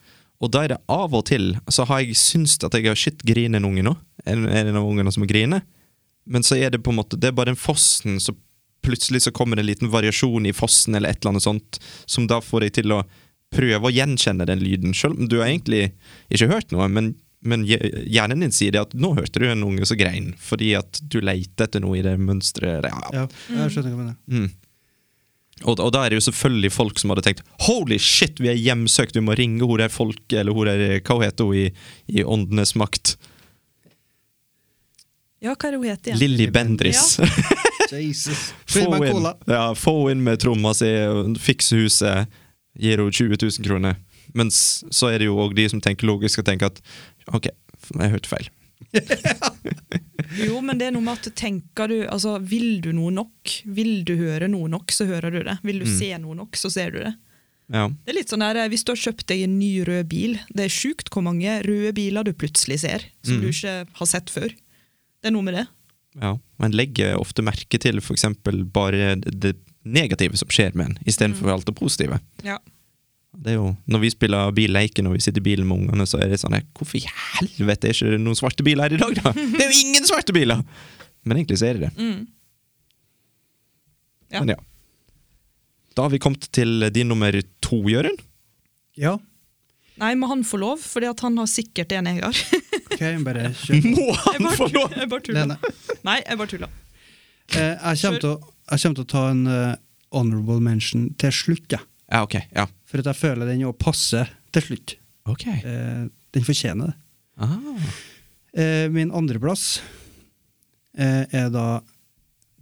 Og da er det av og til så har jeg syntes at jeg har shit, griner en unge nå? Er er det noen unger som griner? Men så er det på en måte Det er bare den fossen som plutselig så kommer det en liten variasjon i fossen eller et eller annet sånt, som da får deg til å prøve å gjenkjenne den lyden. Selv om du har egentlig ikke hørt noe, men, men hje- hjernen din sier det at nå hørte du en unge som grein, fordi at du leter etter noe i det mønsteret. Ja.
Ja, jeg skjønner hva du mener.
Mm. Og, og da er det jo selvfølgelig folk som hadde tenkt Holy shit, vi er hjemsøkt, vi må ringe hun der folk, eller hun der, hva hun heter hun i, i Åndenes makt?
Ja, hva er det hun heter igjen?
Lilly Bendris.
*laughs* Jesus. Fyll
*laughs* Få
meg
inn,
cola.
ja, få inn med tromma si, fikse huset, gir henne 20 000 kroner. Mens så er det jo òg de som tenker logisk og tenker at OK, jeg hørte feil.
Jo, men det er noe med at tenker du Altså, vil du noe nok? Vil du høre noe nok, så hører du det. Vil du se noe nok, så ser du det.
Ja.
Det er litt sånn her, eh, Hvis du har kjøpt deg en ny rød bil Det er sjukt hvor mange røde biler du plutselig ser, som du ikke har sett før. Det er noe med det.
ja. Man legger ofte merke til f.eks. bare det negative som skjer med en, istedenfor
Mm.
alt det positive.
Ja.
Det er jo, når vi spiller billeiken og vi sitter i bilen med ungene, så er det sånn Hvorfor i helvete er ikke det noen svarte biler her i dag, da? Det er jo ingen svarte biler! Men egentlig så er det det.
Ja.
Men Mm. ja. Da har vi kommet til din nummer to, Jørund.
Ja,
Nei, må han få lov, Fordi at han har sikkert en jeg har.
ok, bare kjør.
*laughs* Må
Jeg
han
bare
få lov!
jeg bare tuller.
Lene.
Nei, jeg bare tuller.
Eh, jeg kommer til, å- jeg kommer til å ta en eh, honorable mention til slutt, ja.
Ja, ok. Ja.
for at jeg føler den jo passer til slutt.
Ok.
Eh, den fortjener det.
Ah.
Eh, min andreplass eh, er da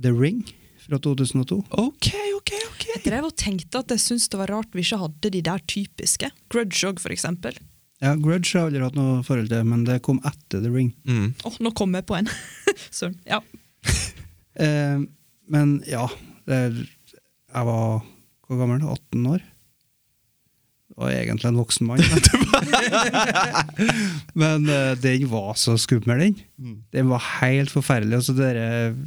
The Ring fra 2002.
Ok, ok, ok.
Jeg drev og tenkte at jeg syntes det var rart vi ikke hadde de der typiske. Grudge òg, for eksempel.
Ja, Grudge har jeg aldri hatt noe forhold til, men det kom etter The Ring.
Mm.
Åh, nå kom jeg på en. *laughs* Søren. Ja.
Eh, men ja, det er, jeg var hvor gammel? 18 år. Og egentlig en voksen mann. *laughs* men eh, den var så skummel, den. Den var helt forferdelig. Altså, det er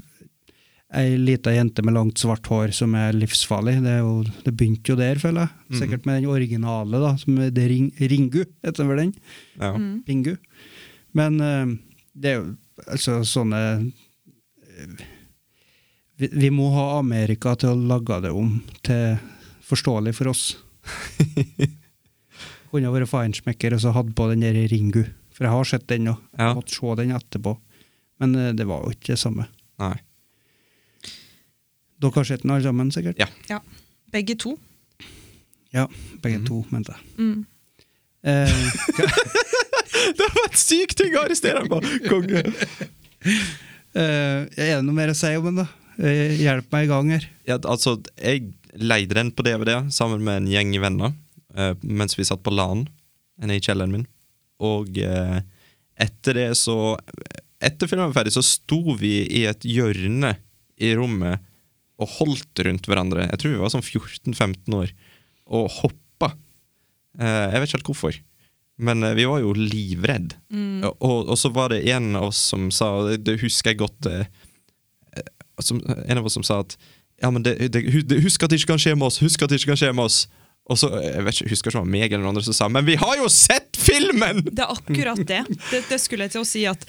ei lita jente med langt, svart hår som er livsfarlig. Det, er jo, det begynte jo der, føler jeg. Sikkert med den originale, da, som er det Ring, Ringu, heter vel den.
Ja.
Pingu. Men eh, det er jo altså sånne eh, vi, vi må ha Amerika til å lage det om til forståelig for
*laughs*
oss. Kunne vært feinschmecker og så hatt på den der Ringu. For jeg har sett den òg.
Ja.
Måtte se den etterpå. Men eh, det var jo ikke det samme.
Nei.
Dere har sett den alle sammen, sikkert?
Ja. *laughs*
ja. Begge to.
Ja, Begge to, mente jeg.
Mm.
Eh, *laughs*
Det var et sykt ting å arrestere ham på! Konge.
eh, er det noe mer å si om den, da? Eh, hjelp meg i gang her.
ja, altså, jeg leide den på DVD sammen med en gjeng venner eh, mens vi satt på LAN nede i kjelleren min. Og eh, etter det så Etter filmen var ferdig, så sto vi i et hjørne i rommet og holdt rundt hverandre. Jeg tror vi var sånn 14-15 år. Og hoppa. Eh, jeg vet ikke helt hvorfor. Men eh, vi var jo livredd. Og, og så var det en av oss som sa, det husker jeg godt eh, som, en av oss som sa at ja, men det, det, hu- det, Husk at det ikke kan skje med oss! Husk at det ikke kan skje med oss! Og så, jeg vet ikke, jeg husker ikke om det var meg eller noen andre som sa Men vi har jo sett filmen!
Det er akkurat det. det. Det skulle jeg til å si at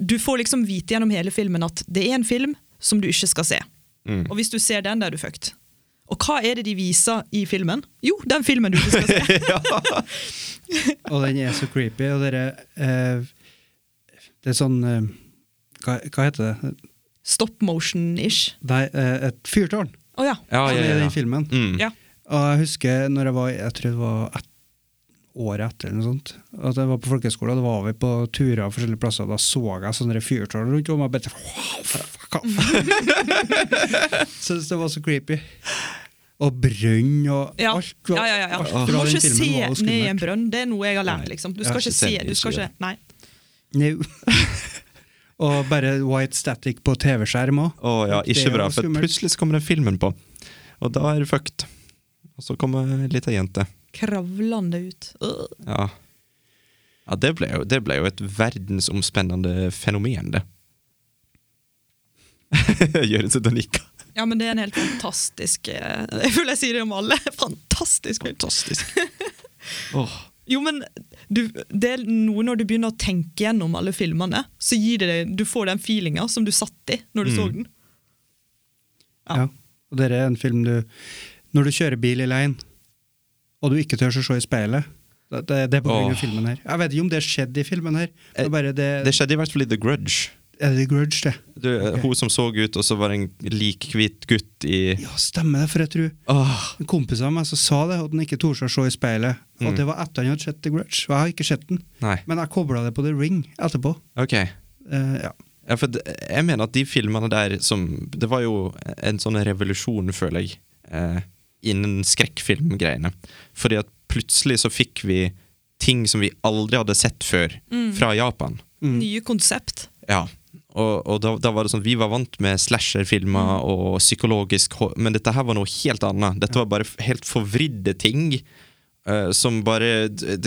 du får liksom vite gjennom hele filmen at det er en film som du ikke skal se.
Mm.
Og hvis du ser den, da er du fucked. Og hva er det de viser i filmen? Jo, den filmen du ikke
*laughs*
skal se.
Og den er så creepy. Og dere eh, Det er sånn eh, hva, hva heter det?
Stop motion-ish.
Nei, eh, et fyrtårn.
Å ja.
Ja,
som
Ah, ja,
er i
ja.
den filmen.
Mm.
ja.
Og jeg husker når jeg var Jeg tror det var et, året etter eller noe sånt. At jeg var på folkehøyskole, og da var vi på turer forskjellige plasser. og Da så jeg sånne fyrtårn rundt om. Og jeg bare wow, fuck off!
*laughs*
Syns det var så creepy. Og brønn og
Ja.
alt.
ja, ja, ja, ja.
alt
Du
fra
må
den
ikke se
filmen var jo
ned i en
skummelt.
brønn. Det er noe jeg har lært. liksom. Du
jeg
skal
har ikke
ikke se.
sett-
du skal
ikke
ikke... Nei.
No. *laughs* og bare white static på TV-skjerm òg.
Å ja,
Det er
ikke bra,
jo
for
skummelt.
plutselig så kommer den filmen på. Og da er du fucked. Og så kommer ei lita jente.
Kravlende ut. Øh.
Ja. ja det, ble jo, det ble jo et verdensomspennende fenomen, det. *laughs* Gjøren sitter og nikker.
Ja, men det er en helt fantastisk eh, *laughs* Jeg føler jeg sier det om alle. *laughs* Fantastisk film.
Fantastisk. Åh.
*laughs* Jo, men du, det er noe når du begynner å tenke gjennom alle filmene, så gir det deg, du får den feelinga som du satt i når du
Mm.
så den.
Ja. Og dette er en film du Når du kjører bil i leien, og du ikke tør å se i speilet Det, det, det er på grunn av
Åh. Eh,
filmen her. Jeg vet ikke om det skjedde i filmen her. Det er bare det,
Det skjedde i hvert fall i The Grudge.
Er det grudge, det?
Du, eh, Hun som så ut, og så var det en likhvit gutt i
Ja, stemmer det, for jeg tror
Åh.
en kompis av meg som sa det, at han ikke torde å se i speilet. Og det var etter han hadde sett The Grudge. Og jeg har ikke sett den,
Mm. Nei.
men jeg kobla det på The Ring etterpå.
Ok.
Eh, ja.
Ja, for det, jeg mener at de filmene der som Det var jo en sånn revolusjon, føler jeg, eh, innen skrekkfilmgreiene. Fordi at plutselig så fikk vi ting som vi aldri hadde sett før, fra Japan.
Nye konsept.
Ja. Og, og da, da var det sånn, Vi var vant med slasherfilmer
Mm.
og psykologisk hor- Men dette her var noe helt annet. Dette var bare f- helt forvridde ting. eh, som bare det,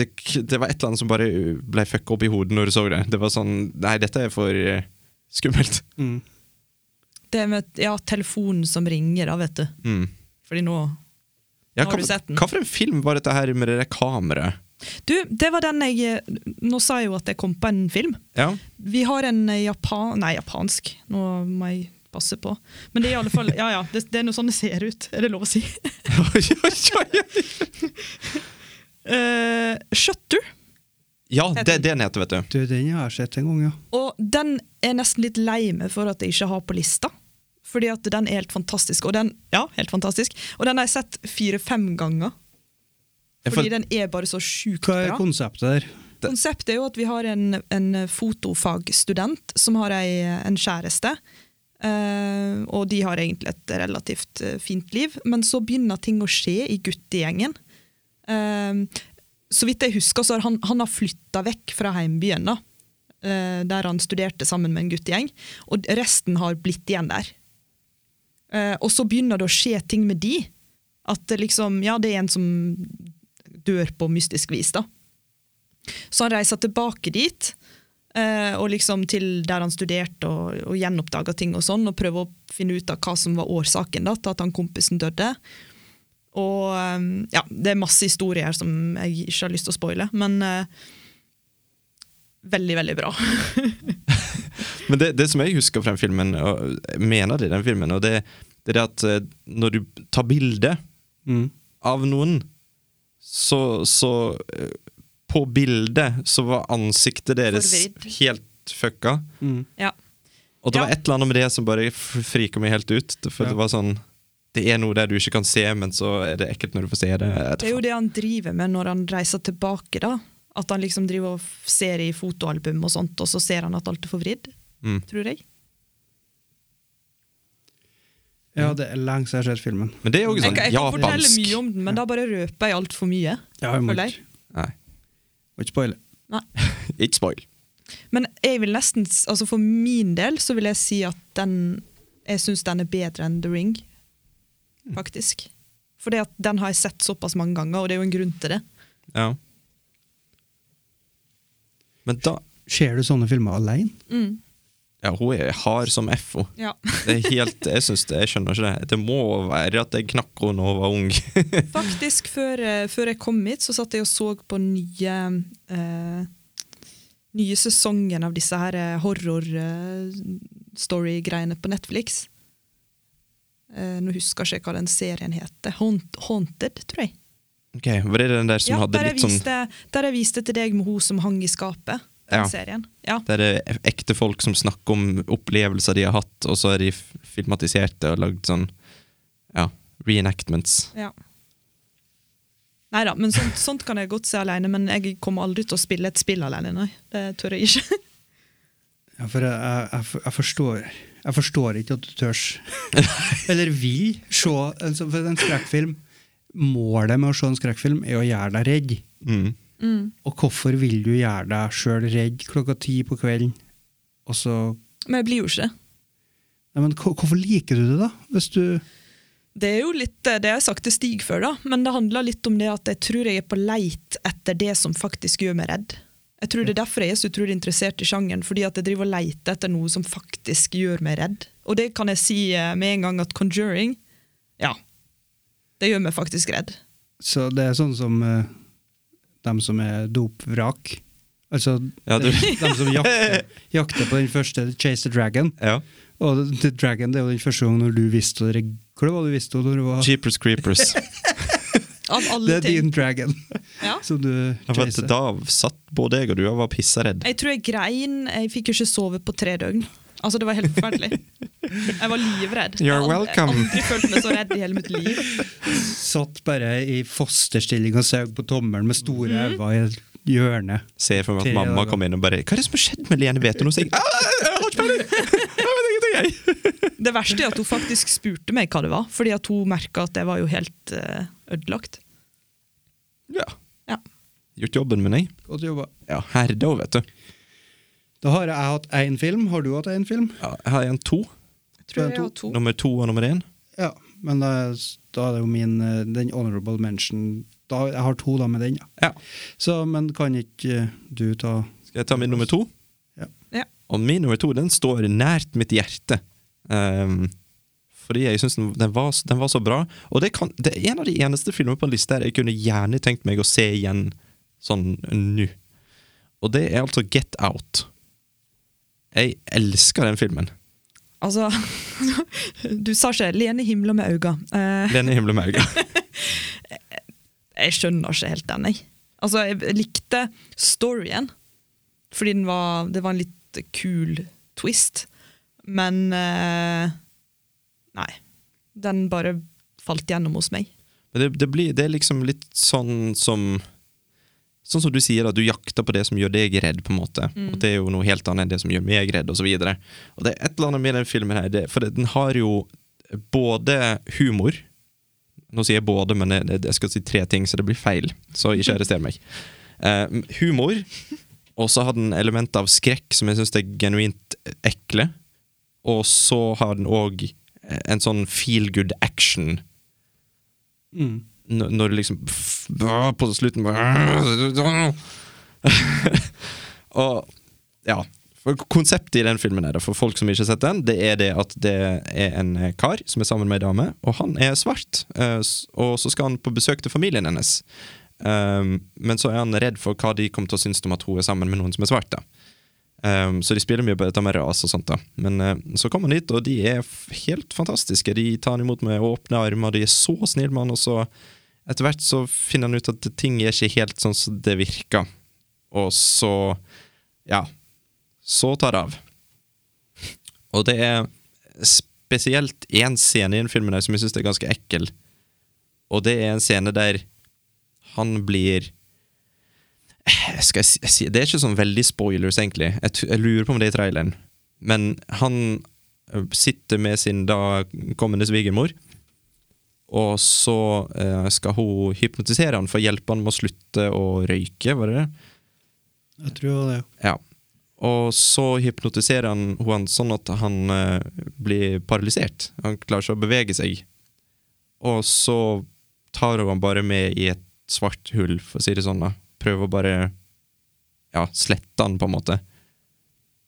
det var et eller annet som bare ble fucka opp i hodet når du så det. Det var sånn Nei, dette er for eh, skummelt.
Mm.
Det med ja, telefonen som ringer, da, vet du.
Mm.
Fordi nå
Ja,
Har
hva,
du sett den?
Hva for en film var dette her med det der kameraet?
Du, det var den jeg eh, Nå sa jeg jo at jeg kom på en film.
Ja.
Vi har en eh, japan... Nei, japansk. Nå må jeg passe på. Men det er i
*laughs*
alle fall Ja ja, det, det er noe sånn det ser ut. Er det lov å si?
Oi, oi, oi.
*laughs* Eh, Shutter.
ja, det er det den heter, vet du.
Du, den har jeg sett en gang, ja.
Og den er nesten litt lei meg for at jeg ikke har på lista. Fordi at den er helt fantastisk. Og den, ja, helt fantastisk. Og den har jeg sett fire-fem ganger.
Ja, for-
Fordi den er bare så sjukt
Hva er
bra.
konseptet der?
Konseptet er jo at vi har en, en fotofagstudent som har ei, en kjæreste. eh, og de har egentlig et relativt eh, fint liv, men så begynner ting å skje i guttegjengen. Eh, så vidt jeg husker, så har han, han har flytta vekk fra heimbyen, da, eh, der han studerte sammen med en guttegjeng, og resten har blitt igjen der. Eh, og så begynner det å skje ting med de. At det liksom, ja, det er en som dør på mystisk vis, da. Så han reiser tilbake dit, eh, og liksom til der han studerte og, og gjenoppdaga ting og sånn, og prøver å finne ut av hva som var årsaken da, til at han kompisen døde. Og eh, ja, det er masse historier her som jeg ikke har lyst til å spoile, men eh, veldig, veldig bra. *laughs*
Men det, det som jeg husker fra den filmen, og jeg mener det i den filmen, og det, det er det at eh, når du tar bilde
Mm.
av noen, så, så eh, På bildet så var ansiktet deres
Forvridd.
helt fucka.
Ja.
Og det
Ja.
var et eller annet med det som bare f- frika meg helt ut. For
Ja.
det var sånn Det er noe der du ikke kan se, men så er det ekkelt når du får se det. Jeg vet
Det er jo det han driver med når han reiser tilbake, da. At han liksom driver og f- ser i fotoalbum og sånt, og så ser han at alt er forvridd,
Mm.
tror jeg.
Ja, det er lenge siden jeg har sett filmen.
Men det er jo ikke
Jeg,
sånn
kan- jeg kan fortelle
japansk.
mye om den, men da bare røper jeg altfor mye.
Ja, jeg må
føler jeg.
ikke-
Nei,
må ikke spoile.
Nei.
ikke spoil.
Men jeg vil nesten, s- altså for min del så vil jeg si at den, jeg syns den er bedre enn The Ring, faktisk. For den har jeg sett såpass mange ganger, og det er jo en grunn til det.
Ja. Men da
Ser du sånne filmer alene?
Ja, hun er hard som F, hun.
Ja,
Det er helt, jeg, synes det, jeg skjønner ikke det. Det må være at jeg knakk henne da hun var ung. *laughs*
*laughs* Faktisk, før, eh, før jeg kom hit, så satt jeg og så på nye eh, nye sesongen av disse her eh, horror eh, story-greiene på Netflix. Eh, nå husker jeg ikke hva den serien heter. Haunt, Haunted, tror jeg.
ok, Var det den der som
ja,
hadde
der, jeg
litt sånn
viste, der jeg viste til deg med hun som hang i skapet. Den
Ja.
serien. Ja.
Der det er ekte folk som snakker om opplevelser de har hatt, og så er de f- filmatisert det og lagd sånn Ja, reenactments.
Ja. Nei da, men sånt, sånt kan jeg godt se alene, men jeg kommer aldri til å spille et spill alene, nei. Det tør jeg ikke.
Ja, for jeg, jeg, jeg for- jeg, forstår, jeg forstår ikke at du tørs. *laughs* Eller vil se en, sånn- for en skrekkfilm. Målet med å se en skrekkfilm er å gjøre deg redd.
Mm.
Og hvorfor vil du gjøre deg sjøl redd klokka ti på kvelden? Og så
Men jeg blir jo ikke det.
Nei, men hvor- hvorfor liker du det, da? Hvis du
Det er jo litt eh, det jeg har sagt til Stig før, da, men det handler litt om det at jeg tror jeg er på leit etter det som faktisk gjør meg redd. Jeg tror Det er derfor jeg er så utrolig interessert i sjangeren, fordi at jeg driver og leter etter noe som faktisk gjør meg redd. Og det kan jeg si eh, med en gang at conjuring, ja, det gjør meg faktisk redd.
Så det er sånn som eh, dem som er dopvrak. Altså
Ja, du-
*laughs* dem som jakter, jakter på den første Chase the Dragon.
Ja.
Og The Dragon det er jo den første gangen når du visste og Hva var det du visste når du var
Jeepers Creepers.
Av
Det
alle
er
ting.
din dragon
Ja.
*laughs* som du
Ja, for at
chaser.
da satt både jeg og du og var pisseredd.
Jeg tror jeg grein. Jeg fikk jo ikke sove på tre døgn. Altså, Det var helt
*laughs*
forferdelig. Jeg var livredd.
You're
jeg har
welcome.
aldri følt meg så redd i hele mitt liv.
Satt bare i fosterstilling og saug på tommelen med store øyne i et hjørne.
Ser jeg for meg
Tre
at mamma
dager.
kom inn og bare 'Hva er det som har skjedd med Lene Veton?' Og så jeg, «Ah, jeg har ikke peiling! Jeg vet ingenting, jeg!»
Det verste er at hun faktisk spurte meg hva det var, fordi at hun merka at jeg var jo helt eh, ødelagt.
Ja.
Ja.
Gjort jobben min, jeg.
Godt jobba.
Ja, herda, vet du.
Da har jeg hatt én film. Har du hatt én film?
Ja, jeg har igjen to.
Jeg tror jeg
To-
har to.
Nummer to og nummer én.
Ja, men da, da er det jo min eh, den honorable mention da, Jeg har to da med den, ja.
Ja.
Så, men kan ikke eh, du ta
Skal jeg ta min nummer to?
Ja.
Ja.
Og min nummer to den står nært mitt hjerte. Ehm, fordi jeg syns den, den, var s- den var så bra. Og det, kan, det er en av de eneste filmene på en liste her jeg kunne gjerne tenkt meg å se igjen sånn nå. Og det er altså Get Out. Jeg elsker den filmen.
Altså, *laughs* du sa ikke 'Lene himler med auga'. Eh,
Lene Himle med øynene.
jeg skjønner ikke helt den, jeg. Altså, jeg likte storyen, fordi den var, det var en litt kul twist. Men eh, Nei. Den bare falt gjennom hos meg.
Men det, det, blir, det er liksom litt sånn som Sånn som du sier, at du jakter på det som gjør deg redd, på en måte. Og det er jo noe helt annet enn det som gjør meg redd, og så videre. Og det er et eller annet med den filmen her, det, for det- den har jo både humor Nå sier jeg både, men jeg, jeg skal si tre ting, så det blir feil. Så ikke arrester meg. Eh, humor, og så har den element av skrekk som jeg syns er genuint ekle. Og så har den òg en sånn feel good action når når du liksom pff, bra, På slutten bare *laughs* Og ja. For konseptet i den filmen er det, for folk som ikke har sett den, det er det at det er en kar som er sammen med ei dame, og han er svart. eh, s- Og så skal han på besøk til familien hennes. Um, men så er han redd for hva de kommer til å synes om at hun er sammen med noen som er svart. da Um, så de spiller mye på dette med ras og sånt. da Men eh, så kommer han dit, og de er f helt fantastiske. De tar han imot med åpne armer, de er så snille med han, og så etter hvert så finner han ut at ting er ikke helt sånn som det virker. Og så Ja. Så tar det av. Og det er spesielt én scene i den filmen her som jeg syns er ganske ekkel. Og det er en scene der han blir *sighs* skal jeg si, jeg si, Det er ikke sånn veldig spoilers, egentlig. Jeg, t jeg lurer på om det er i traileren. Men han ø, sitter med sin da kommende svigermor, og så ø, skal hun hypnotisere han for å hjelpe han med å slutte å røyke, var det det?
Jeg tror det.
Ja. Og så hypnotiserer han henne sånn at han eh, blir paralysert. Han klarer ikke å bevege seg. Og så tar hun han bare med i et svart hull, for å si det sånn. da. Prøver å bare ja, slette han, på en måte.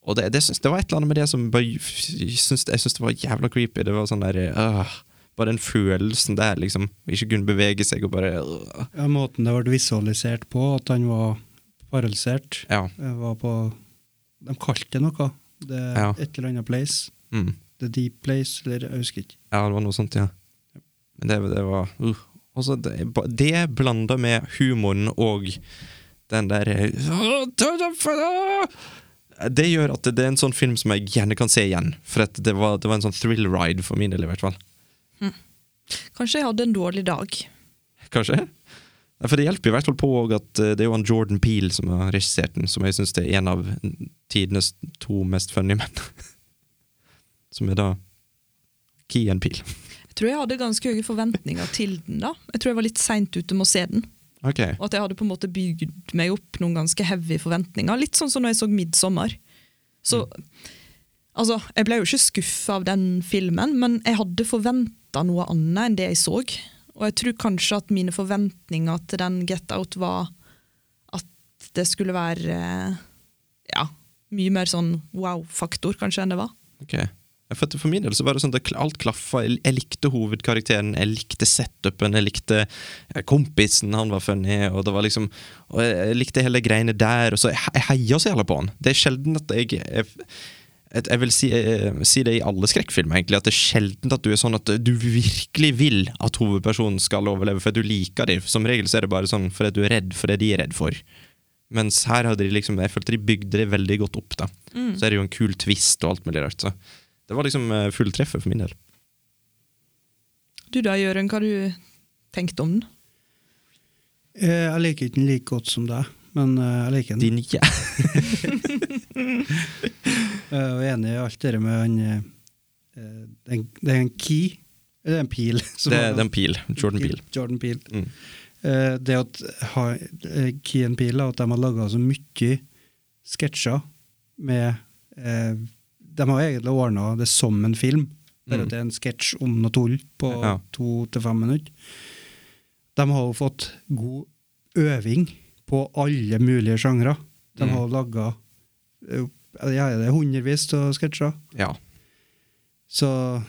Og det, det, syns- det var et eller annet med det som bare, jeg syns, jeg syns det var jævla creepy. Det var sånn der øh, Bare den følelsen der, liksom. Ikke kunne bevege seg og bare øh.
Ja, måten det ble visualisert på, at han var paralysert,
Ja.
eh, var på De kalte det noe. Det
Ja.
Et eller annet place.
Mm.
The Deep Place, eller jeg husker ikke.
Ja, det var noe sånt, ja. Men det, det var uh. Og så det, det blanda med humoren og den der Det gjør at det er en sånn film som jeg gjerne kan se igjen. For at det, var, det var en sånn thrill ride for min del, i hvert fall.
Kanskje jeg hadde en dårlig dag.
Kanskje? Ja, For det hjelper i hvert fall på og at eh, det er jo han Jordan Peele som har regissert den, som jeg syns er en av tidenes to mest funny menn. *laughs* Som er da Kian Peele.
Jeg tror jeg hadde ganske høye forventninger til den. da. Jeg tror jeg var litt seint ute med å se den.
Ok.
Og at jeg hadde på en måte bygd meg opp noen ganske heavy forventninger. Litt sånn som når jeg så 'Midtsommer'. Så altså, jeg ble jo ikke skuffa av den filmen, men jeg hadde forventa noe annet enn det jeg så. Og jeg tror kanskje at mine forventninger til den Get Out var at det skulle være eh, ja, mye mer sånn wow-faktor, kanskje, enn det var.
Ok. Ja, For, at for min del så var det sånn at alt klaffa. Jeg, jeg likte hovedkarakteren, jeg likte setupen, jeg likte eh, kompisen han var funny, og det var liksom Og jeg, jeg likte hele greiene der, og så jeg, jeg heia så jævla på han. Det er sjelden at jeg, jeg et- jeg vil si, eh, si det i alle skrekkfilmer, egentlig, at det er sjelden at du er sånn at du virkelig vil at hovedpersonen skal overleve, for at du liker dem. Som regel så er det bare sånn fordi du er redd for det de er redd for. Mens her hadde de liksom, jeg følte de bygde det veldig godt opp. da. Så er det jo en kul twist og alt mulig rart. så Det var liksom eh, fulltreffet for min del.
Du da, Jørund, hva har du tenkt om den?
Eh, Jeg liker ikke den like godt som deg, men eh, jeg liker den.
Din *laughs* jæ...
Eh, Og jeg er enig i alt det der med han eh, eh, den- Det er en key, eller en pil. *laughs* som
Det,
har-
det er en pil. Jordan Pil.
Jordan Peele.
Mm.
Eh, det at ha, eh, Key and Peele, at de har laga så mye sketsjer med eh, De har egentlig ordna det som en film, bare at det er en sketsj om noe tull på
Mm. Ja.
to til fem minutter. De har jo fått god øving på alle mulige sjangre. De
Mm.
har laga ja, det er hundrevis av sketsjer.
Ja.
Så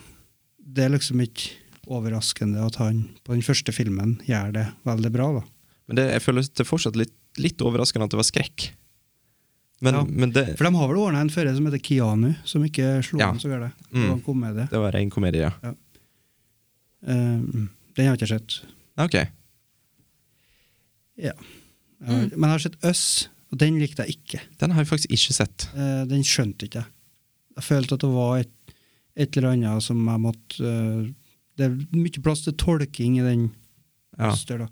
det er liksom ikke overraskende at han på den første filmen gjør det veldig bra, da.
Men det, jeg føler det er fortsatt litt, litt overraskende at det var skrekk. Men,
Ja.
men det,
For de har vel ordna en fører som heter Kianu, som ikke slo
Ja.
an så gærent. Det
Mm.
var en komedie.
det var ren komedie, ja.
Eh, mm, den har jeg ikke sett.
Ok.
Ja. Jeg har, Men jeg har sett Øss, og den likte jeg ikke.
Den har jeg faktisk ikke sett.
Eh, den skjønte ikke jeg. Jeg følte at det var et, et eller annet som jeg måtte eh, Det er mye plass til tolking i den.
Ja.
Øster, da.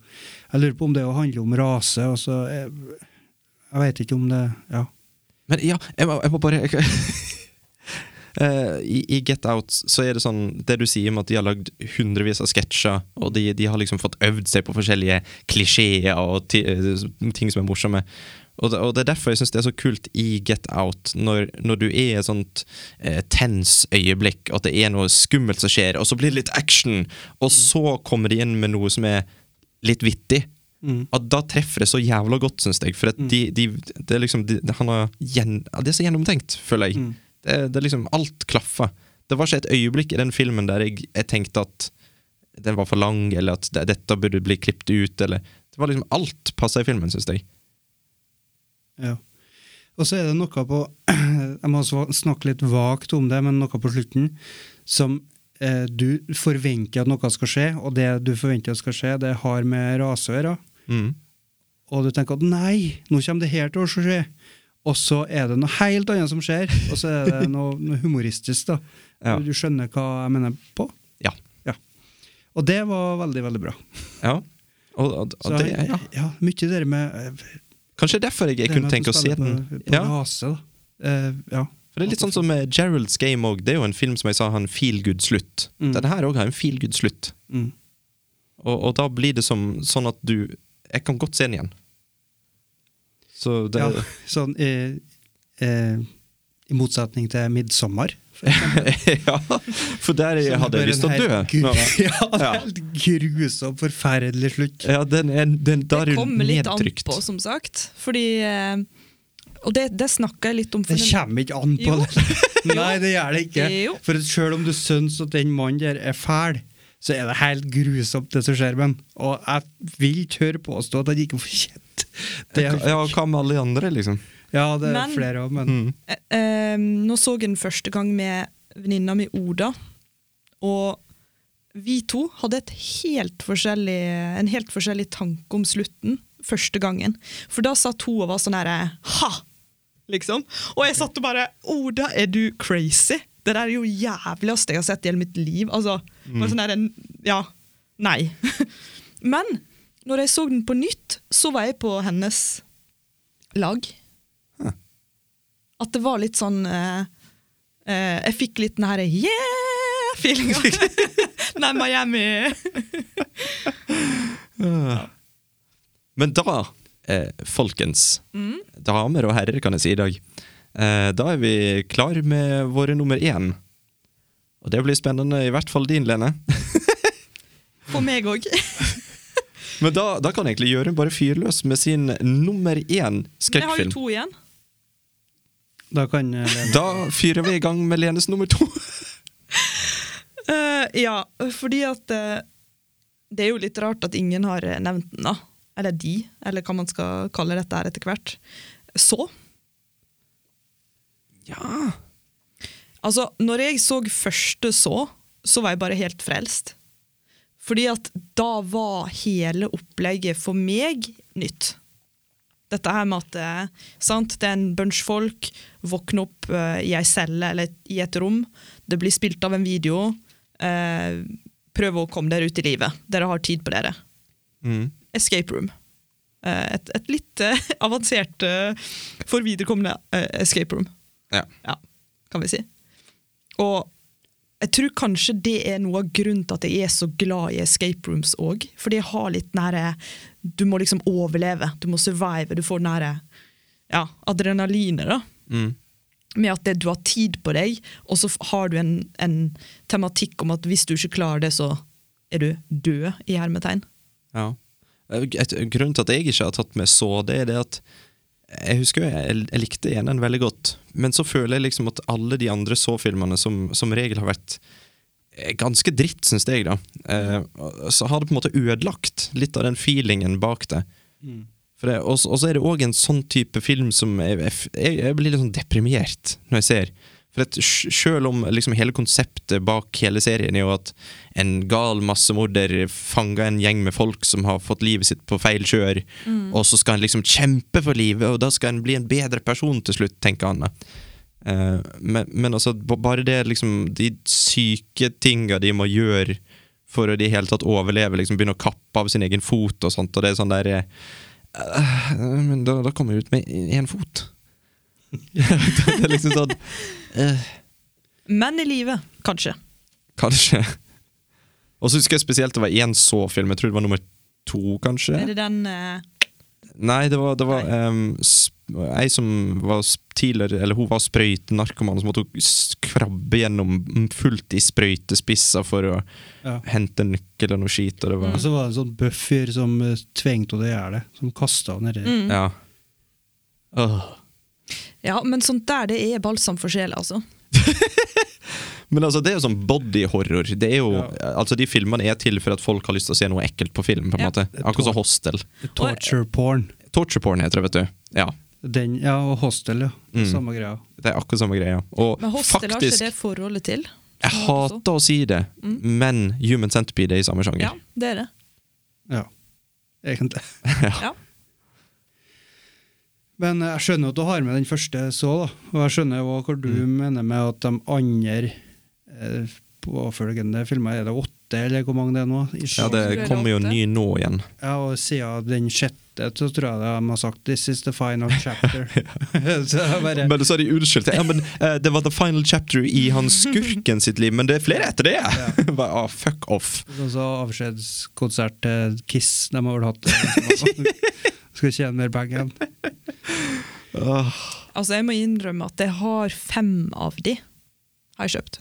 Jeg lurer på om det å handle om rase. og så jeg, jeg vet ikke om det Ja.
Men ja, jeg må, jeg må bare *laughs* Eh, i, I Get Out så er det sånn Det du sier om at de har lagd hundrevis av sketsjer, og de, de har liksom fått øvd seg på forskjellige klisjeer og ti, eh, ting som er morsomme. Og det, og det er derfor jeg syns det er så kult i Get Out, når, når du er i et sånt eh, tens øyeblikk, og at det er noe skummelt som skjer, og så blir det litt action, og så kommer de inn med noe som er litt vittig Mm.
Mm.
at da treffer det så jævla godt, syns jeg. For at de, de, det er liksom de, han har gjen, ja, Det er så gjennomtenkt, føler jeg.
Mm.
Det, det er liksom Alt klaffer. Det var ikke et øyeblikk i den filmen der jeg, jeg tenkte at den var for lang, eller at det, dette burde bli klippet ut, eller Det var liksom Alt passa i filmen, syns jeg.
Ja. Og så er det noe på *clears throat* Jeg må sva- snakke litt vagt om det, men noe på slutten som eh, du forventer at noe skal skje, og det du forventer at skal skje, det har med rase å gjøre.
Mm.
Og du tenker at nei, nå kommer det her til å skje. Og så er det noe helt annet som skjer, og så er
*laughs*
det noe, noe humoristisk. da.
Ja.
Du skjønner hva jeg mener på?
Ja.
Ja. Og det var veldig, veldig bra.
ja. Og, og, og
Så
det,
jeg-
ja.
ja, mye det der med eh,
Kanskje derfor jeg, jeg
det med
kunne
at du
tenke å se
spiller
den.
På, på
Ja.
rase, da. Eh, ja.
For Det er litt sånn som eh, Gerald's Game òg. Det er jo en film som jeg sa har en feel good-slutt.
Mm.
Denne her òg har en feel good-slutt.
Mm.
Og, og da blir det som, sånn at du Jeg kan godt se den igjen. Så det
Ja, sånn eh, eh, I motsetning til 'Midtsommer'.
*laughs* Ja, for der
som
hadde
bare
jeg lyst til å
en
dø.
helt gru-
Nå-
*laughs* ja, en
Ja. Eh,
helt grusom, forferdelig slutt.
Ja, den er, den, der
det
er du
kommer litt an
nedtrykt.
på, som sagt. Fordi eh, Og det, det snakka jeg litt om. for
Det
den-
kommer ikke an på
Jo.
det.
*laughs*
Nei, det gjør det ikke.
Jo.
For selv om du syns at den mannen der er fæl, så er det helt grusomt, det som skjer med han. Og jeg vil tørre påstå at han ikke fortjente det. han
Ja, Mm.
fikk.
hva med alle de andre, liksom?
Ja, det er
Men-
flere òg, men
Eh, eh, nå så jeg den første gang med venninna mi Oda, og vi to hadde et helt forskjellig, en helt forskjellig tanke om slutten første gangen. For da satt hun og var sånn herre ha! Liksom. Og jeg satt og bare Oda, er du crazy? Det der er jo jævligste jeg har sett i hele mitt liv. Altså, bare sånn der, ja, nei. *laughs* Men når jeg så den på nytt, så var jeg på hennes lag. At det var litt sånn eh, eh, Jeg fikk litt den her yeah-feelinga. *laughs* Nei, Miami. *laughs*
Men da, eh, folkens,
Mm.
damer og herrer, kan jeg si i dag, eh, da er vi klar med våre nummer én. Og det blir spennende, i hvert fall din, Lene.
For meg òg.
Men da, da kan egentlig Jørund bare fyre løs med sin nummer én
Jeg har jo
skrekkfilm.
to igjen.
da kan eh, Lene-
Da fyrer vi i gang med Lenes nummer to.
Eh, ja, fordi at eh, Det er jo litt rart at ingen har eh, nevnt den, da. Eller de, eller hva man skal kalle dette her etter hvert. Så.
Ja.
Altså, når jeg så første så, så var jeg bare helt frelst. Fordi at da var hele opplegget for meg nytt. Dette her med at eh, sant, det er en bunch folk, våkner opp eh, i ei celle eller i et rom, det blir spilt av en video, eh, prøv å komme dere ut i livet. Dere har tid på dere.
Mm.
Escape Room. Eh, et, et litt eh, *laughs* avansert eh, for viderekomne eh, Escape Room
ja.
ja, kan vi si. Og jeg tror kanskje det er noe av grunnen til at jeg er så glad i escape rooms òg. Fordi jeg har litt nære Du må liksom overleve, du må survive. Du får nære ja, adrenalinet, da.
Mm.
Med at det, du har tid på deg, og så har du en, en tematikk om at hvis du ikke klarer det, så er du død, i hermetegn.
Ja. Et, grunnen til at jeg ikke har tatt med så det, er det at jeg husker jo jeg, jeg likte enen veldig godt, men så føler jeg liksom at alle de andre så-filmene som, som regel har vært eh, ganske dritt, syns jeg, da. Eh, og- så har det på en måte ødelagt litt av den feelingen bak det. For det og, så- og så er det òg en sånn type film som jeg, jeg, f- jeg jeg blir litt sånn deprimert når jeg ser. For at sj- Selv om liksom hele konseptet bak hele serien er jo at en gal massemorder fanger en gjeng med folk som har fått livet sitt på feil kjør, og så skal en liksom kjempe for livet, og da skal en bli en bedre person til slutt, tenker han. Eh, men, men altså, b- bare det liksom De syke tinga de må gjøre for å i det hele tatt overleve, liksom begynne å kappe av sin egen fot og sånt, og det er sånn der eh, Eh, Men da, da kommer jeg ut med én *laughs* fot. det er liksom sånn eh,
Men i live, kanskje.
Kanskje. Og så husker jeg spesielt det var én så-film. Jeg tror det var nummer to, kanskje.
Er det den eh,
Nei, det var, det var ehm, sp- ei som var s- tidligere Eller hun var sprøytenarkoman, som måtte hun s- krabbe gjennom fullt i sprøytespisser for å
Ja.
hente en nøkkel og noe skit. Og det var,
Og så var det en sånn bøffer som eh, tvingte henne til å gjøre det, som kasta henne nedi.
ja. Åh.
Ja, men sånt der, det er balsam for sjela, altså.
Men altså, det er jo sånn body horror. Det er jo, altså, de filmene er til for at folk har lyst til å se noe ekkelt på film. på en
Ja.
måte. Akkurat som Hostel.
Mm.
Torture porn.
Torture porn heter det, vet du. Ja,
Den, ja, og hostel, ja.
Mm.
Samme greia.
Det er akkurat samme greia. Og
Men hostel har ikke
faktisk,
det forholdet til.
jeg hater å si det, men Human Centipede er i samme sjanger.
Mm. Ja, det er det.
Ja. Egentlig.
Ja.
Men jeg skjønner at du har med den første så, da. Og jeg skjønner jo hva du
Mm.
mener med at de andre eh, påfølgende filmer, er det åtte, eller hvor mange det er nå? Ish.
Ja,
Tror
det
jeg
kommer jo
lovte.
ny nå igjen.
Ja, og siden den sjette, så tror jeg de har sagt 'This is the
*laughs*
final chapter'. *laughs* så jeg bare
Men så har de unnskyldt det. Ja, men eh, det var the final chapter i
*laughs*
han skurken sitt liv, men det er flere etter det! *laughs* Bare, ah, fuck off.
Sånn som avskjedskonsert til Kiss, de har vel
*laughs*
hatt det. liksom, Skal tjene mer penger.
Altså, jeg må innrømme at jeg har fem av de har jeg kjøpt.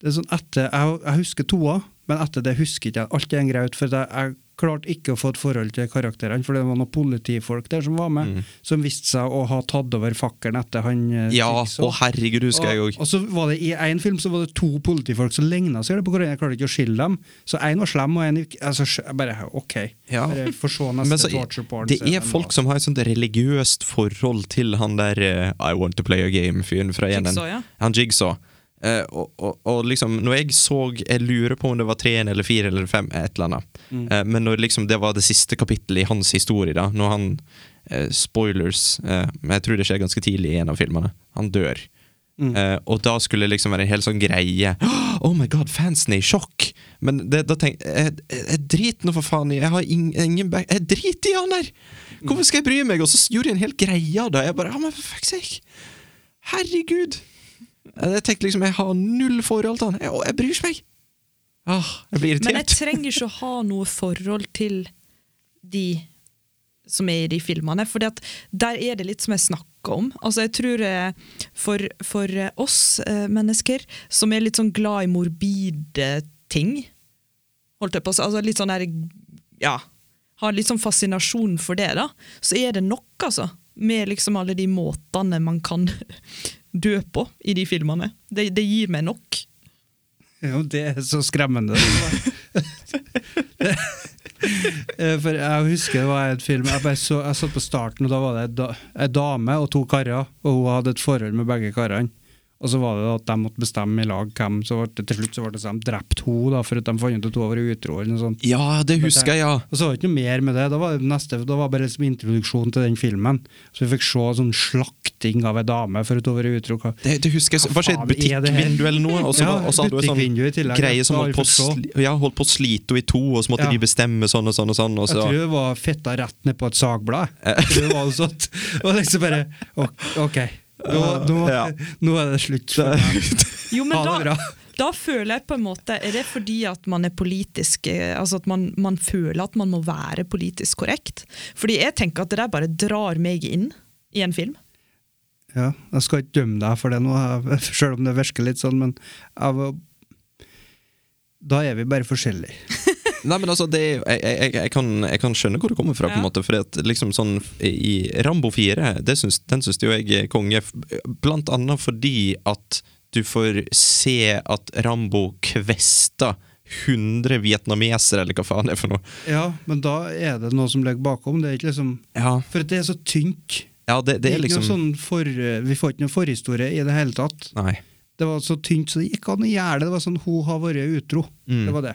Det er sånn etter, jeg, jeg husker toa, men etter det husker ikke jeg alt er en greie ut, for jeg, jeg klarte ikke å få et forhold til karakterene, for det var noen politifolk der som var med,
Mhm.
som viste seg å ha tatt over fakkelen etter han eh,
Ja,
Tixo.
å herregud, husker jeg
og,
òg.
og så var det I én film så var det to politifolk som ligna seg på hverandre. Jeg klarte ikke å skille dem. Så én var slem, og én altså, skj- jeg Bare OK.
Ja.
Bare få se
Men
neste
så,
torture porn.
det
scenen,
er folk
da.
som har et sånt religiøst forhold til han der eh, I want to play a game-fyren fra Jemen.
Jigsaw, ja.
Han Jigsaw. Eh, og, og, og liksom, når jeg så Jeg lurer på om det var treen eller fire eller fem, et eller annet. Eh, men når liksom det var det siste kapittelet i hans historie, da når han eh, Spoilers, eh, men jeg tror det skjer ganske tidlig i en av filmene. Han dør. Eh, og da skulle det liksom være en hel sånn greie. *gasps* Oh my god, fansen er i sjokk! Men det, da tenk, jeg, jeg, jeg driter nå for faen i Jeg har ing, ingen back... Jeg driter i han der! Hvorfor skal jeg bry meg? Og så gjorde jeg en hel greie av det. Jeg bare, ja, men for fuck's sake Herregud! Jeg tenkte liksom, jeg har null forhold til han. Jeg, og jeg bryr meg! Ah, jeg blir
Men jeg
irritert.
trenger ikke å ha noe forhold til de som er i de filmene, for der er det litt som jeg snakker om. Altså, jeg tror eh, for, for eh, oss eh, mennesker som er litt sånn glad i morbide ting, holdt jeg på å si, altså litt sånn der, ja, har litt sånn fascinasjon for det, da, så er det nok, altså, med liksom alle de måtene man kan *laughs* dø på i de filmene. Det, det gir meg nok.
Jo, det er så skremmende. Eh, *laughs* For jeg husker det var en film Jeg, bare så, jeg satt på starten, og da var det ei da- ei dame og to karer, og hun hadde et forhold med begge karene. Og så var det da at de måtte bestemme i lag hvem, så ble det, til slutt så ble det sånn, de drept henne da, for at de fant ut at hun var utro. eller noe sånt.
Ja, det husker jeg, ja.
Og så var det ikke noe mer med det. Da var det neste, da var det bare liksom introduksjon til den filmen. Så vi fikk se sånn slakting av ei dame for at hun var utro. Hva-
Det, det husker jeg, så-
Hva
Var ikke et
faen er det her?
butikkvindu eller noe? Og så
Ja,
var- og så hadde du en
butikkvindu i
sånn
tillegg, ja.
greie
Da
som
har
holdt
vi
på, å
fått
sli- ja, holdt på å slite henne i to, og så måtte
Ja.
de bestemme sånn og sånn. og sånn og så, Eh.
Jeg tror det var fetta rett ned på et sagblad. Jeg tror Det var noe sånt. Og liksom bare ok, OK. Nå, nå,
Ja.
nå er det slutt. For
*laughs*
meg.
Jo, men
Ha det
da,
bra.
da føler jeg på en måte Er det fordi at man er politisk eh, Altså at man, man føler at man må være politisk korrekt? Fordi jeg tenker at det der bare drar meg inn i en film.
Ja, jeg skal ikke dømme deg for det nå, jeg- *laughs* selv om det virker litt sånn, men jeg var da er vi bare
*laughs*
forskjellige.
Nei, men altså, det, er- jeg, jeg, jeg, kan, jeg kan skjønne hvor det kommer fra, på en
Ja.
måte. For at, liksom, sånn, i Rambo 4, det syns, den syns jo jeg er konge. f- Blant annet fordi at du får se at Rambo kvester 100 vietnamesere, eller hva faen det er for noe.
Ja, men da er det noe som ligger bakom. Det er ikke liksom
Ja,
For det er så tynt.
ja det, det er
ikke
liksom
noe sånn for, vi får ikke noe forhistorie i det hele tatt.
Nei.
Det var så tynt, så det gikk an å gjøre det. Det var sånn 'hun har vært utro'.
Mm.
Det var det.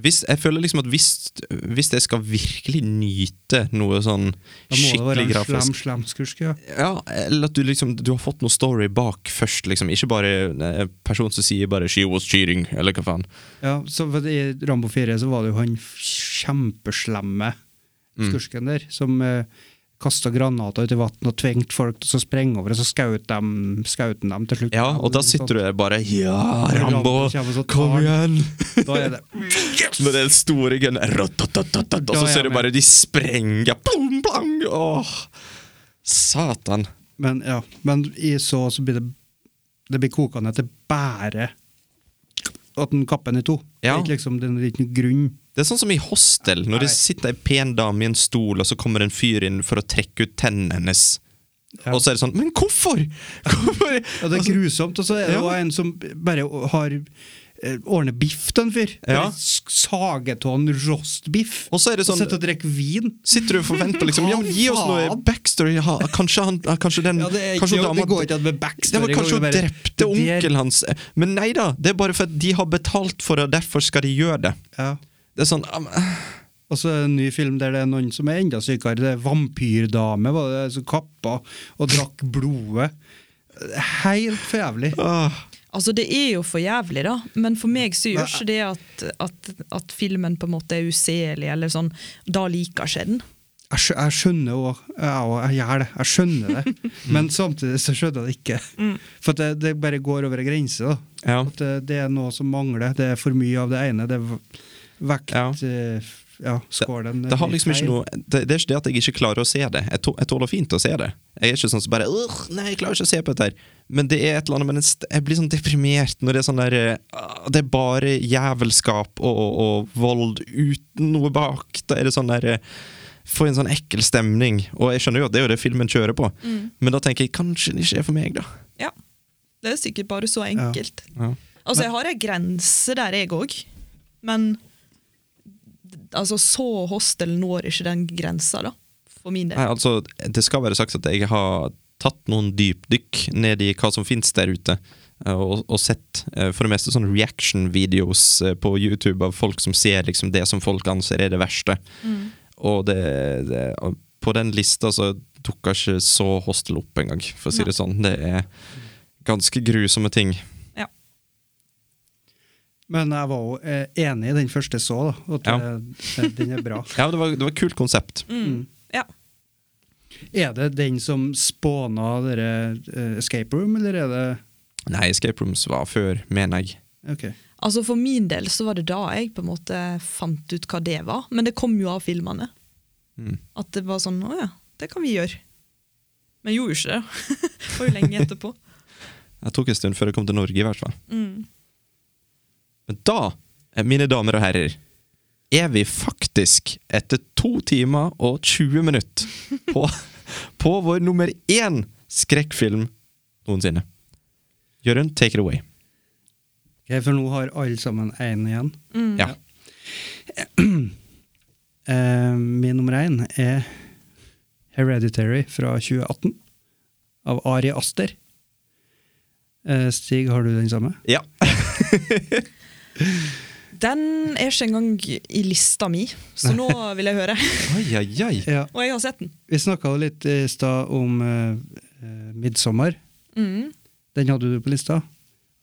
Hvis, jeg føler liksom at hvis, hvis jeg skal virkelig nyte noe sånn
Da må det være
skikkelig
en slem,
grafisk
slem skurk. Ja.
Ja, eller at du liksom Du har fått noe story bak først, liksom. Ikke bare en person som sier bare 'she was cheating', eller hva faen.
Ja, så for I Rambo 4 så var det jo han kjempeslemme
Mm.
skursken der, som eh, kasta granater ut i vannet og tvingte folk til å sprenge over, og så skjøt dem- skjøt han dem til slutt.
Ja, og da sitter du der bare 'ja, Rambo, kom *laughs* igjen'!
Da er det
Med den store gunnen ratatatat, Og så ser du bare de sprenger plom, plom! Åh! Satan.
Men ja, men i så så blir det det blir kokende til bare at den kapper den i to. Det
Ja.
er ikke liksom, det er ikke noen grunn.
Det er sånn som i Hostel, når det sitter ei pen dame i en stol, og så kommer en fyr inn for å trekke ut tennene hennes. Og så er det sånn Men hvorfor?! hvorfor? *laughs*
Ja, det er
Altså,
grusomt. Og så er det jo
Ja.
en som bare har eh, ordner biff til en fyr.
Ja.
Bare sk- Saget av en rostbiff.
Og så er det sånn-
Sitter og drikker vin.
Sitter du og forventer liksom Ja, gi oss noe
Faen.
backstory. Ha, kanskje han ja, Kanskje den
Ja, det er ikke-
kanskje
jo,
dama-
det går ikke an med backstory,
Ja, men
det går
Kanskje
jo
hun
bare-
drepte
Det er-
onkelen hans. Men nei da, det er bare for at de har betalt for det, og derfor skal de gjøre det.
Ja.
Det er sånn ah, men-
Og så er det en ny film der det er noen som er enda sykere. Det er vampyrdame var det, som kappa og drakk blodet. Helt for jævlig.
ah.
Altså, det er jo for jævlig, da, men for meg så gjør ikke det at, at, at filmen på en måte er useelig, eller sånn. Da liker ikke jeg den.
Jeg, skjø- jeg skjønner òg. Jeg, og- jeg gjør det. Jeg skjønner det. Men samtidig så skjønner jeg det ikke. For at det, det bare går over ei grense. da.
Ja.
At det, det er noe som mangler. Det er for mye av det ene. Det er v- vekt
Ja.
eh, ja, scoren
Det, har liksom ikke noe, det, det er ikke det at jeg ikke klarer å se det. Jeg, tå- jeg tåler fint å se det. Jeg er ikke sånn som bare «Ugh, Nei, jeg klarer ikke å se på dette her. Men det er et eller annet med den st- Jeg blir sånn deprimert når det er sånn der eh, «Ah, Det er bare jævelskap og, og, og vold uten noe bak. Da er det sånn der eh, Får en sånn ekkel stemning. Og jeg skjønner jo at det er jo det filmen kjører på, men da tenker jeg kanskje det ikke er for meg, da.
Ja. Det er sikkert bare så enkelt. Altså, jeg har ei grense der, jeg òg. Men altså, så hostel når ikke den grensa, da. For min
Nei,
del.
altså, det skal være sagt at jeg har tatt noen dypdykk ned i hva som finnes der ute, eh, og, og sett eh, for det meste sånne reaction-videos eh, på YouTube av folk som ser liksom det som folk anser er det verste. Og det, det og På den lista så dukka ikke så Hostel opp engang, for å si det sånn. Det er ganske grusomme ting.
Ja.
Men jeg var jo eh, enig i den første jeg så, da, at
Ja.
eh, den er bra.
*laughs* Ja, det var, det var et kult konsept.
Mm. ja.
Er det den som spåna dere eh, Escape Room, eller er det
Nei, Escape Rooms var før, mener jeg.
Ok.
Altså, for min del så var det da jeg på en måte fant ut hva det var. Men det kom jo av filmene.
Mm.
At det var sånn Å ja, det kan vi gjøre. Men jeg gjorde jo ikke det. *laughs* det var jo lenge etterpå.
Jeg tok en stund før jeg kom til Norge, i hvert fall. Men da, eh, mine damer og herrer, er vi faktisk, etter to timer og 20 minutter, på, på vår nummer én skrekkfilm noensinne. Jørund, take it away.
ok, for nå har alle sammen én igjen.
Ja.
Eh, min nummer én er Hereditary fra 2018, av Ari Aster. Eh, Stig, har du den samme?
ja.
*laughs* Den er ikke engang i lista mi, så nå vil jeg høre.
Ai, ai, ai.
Ja.
Og jeg har sett den.
Vi snakka jo litt i stad om uh, 'Midtsommer'.
Mm.
Den hadde du på lista.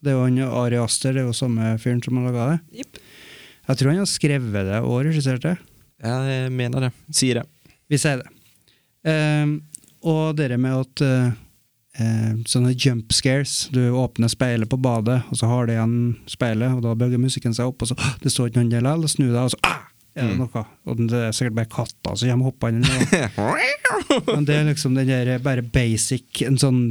Det er jo han Ari Aster, det er jo samme fyren som har laga det.
Jipp.
Jeg tror han har skrevet det og regissert det.
Jeg mener det. Sier det.
Vi sier det. Ehm, og det med at eh, eh, sånne jump scares Du åpner speilet på badet, og så har det igjen speilet, og da bøyer musikken seg opp, og så «Åh, det står ikke noen der likevel, og snu deg, og så ah, er det noe. Og det er sikkert bare katta som kommer hoppende inn. da. Men det er liksom den der bare basic, en sånn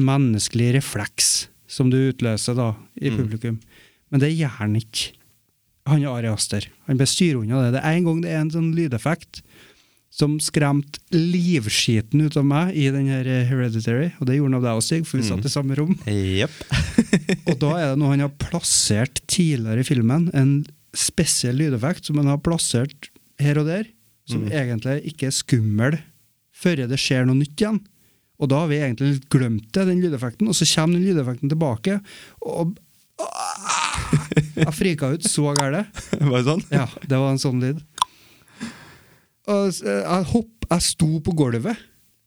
menneskelig refleks som du utløser da, i publikum. Men det gjør han ikke. Han er Ari Aster. Han bare styrer unna det. Det er en gang det er en sånn lydeffekt som skremte livskiten ut av meg i den her eh, Hereditary, og det gjorde han av deg også, Stig, for vi satt i samme rom.
Jepp. *laughs*
Og da er det noe han har plassert tidligere i filmen, en spesiell lydeffekt som han har plassert her og der, som egentlig ikke er skummel før det skjer noe nytt igjen. Og da har vi egentlig litt glemt det, den lydeffekten, og så kommer den lydeffekten tilbake, og Åh! jeg frika ut så gærent.
Var det sånn?
Ja, det var en sånn lyd. Og s- eh, jeg, hopp, jeg sto på gulvet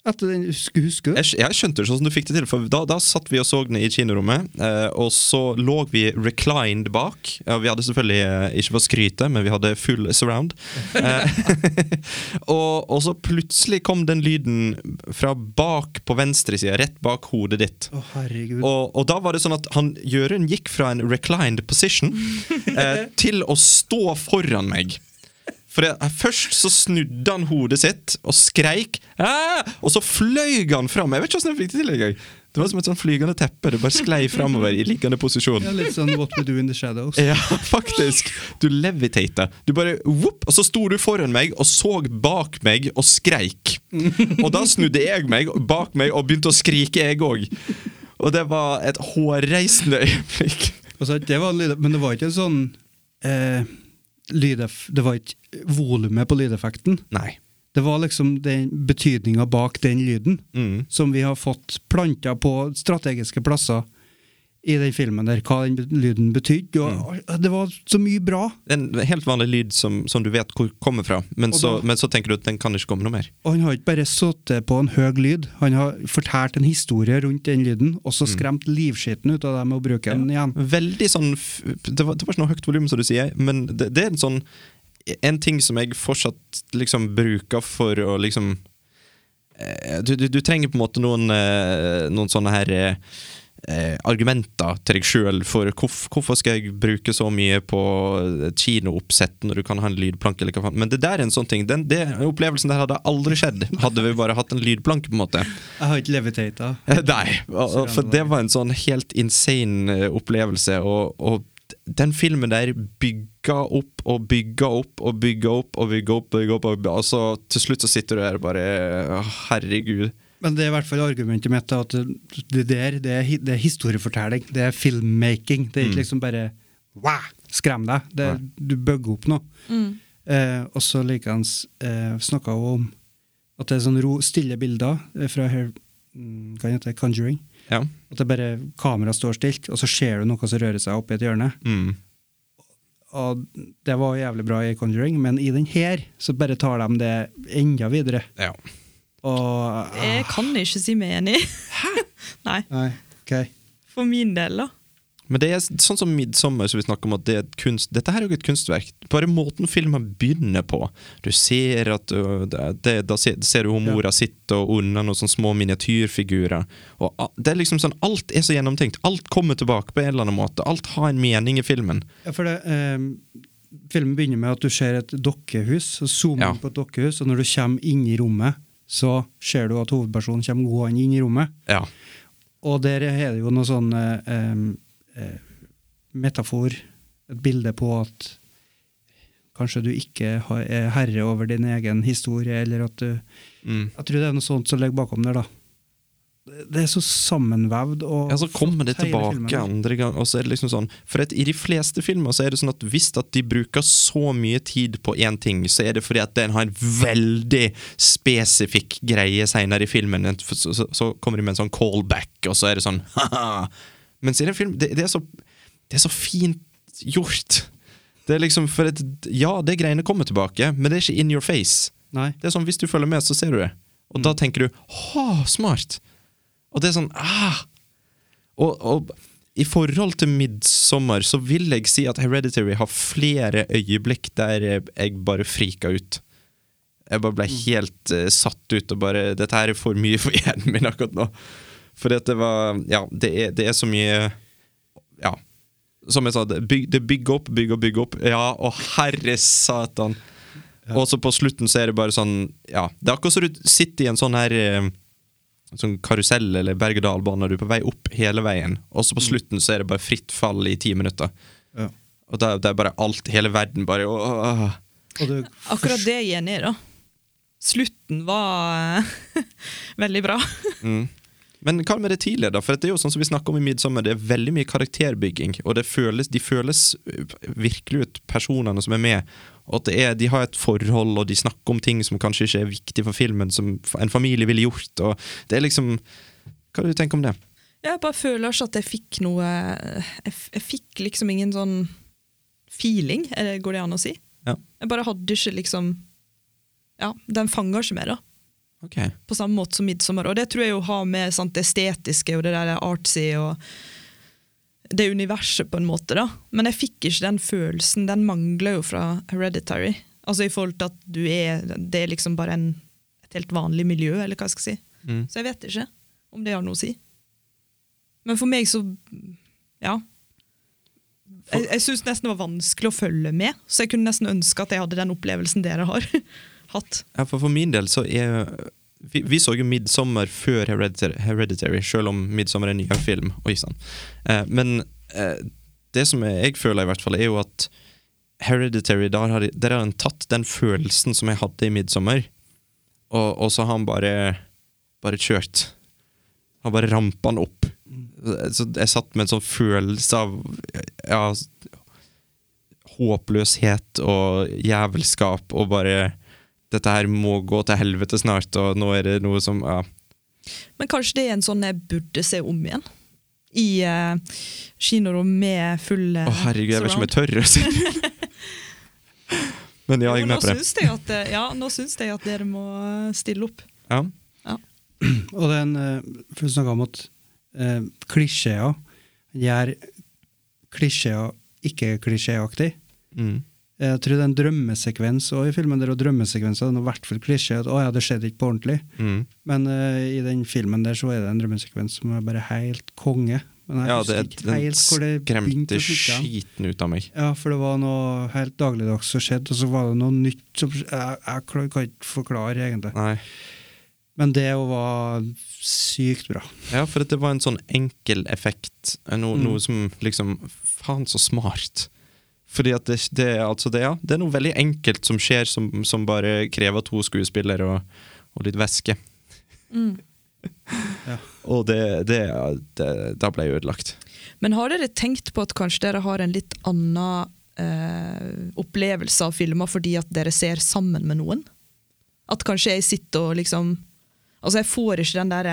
etter den. Husker, husker du?
jeg, skj- jeg skjønte ikke hvordan du fikk det til, for da, da satt vi og så den i kinorommet, eh, og så lå vi reclined bak. Ja, vi hadde selvfølgelig eh, ikke for å skryte, men vi hadde full surround. Eh, *laughs* og, og så plutselig kom den lyden fra bak på venstre side, rett bak hodet ditt.
Å, herregud.
Og, og da var det sånn at han, Jørund gikk fra en reclined position eh, til å stå foran meg. For jeg, Først så snudde han hodet sitt og skreik, «Ah!» og så fløy han fram. Jeg vet ikke hvordan jeg fikk det til. engang. Det var som et sånn flygende teppe. Det bare sklei framover i liggende posisjon.
Ja, litt sånn What We Do In The Shadows.
*laughs* Ja, faktisk. Du levitata. Du bare whoop, Og så sto du foran meg og så bak meg og skreik. Og da snudde jeg meg bak meg og begynte å skrike, jeg òg. Og det var et hårreisende øyeblikk.
Altså, det var en lyd, men det var ikke en sånn eh, lydeff... Det var ikke volumet på lydeffekten.
Nei.
Det var liksom den betydninga bak den lyden,
Mm.
som vi har fått planta på strategiske plasser i den filmen der, hva den be- lyden betydde.
Mm.
Og, Det var så mye bra.
En helt vanlig lyd som, som du vet hvor kommer fra, men
Og
så,
da-
men så tenker du at den kan ikke komme noe mer.
Og han har ikke bare sittet på en høy lyd, han har fortalt en historie rundt den lyden, og
Mm.
så skremt livskiten ut av deg med å bruke den igjen.
Veldig sånn f- Det var, det var ikke noe høyt volum, som du sier, men det, det er en sånn En ting som jeg fortsatt liksom bruker for å liksom eh, Du, du, du trenger på en måte noen eh, Noen sånne her eh, eh, argumenter til deg sjøl for hvorf, hvorfor skal jeg bruke så mye på kinooppsett når du kan ha en lydplank. eller hva faen. Men det der er en sånn ting. Den, det, opplevelsen der hadde aldri skjedd hadde vi bare hatt en lydplank. på en måte.
Jeg har ikke levitata.
Eh, Nei, og- og for det var en sånn helt insane eh, opplevelse, og, og den filmen der bygga opp og bygga opp og bygga opp og bygga opp, bygget opp, og, bygget- og så til slutt så sitter du der og bare «Å, Herregud.
Men det er i hvert fall argumentet mitt, da, at det- det der det er, hi- det er historiefortelling. Det er filmmaking. Det er
Mm.
ikke liksom bare wow, skrem deg. Det, er- du bygger opp noe. Eh, og så likeens eh, snakka hun om at det er sånn ro, stille bilder eh, fra her, mm, hva heter det, Conjuring.
Ja.
At det bare kameraet står stilt, og så ser du noe som rører seg oppi et hjørne.
Mm.
Og det var jævlig bra i Conjuring, men i den her så bare tar de det enda videre.
ja.
Og
Jeg kan ikke si meg enig. *laughs* Nei,
Nei, ok.
for min del, da.
Men det er sånn som Midsommar, som vi snakker om at det er et kunst, dette her er jo ikke et kunstverk. Bare måten filmen begynner på. Du ser at ø, det, det, Da ser, ser du hvor mora sitter og under noen sånne små miniatyrfigurer. Og a- det er liksom sånn, Alt er så gjennomtenkt. Alt kommer tilbake på en eller annen måte. Alt har en mening i filmen.
Ja, for det, ehm, filmen begynner med at du ser et dokkehus, og zoomer
Ja.
inn på et dokkehus, og når du kommer inn i rommet, så ser du at hovedpersonen kommer gående inn i rommet.
Ja.
Og der er det jo noe sånn eh, ehm, eh, metafor, et bilde på at kanskje du ikke har, er herre over din egen historie, eller at du
Mm.
Jeg tror det er noe sånt som ligger bakom der, da. Det- Det er så sammenvevd og
Ja, så kommer det
flott, hele filmen.
tilbake andre gang. Og så er det liksom sånn For at i de fleste filmer så er det sånn at hvis at de bruker så mye tid på én ting, så er det fordi at den har en veldig spesifikk greie seinere i filmen. Så, så, så kommer de med en sånn callback, og så er det sånn *laughs* haha. Mens i den filmen det, det, er så, det er så fint gjort. Det er liksom for at, Ja, det greiene kommer tilbake, men det er ikke in your face.
Nei. Mm.
Det er sånn, Hvis du følger med, så ser du det. Og da tenker du 'Å, smart'. Og det er sånn ah. og, og i forhold til 'Midsommer' så vil jeg si at 'Hereditary' har flere øyeblikk der jeg bare frika ut. Jeg bare ble helt eh, satt ut og bare 'Dette her er for mye for hjernen min akkurat nå'. For det var Ja, det er, det er så mye Ja. Som jeg sa, det byg- det bygger opp, bygger opp, bygger opp. Ja, og herre satan. Og så på slutten så er det bare sånn Ja, det er akkurat som du sitter i en sånn her eh, sånn karusell eller berg-og-dal-bane. Du er på vei opp hele veien, og så på slutten så er det bare fritt fall i ti minutter.
Ja.
Og det, det er bare alt, hele verden bare åh.
Og du
Akkurat det jeg er enig i, da. Slutten var *laughs* eh, veldig bra.
Men hva med det tidligere, da? For det er jo sånn som vi snakker om i Midsommer, det er veldig mye karakterbygging, og det føles, de føles eh, virkelig ut, personene som er med. Og at det er, de har et forhold, og de snakker om ting som kanskje ikke er viktig for filmen, som en familie ville gjort, og det er liksom Hva er det du tenker om det?
Jeg bare føler ikke at jeg fikk noe Jeg, f- jeg fikk liksom ingen sånn feeling, er det- går det an å si?
Ja.
Jeg bare hadde ikke liksom Ja, den fanger ikke meg, da.
Ok.
På samme måte som 'Midsommer'. Og det tror jeg jo har med sant, det estetiske og det der artsy og det universet, på en måte. da. Men jeg fikk ikke den følelsen. Den mangler jo fra 'Hereditary'. Altså i forhold til at du er Det er liksom bare en, et helt vanlig miljø, eller hva jeg skal si.
Mm.
Så jeg vet ikke om det har noe å si. Men for meg så Ja. Jeg, jeg syns nesten det var vanskelig å følge med, så jeg kunne nesten ønske at jeg hadde den opplevelsen dere har *laughs* hatt.
Ja, for, for min del så er Vi, vi så jo 'Midsommer' før Hereditary, Hereditary selv om 'Midsommer' er en nyere film. Oi sann. Eh, men eh, det som jeg, jeg føler, i hvert fall, er jo at Hereditary, der har, de- der har han tatt den følelsen som jeg hadde i 'Midsommer', og, og så har han bare bare kjørt. Han bare rampa han opp. Så jeg satt med en sånn følelse av ja, håpløshet og jævelskap og bare dette her må gå til helvete snart, og nå er det noe som ja.
Men kanskje det er en sånn jeg burde se om igjen? I uh, kinorom med full eh,
Å, herregud, jeg vet ikke om jeg
surround.
tør å si det.
*laughs*
Men ja, jeg er
Jo, nå
med på det.
syns jeg at, eh, ja, nå syns jeg at dere må eh, stille opp.
Ja.
Og den, eh, for å snakke om at eh, klisjeer gjør klisjeer ikke klisjéaktig.
Mm.
Jeg tror det er en drømmesekvens og i filmen. der, og drømmesekvenser er noe i hvert fall klisjé. at, Å ja, det skjedde ikke på ordentlig.
Mm.
Men eh, i den filmen der så er det en drømmesekvens som er bare helt konge. Men jeg
Ja,
husker
det,
ikke
den
helt hvor det begynte
skremte
å stikke hen.
skiten ut av meg.
Ja, for det var noe helt dagligdags som skjedde, og så var det noe nytt som Jeg, jeg klar- kan ikke forklare, egentlig.
Nei.
Men det jo var sykt bra.
Ja, for det var en sånn enkel effekt. eh, No,
Mm.
Noe som liksom Faen, så smart. Fordi at det, det er altså det, ja. Det er noe veldig enkelt som skjer, som, som bare krever to skuespillere og, og litt væske. *laughs*
Mm.
Ja.
Og det, det, ja, det Da ble jeg ødelagt.
Men har dere tenkt på at kanskje dere har en litt annen eh, opplevelse av filmer fordi at dere ser sammen med noen? At kanskje jeg sitter og liksom Altså, jeg får ikke den der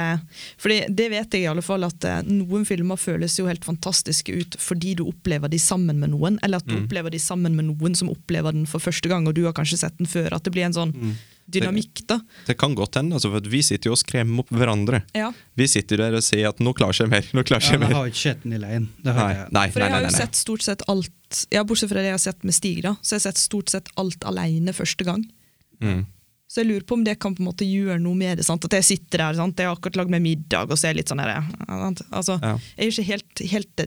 For det vet jeg i alle fall, at eh, noen filmer føles jo helt fantastiske ut fordi du opplever de sammen med noen, eller at du
Mm.
opplever de sammen med noen som opplever den for første gang, og du har kanskje sett den før. At det blir en sånn
Mm.
dynamikk, da.
Det kan godt hende, altså, for at vi sitter jo og skremmer opp hverandre.
Ja.
Vi sitter der og sier at 'nå klarer jeg ikke mer', nå klarer
Ja,
jeg
men jeg
ikke mer.
har ikke sett den i leien. Det har
Nei,
jeg.
nei,
For
nei,
jeg
nei,
har jo
nei.
sett stort sett alt ja, Bortsett fra det jeg har sett med Stig, da, så jeg har sett stort sett alt alene første gang.
Mm.
Så jeg lurer på om det kan på en måte gjøre noe med det. Sant? At jeg sitter der, sant? jeg har akkurat lagd meg middag, og så er jeg litt sånn her, ja, sant? altså,
Ja.
Jeg er ikke helt, helt eh,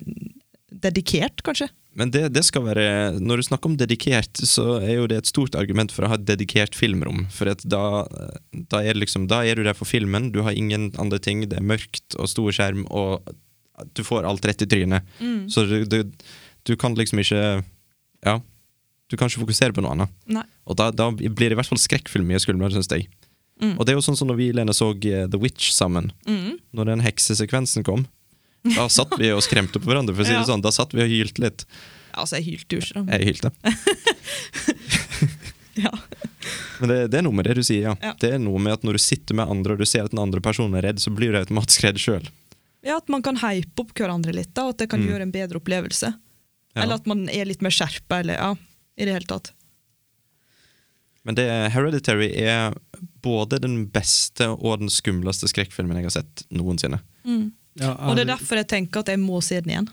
dedikert, kanskje.
Men det, det skal være Når du snakker om dedikert, så er jo det et stort argument for å ha et dedikert filmrom. For at da, da, er det liksom, da er du der for filmen, du har ingen andre ting, det er mørkt og stor skjerm, og du får alt rett i trynet. Så du, du, du kan liksom ikke Ja. Du kan ikke fokusere på noe annet.
Nei.
Og da, da blir det i hvert fall skrekkfilm mye skumlere, syns jeg. Og det er jo sånn som når vi Lene så eh, The Witch sammen.
Mm.
Når den heksesekvensen kom, da satt vi og skremte på hverandre. For å si det
Ja.
sånn, Da satt vi og hylte litt.
Altså, jeg hylte jo ikke, da.
Jeg hylte.
Ja.
Men det, det er noe med det du sier, ja.
Ja.
Det er noe med at Når du sitter med andre og du ser at den andre personen er redd, så blir du automatisk redd sjøl.
ja, At man kan hype opp hverandre litt, da, og at det kan gjøre en bedre opplevelse. Eller at man er litt mer skjerpa, eller ja, i det hele tatt.
Men det, Hereditary er både den beste og den skumleste skrekkfilmen jeg har sett noensinne.
Ja,
Og det
jeg-
er derfor jeg tenker at jeg må se den igjen.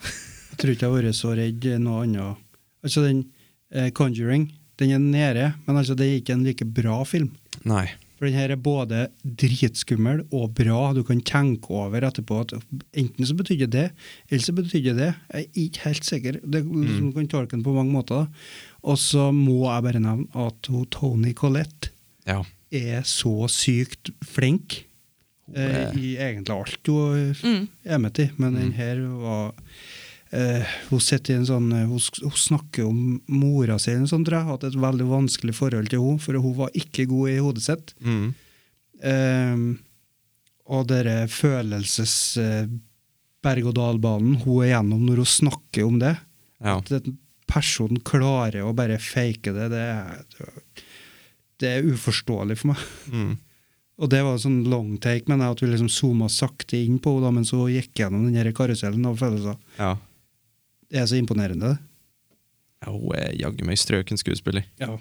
Jeg tror ikke jeg har vært så redd noe annet. Altså den eh, Conjuring, den er nede, men altså det er ikke en like bra film.
Nei.
For den her er både dritskummel og bra. Du kan tenke over etterpå at enten så betydde det, eller så betydde det. Jeg er ikke helt sikker. Det,
Mm.
Du kan tolke den på mange måter. da. Og så må jeg bare nevne at hun Tony Collette
Ja.
er så sykt flink eh,
er-
i egentlig alt hun er med til, men den her var eh, Hun sitter i en sånn eh, hun, sk- hun snakker om mora si, eller noe sånt, tror jeg. Hatt et veldig vanskelig forhold til henne, for hun var ikke god i hodet sitt.
Mm.
Ehm, og denne følelses... Eh, berg-og-dal-banen hun er gjennom når hun snakker om det.
Ja.
At en person klarer å bare fake det, det er, det er uforståelig for meg.
Mm.
*laughs* Og det var en sånn long take, men at vi liksom zooma sakte inn på henne da, mens hun gikk gjennom den her karusellen av følelser.
ja.
Det er så imponerende. det.
Ja, Hun er jaggu meg strøken skuespiller.
Ja.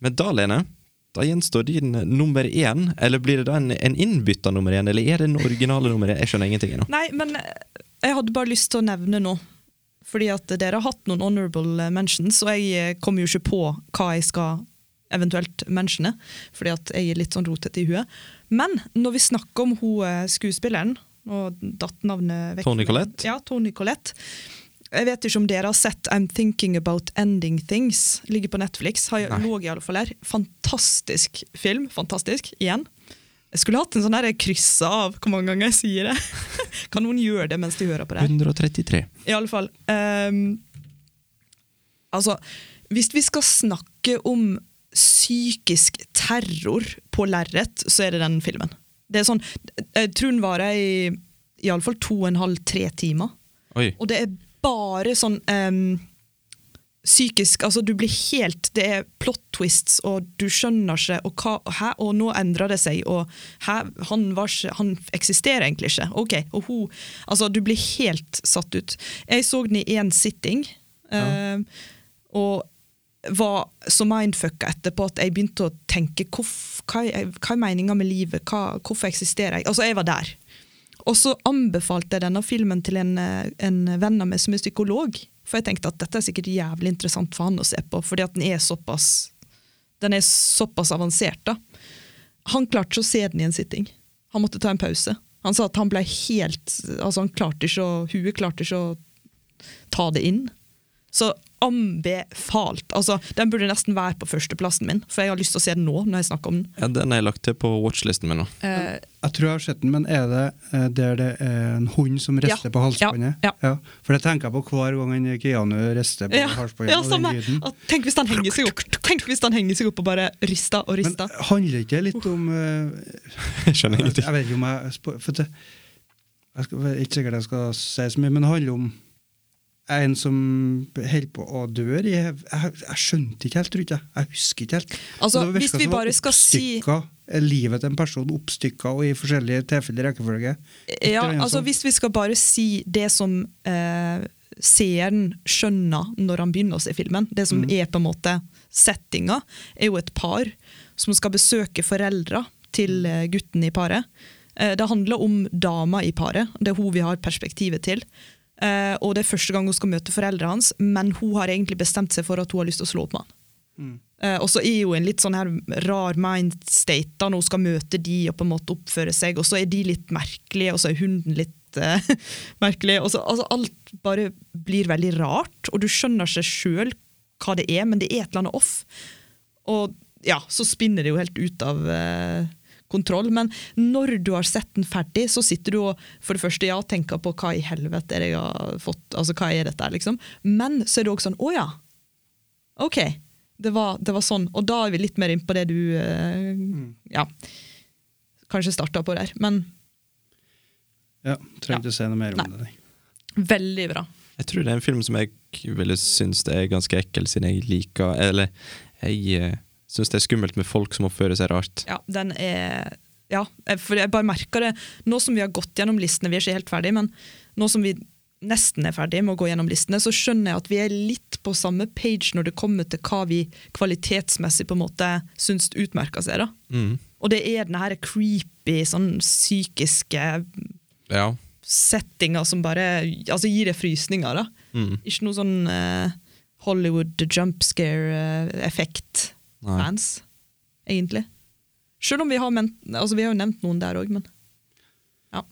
Men da, Lene, da gjenstår din nummer én. Eller blir det da en, en innbytta nummer én, eller er det den originale nummer én? Jeg skjønner ingenting ennå.
*laughs* Nei, men eh, jeg hadde bare lyst til å nevne nå. Fordi at dere har hatt noen honorable eh, mentions, og jeg eh, kommer jo ikke på hva jeg skal eventuelt mentione. Fordi at jeg er litt sånn rotete i huet. Men når vi snakker om hun eh, skuespilleren, og datt navnet vekk
Toni Collette?
Ja, Tony Collette. Jeg vet ikke om dere har sett I'm Thinking About Ending Things. Ligger på Netflix. Har, lå i alle fall her. Fantastisk film. Fantastisk. Igjen. Jeg skulle hatt en sånn her krysse av hvor mange ganger jeg sier det. *laughs* Kan noen gjøre det mens de hører på det? her?
133.
I alle fall. ehm, altså, hvis vi skal snakke om psykisk terror på lerret, så er det den filmen. Det er sånn, Jeg tror den varer i iallfall to og en halv, tre timer.
Oi.
Og det er bare sånn ehm, psykisk Altså, du blir helt Det er plot twists, og du skjønner ikke Og, hva, og, hæ, og nå endrer det seg, og hæ, han, var ikke, han eksisterer egentlig ikke. Ok, og hun Altså, du blir helt satt ut. Jeg så den i én sitting, ehm, og var så mindfucka etterpå at jeg begynte å tenke hvorf, hva, er, hva er meninga med livet, hva, hvorfor eksisterer jeg? Altså, jeg var der. Og så anbefalte jeg denne filmen til en, eh, en venn av meg som er psykolog. For jeg tenkte at dette er sikkert jævlig interessant for han å se på, fordi at den er såpass den er såpass avansert. da. Han klarte ikke å se den i en sitting. Han måtte ta en pause. Han sa at han ble helt altså han klarte ikke å, Huet klarte ikke å ta det inn. Så anbefalt. altså Den burde nesten være på førsteplassen min, for jeg har lyst til å se den nå. når jeg snakker om den.
Ja, den har jeg lagt til på watchlisten min nå. *laughs*
Eh,
Jeg tror jeg har sett den, men er det eh, der det er en hund som rister
Ja,
på halsbåndet?
ja, ja.
For det tenker jeg på hver gang en Keanu rister på
*laughs* ja,
halsbåndet.
ja, altså,
og den
samme.
lyden.
At, tenk hvis han henger seg opp Tenk hvis han henger seg opp og bare rister og
Men
rister.
handler ikke det litt om eh,
Jeg skjønner
Jeg
ingenting.
vet ikke om jeg spo- for det, Jeg skal, jeg er ikke sikkert jeg skal si så mye, men det handler om en som holder på å dø. Jeg, jeg, jeg skjønte ikke helt, tror jeg. Jeg husker ikke helt.
Altså,
Det virket
hvis vi
som det var
bare skal si-
oppstykket, eh, Livet til en person oppstykka og i forskjellige tilfeller i rekkefølge. Et
Ja,
eller annet
altså
sånt.
Hvis vi skal bare si det som eh, seeren skjønner når han begynner å se filmen, det som er på en måte settinga, er jo et par som skal besøke foreldra til eh, gutten i paret. Eh, det handler om dama i paret, det er hun vi har perspektivet til. Eh, og det er første gang hun skal møte foreldra hans, men hun har egentlig bestemt seg for at hun har lyst til å slå opp med han. Eh, og så er jo en litt sånn her rar mindstate da, når hun skal møte de og på en måte oppføre seg, og så er de litt merkelige, og så er hunden litt eh, *laughs* merkelig. Og så, altså, alt bare blir veldig rart, og du skjønner ikke sjøl hva det er, men det er et eller annet off. Og ja, så spinner det jo helt ut av eh, kontroll. Men når du har sett den ferdig, så sitter du og for det første ja, tenker på hva i helvete er det jeg har fått, altså hva er dette her, liksom. Men så er det også sånn, å ja, ok, det var, det var sånn. Og da er vi litt mer inn på det du eh, ja, kanskje starta på der. Men
Ja, Trenger ikke å si noe mer om det. nei.
veldig bra.
Jeg tror det er en film som jeg ville synes det er ganske ekkel, siden jeg liker Eller jeg eh, synes det er skummelt med folk som oppfører seg rart.
Ja, den er Ja, jeg- for jeg bare merker det Nå som vi har gått gjennom listene, vi er ikke helt ferdig, men nå som vi nesten er ferdig med å gå gjennom listene, så skjønner jeg at vi er litt på samme page når det kommer til hva vi kvalitetsmessig på en måte syns utmerker seg. da. Og det er den her creepy, sånn psykiske
Ja.
settinga som bare altså gir deg frysninger. da. Ikke noe sånn eh, Hollywood jump
Nei.
scare-effekt-fans, egentlig. Selv om vi har, ment, altså vi har jo nevnt noen der òg, men ja.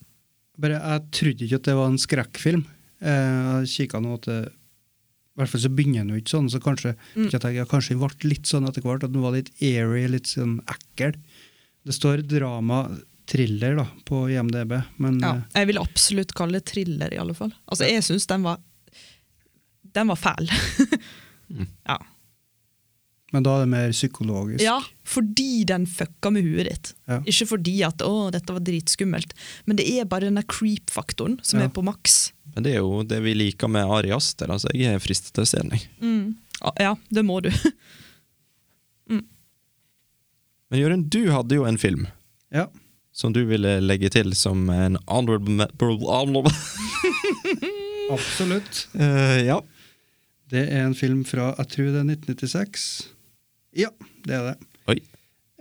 Bare, jeg trodde ikke at det var en skrekkfilm. Eh, Jeg kikket nå til I hvert fall så begynner den jo ikke sånn, så kanskje
Mm.
ikke at jeg, jeg kanskje ble litt sånn etter hvert, at den var litt airy, litt sånn ekkel. Det står drama-thriller da, på IMDb, men
ja.
eh,
Jeg vil absolutt kalle det thriller, i alle fall. Altså, jeg syns den var Den var fæl. ja.
Men da er det mer psykologisk.
ja, fordi den fucka med huet ditt.
Ja.
Ikke fordi at 'å, dette var dritskummelt', men det er bare denne creep-faktoren som
Ja.
er på maks.
Men det er jo det vi liker med Ari Aster. Altså, jeg er fristet til å se den. jeg.
Mm.
Ja, Ja, det må du. *laughs*
Men Jørund, du hadde jo en film
Ja.
som du ville legge til som en honorable, me- honorable, honorable.
absolutt.
*laughs* Eh, Ja.
Det er en film fra, jeg tror det er 1996. Ja, det er det.
Oi.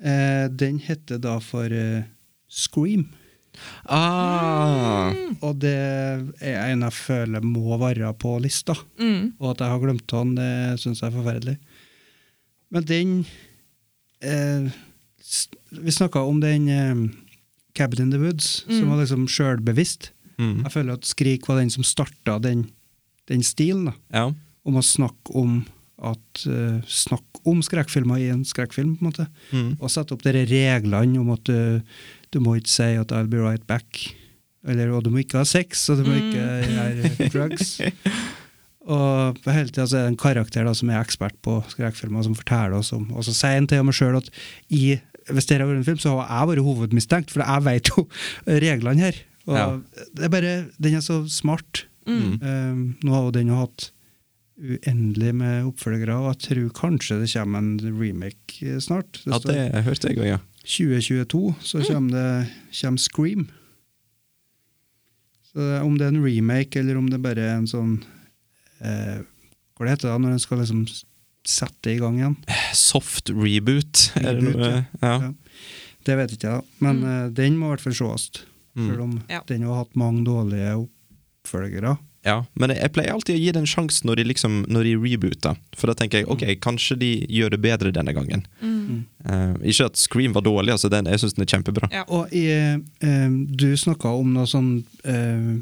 Eh, den heter da for eh, Scream.
Ah.
Og det er en jeg føler må være på lista. Og at jeg har glemt han, det syns jeg er forferdelig. Men den eh, s- Vi snakka om den eh, Cabin in the Woods, som var liksom sjølbevisst.
Mm.
Jeg føler at Skrik var den som starta den, den stilen. da
Ja.
om å snakke om at eh, snakk om skrekkfilmer i en skrekkfilm, på en måte. Og sette opp dere reglene om at eh, du må ikke si at 'I'll be right back', eller, og du må ikke ha sex, og du må ikke gjøre drugs. Og på hele tida så er det en karakter da, som er ekspert på skrekkfilmer, som forteller oss om Og så sier han til meg sjøl at i, hvis det har vært en film, så har jeg vært hovedmistenkt, for jeg vet jo reglene her. Og
Ja.
det er bare, Den er så smart. Eh, nå har jo den jo hatt uendelig med oppfølgere, og jeg tror kanskje det kommer en remake eh, snart.
ja, det Mm. hørte jeg òg, ja.
2022 så kommer, det, kommer Scream. Så det, om det er en remake, eller om det bare er en sånn eh, Hva det heter det da, når en skal liksom s- sette i gang igjen?
Eh, Soft reboot. Er det
Reboot,
noe? Ja.
Ja. Det vet ikke jeg, da.
Mm.
men eh, den må i hvert fall sees. Selv om
Ja.
den har hatt mange dårlige oppfølgere.
Ja, men jeg pleier alltid å gi det en sjanse når de, liksom, når de rebooter. For da tenker jeg ok,
Mm.
kanskje de gjør det bedre denne gangen. Eh, ikke at Scream var dårlig, altså den, jeg syns den er kjempebra.
Ja.
Og i, eh, du snakka om noe sånn eh,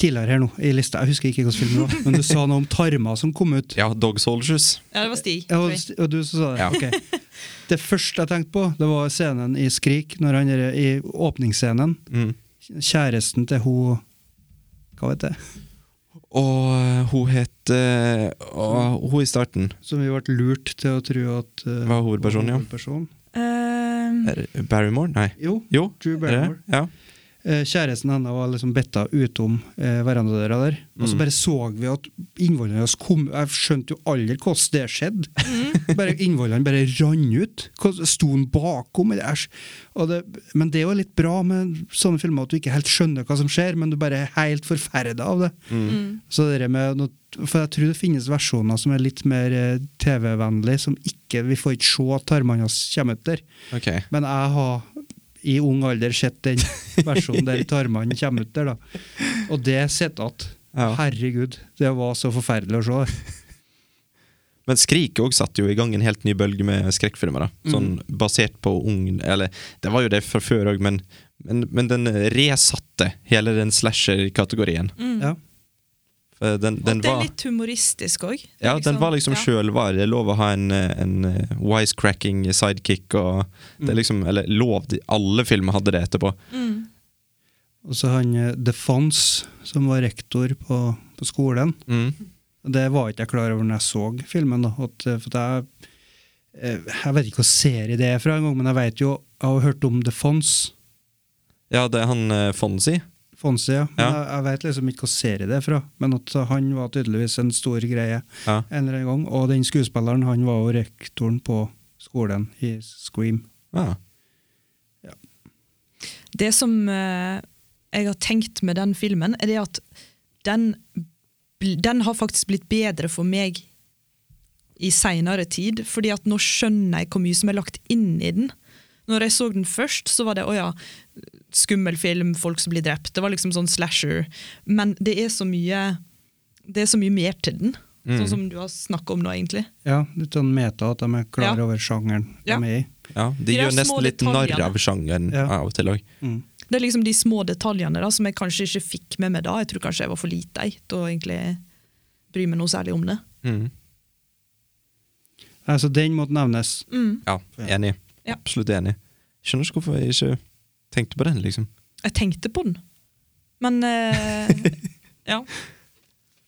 tidligere her nå, i lista, jeg husker ikke hvilken film det var, men du sa noe om tarmer som kom ut.
Ja, Dog Soldiers.
Ja, det var Stig.
Ja,
tror
og,
jeg.
og du som sa det.
Ja.
ok. Det første jeg tenkte på, det var scenen i Skrik, når han er i åpningsscenen.
Mm.
Kjæresten til hun Hva vet jeg?
Og eh, hun het eh, å, Hun i starten.
Som vi ble lurt til å tro at eh,
Var hovedpersonen, ja.
hovedpersonen.
Ehm,
Er det Barrymore? Nei.
Jo.
Jo.
Drew
er det det?
Barrymore.
Ja.
Eh, Kjæresten hennes var liksom betta utom eh, verandadøra der. Og så bare så vi at innvollene hans kom Jeg skjønte jo aldri hvordan det skjedde. *laughs* bare Innvollene bare rant ut. Hvordan- Sto han bakom? Eller, æsj. Og det, men det er jo litt bra med sånne filmer at du ikke helt skjønner hva som skjer, men du bare er helt forferda av det. Så det der med noe, For jeg tror det finnes versjoner som er litt mer eh, TV-vennlig, som ikke Vi får ikke se at tarmene hans kommer ut der.
Ok.
Men jeg har i ung alder sett den versjonen der tarmene kommer ut der, da. Og det sitter igjen.
Ja.
Herregud, det var så forferdelig å se.
Men Skrik òg satte jo i gang en helt ny bølge med skrekkfilmer. da
Mm.
Sånn Basert på ung Eller det var jo det fra før òg, men, men, men den resatte hele den slasher-kategorien.
Ja.
For Den, den
Mm. det er
var
litt humoristisk òg.
ja, den var liksom
ja.
sjølvar. Det er lov å ha en, eh, en eh, wisecracking sidekick og
Mm.
det er liksom, Eller lov, de- alle filmer hadde det etterpå.
Og så han eh, De Fons, som var rektor på, på skolen.
Mm.
Det var ikke jeg klar over når jeg så filmen. da, at, eh, for at jeg, eh, jeg vet ikke hva serie det er fra, en gang, men jeg vet jo, jeg har hørt om De Fons.
Ja, det er han eh, Fonzie.
Fonsi, ja. Men
Ja.
Jeg, jeg vet liksom ikke hva serie det er fra. Men at han var tydeligvis en stor greie
Ja.
en eller annen gang. Og den skuespilleren, han var jo rektoren på skolen i Scream.
Ja.
Det som eh, jeg har tenkt med den filmen, er det at den, bl- den har faktisk blitt bedre for meg i seinere tid. fordi at nå skjønner jeg hvor mye som er lagt inn i den. Når jeg så den først, så var det å ja, skummel film, folk som blir drept. Det var liksom sånn slasher. Men det er så mye det er så mye mer til den,
Mm.
sånn som du har snakka om nå, egentlig.
Ja, litt sånn meta at de er klar
Ja.
over sjangeren
Ja.
de er i.
ja. De,
De der
gjør
små
nesten litt narr
detaljene.
av sjangeren
Ja.
av og til òg.
Det er liksom de små detaljene da, som jeg kanskje ikke fikk med meg da. Jeg tror kanskje jeg var for lite jeg, til å egentlig bry meg noe særlig om det.
Mm.
Altså, den måtte nevnes.
Ja, enig.
Ja.
Absolutt enig. Skjønner ikke hvorfor jeg ikke tenkte på den, liksom.
Jeg tenkte på den. Men eh, ja.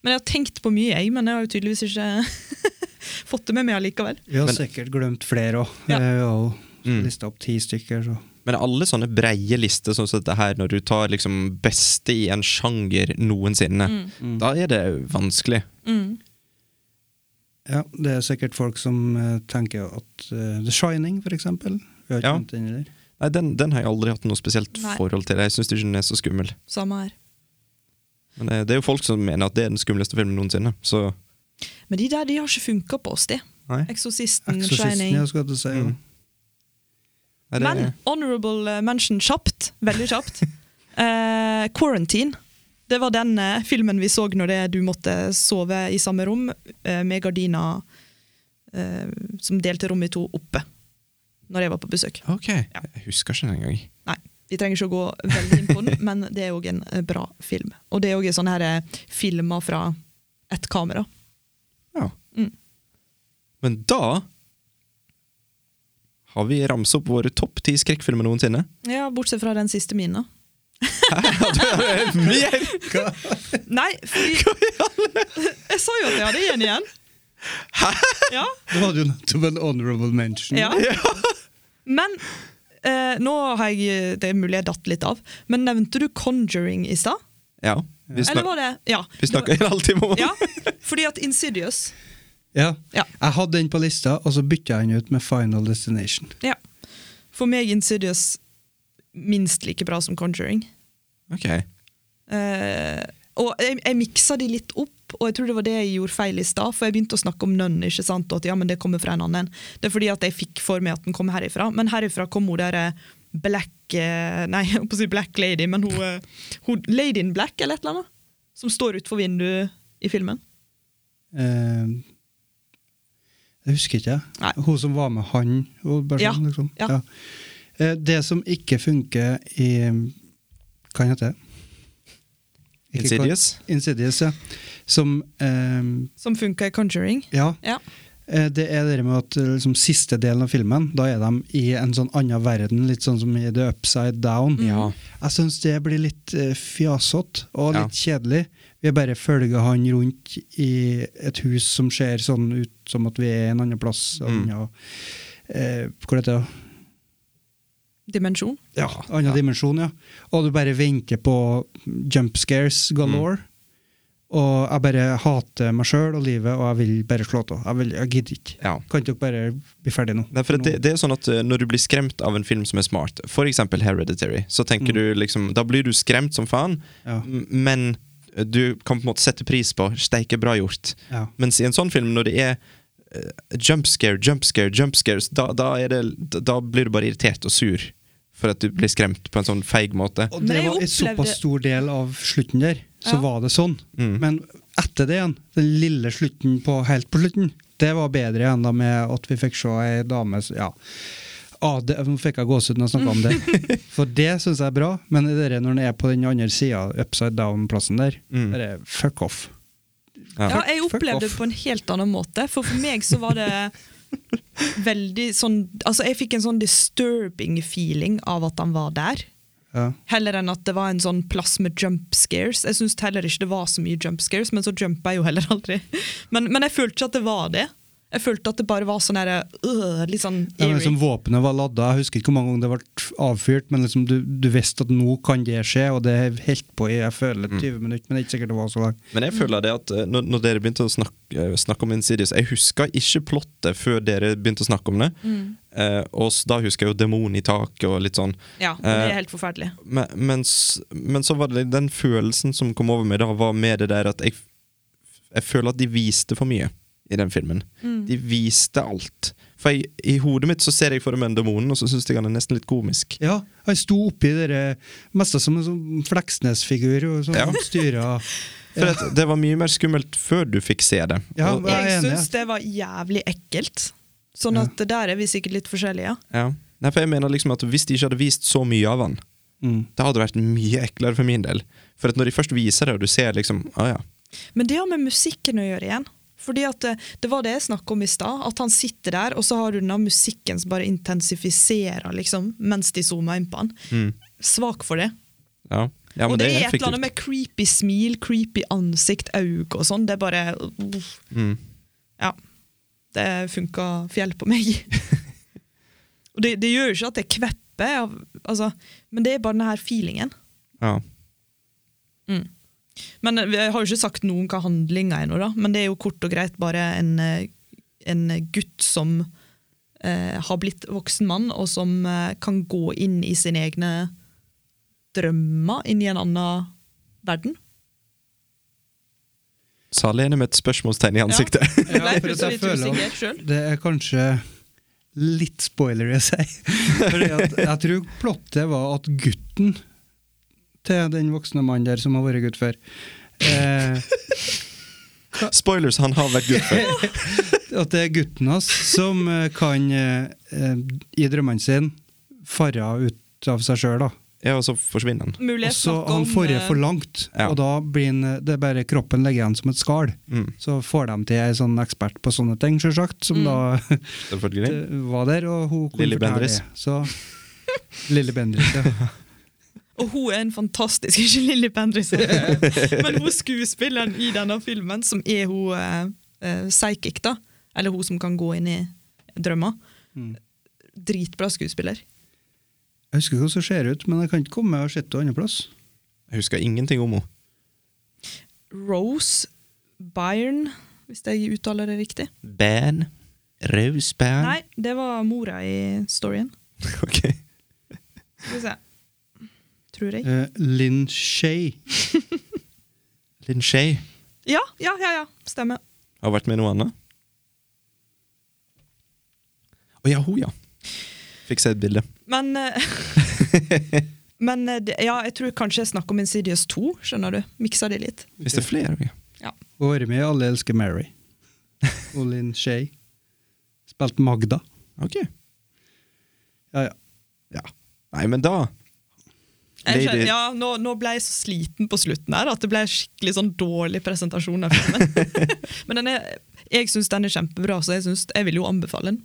Men jeg har tenkt på mye, jeg, men jeg har jo tydeligvis ikke *laughs* fått det med meg allikevel.
Vi har
Men-
sikkert glemt flere òg.
Ja.
Vi har jo
Mm.
lista opp ti stykker, så
Men alle sånne breie lister, sånn som dette her, når du tar liksom beste i en sjanger noensinne,
Mm.
da er det vanskelig.
Ja, det er sikkert folk som eh, tenker at eh, The Shining, for eksempel. Vi har ikke
Ja.
kommet inn i der.
Nei, den, den har jeg aldri hatt noe spesielt
Nei.
forhold til. Jeg syns ikke den er så skummel.
Samme her.
Men eh, det, det er jo folk som mener at det er den skumleste filmen noensinne, så
Men de der de har ikke funka på oss, de.
Nei.
Eksorsisten,
Eksorsisten,
Mm, Shining.
ja, skal jeg til å si. ja.
Mm. Nei, det,
Men honorable eh, mention kjapt. Veldig kjapt. Eh, Quarantine. Det var den eh, filmen vi så når det, du måtte sove i samme rom eh, med gardina eh, som delte rommet i to oppe. Når jeg var på besøk.
Ok, jeg husker ikke den engang.
Nei, vi trenger ikke å gå veldig inn på den, men det er òg en eh, bra film. Og det er òg sånne her, eh, filmer fra ett kamera.
Ja.
Mm.
Men da har vi ramset opp våre topp ti skrekkfilmer noensinne.
Ja, Bortsett fra den siste
*laughs*
min, da.
Mer!
Nei, fordi *laughs* Jeg sa jo at jeg hadde én igjen. Hæ?! Ja,
Det var jo nettopp en honorable mention.
Ja. Men eh, nå har jeg Det er mulig jeg datt litt av, men nevnte du Conjuring i stad?
Ja, vi,
Eller
snak
var det Ja.
vi snakker en halvtime om
ja. Fordi at Insidious
Ja.
Ja.
Jeg hadde den på lista, og så bytta jeg den ut med Final Destination.
ja. For meg Insidious minst like bra som Conjuring.
*laughs* Ok,
Eh, og jeg, jeg miksa de litt opp, og jeg tror det var det jeg gjorde feil i stad. For jeg begynte å snakke om Nun, ikke sant? og at ja, men det kommer fra en annen. Det er fordi at jeg fikk for meg at den kom herifra, men herifra kom hun der eh, Black eh, Nei, *laughs* jeg holdt på å si Black Lady, men hun, eh, hun Lady in Black eller et eller annet? Som står utenfor vinduet i filmen.
Eh, jeg husker ikke.
Nei.
Hun som var med han. Og bare
Ja,
sånn, liksom.
ja.
Eh, det som ikke funker i Hva heter det? Ikke hva-
Insidious?
Insidious, ja. Som eh,
Som funka i Conjuring.
Ja.
Ja.
Eh, Det er det med at eh, liksom, siste delen av filmen, da er de i en sånn annen verden, litt sånn som i The Upside Down.
Mm. Ja.
Jeg syns det blir litt eh, fjasete og
Ja.
litt kjedelig. Vi bare følger han rundt i et hus som ser sånn ut som at vi er en annen plass.
Mm.
Mm. eh, hvor heter det?
Dimensjon.
Ja, annen dimensjon, ja. Og du bare venter på jump scares galore.
Mm.
Og jeg bare hater meg sjøl og livet, og jeg vil bare slå av. Jeg, vil- jeg gidder ikke.
Ja.
Kan dere bare bli ferdig nå?
Nei, for det, det er sånn at eh, Når du blir skremt av en film som er smart, f.eks. Hereditary, så tenker du liksom, da blir du skremt som faen,
Mm. Ja.
m- men eh, du kan på en måte sette pris på 'steike bra gjort'.
Ja.
Mens i en sånn film, når det er eh, jump scare, jump scare, jump scares, da, da, er det, da, da blir du bare irritert og sur for at du blir skremt på en sånn feig måte.
Og
Men
det
jeg
var en
opplevde-
såpass stor del av slutten der, så
Ja.
var det sånn. Men etter det igjen, den lille slutten på helt på slutten, det var bedre igjen da med at vi fikk se ei dame s- ja. Ah, det, nå fikk jeg gåsehud når jeg snakka om
*laughs*
det. For det syns jeg er bra, men det der, når den er på den andre sida, upside down-plassen der,
Mm.
det er fuck off.
Ja,
Ja.
jeg
Fuck
opplevde
off.
det på en helt annen måte, for for meg så
*laughs*
var det veldig sånn Altså, jeg fikk en sånn disturbing feeling av at han var der.
Ja.
Heller enn at det var en sånn plass med jump scares. Jeg syns heller ikke det var så mye jump scares, men så jumpa jeg jo heller aldri. Men, men jeg følte ikke at det var det. Jeg følte at det bare var sånn herre øh, Litt sånn
Ja, men
eerie.
liksom Våpenet var ladda, jeg husker ikke hvor mange ganger det ble avfyrt, men liksom du, du visste at nå kan det skje, og det holdt på i jeg føler 20 minutter, men det er ikke sikkert det var så langt.
Men jeg føler det at eh, når, når dere begynte å snakke, eh, snakke om Insidious Jeg huska ikke plottet før dere begynte å snakke om det. Eh, og s- da husker jeg jo demon i taket og litt sånn.
Ja, det
Eh,
er helt forferdelig.
men, mens, men så var det litt- den følelsen som kom over meg da, var med det der at jeg, jeg føler at de viste for mye i den filmen.
Mm.
De viste alt. For jeg, i hodet mitt så ser jeg for meg den demonen, og så syns jeg han er nesten litt komisk.
Ja, han sto oppi dere mest som en sånn Fleksnes-figur og sånn
Ja.
som
*laughs*
styret.
For at det var mye mer skummelt før du fikk se det.
Ja,
og,
jeg er
Jeg
enig,
syns
ja.
det var jævlig ekkelt. Sånn
Ja.
at der er vi sikkert litt forskjellige.
ja. Nei, for jeg mener liksom at Hvis de ikke hadde vist så mye av han,
Mm.
det hadde vært mye eklere for min del. For at når de først viser det, og du ser liksom ah, ja.
Men det har med musikken å gjøre igjen. Fordi at eh, Det var det jeg snakka om i stad. At han sitter der, og så har du den der musikken som bare intensifiserer liksom, mens de zoomer inn på han. Svak for det.
Ja, ja men
og det, er et
effektivt.
eller annet med creepy smil, creepy ansikt, øyne og sånn. Det er bare uff.
Mm.
Ja. Det funka fjell på meg. *laughs* og det, det gjør jo ikke at jeg kvepper, av- altså, men det er bare den her feelingen.
Ja.
Men eh, Jeg har jo ikke sagt noe om hva handlinga er, nå da, men det er jo kort og greit bare en, eh, en gutt som eh, har blitt voksen mann, og som eh, kan gå inn i sine egne drømmer, inn i en annen verden.
Sa Lene med et spørsmålstegn i ansiktet.
Jeg
Ja, for
ble
at
plutselig
jeg
litt
føler-
usikker selv.
Det er kanskje litt spoiler å si. *laughs* Fordi at jeg tror plottet var at gutten til den voksne mannen der som har vært gutt før eh,
Spoilers, han har vært
*laughs*
gutt før.
At det er gutten hans som eh, kan, eh, eh, i drømmene sine, fare ut av seg sjøl, da.
Ja, og så forsvinner han.
Mulig jeg
Og så
snakker
han
om,
forrige
eh,
for langt,
Ja.
og da blir han, eh, det er bare kroppen legger igjen som et skall.
Mm.
Så får de til ei sånn ekspert på sånne ting, selvsagt, som da
Selvfølgelig.
*laughs* var der, og hun kunne
Lilly
fortelle
Bendriss.
det. Så Lilly Bendriss, ja.
Og hun er en fantastisk *laughs* Ikke Lilly Bendriss, men hun skuespilleren i denne filmen, som er hun eh, eh, psychic, da. Eller hun som kan gå inn i drømmer. Dritbra skuespiller.
Jeg husker ikke hvordan hun ser ut, men jeg kan ikke komme og sett henne andreplass.
Jeg husker ingenting om henne.
Rose Byrne, hvis jeg uttaler det riktig.
Bern. Rose Bern.
Nei, det var mora i storyen.
*laughs* Ok.
Skal vi se. Tror jeg.
Eh, Linn Shay.
Linn Shay.
Ja, ja, ja. ja. Stemmer.
Har vært med i noe annet? Å ja, hun, ja. Fikk se et bilde.
Men eh, *laughs* Men eh, det, ja, jeg tror kanskje jeg snakker om Insidious 2, skjønner du. Miksa det litt.
Hvis det er flere ja.
Hun har vært med i Alle elsker Mary. Olin Shay. Spilt Magda.
Ok.
Ja, ja.
Ja. Nei, men da
Jeg
Lady-
skjønner, ja, nå, nå ble jeg så sliten på slutten her at det ble en skikkelig sånn dårlig presentasjon av filmen. *laughs* Men den er, jeg syns den er kjempebra, så jeg, synes, jeg vil jo anbefale den.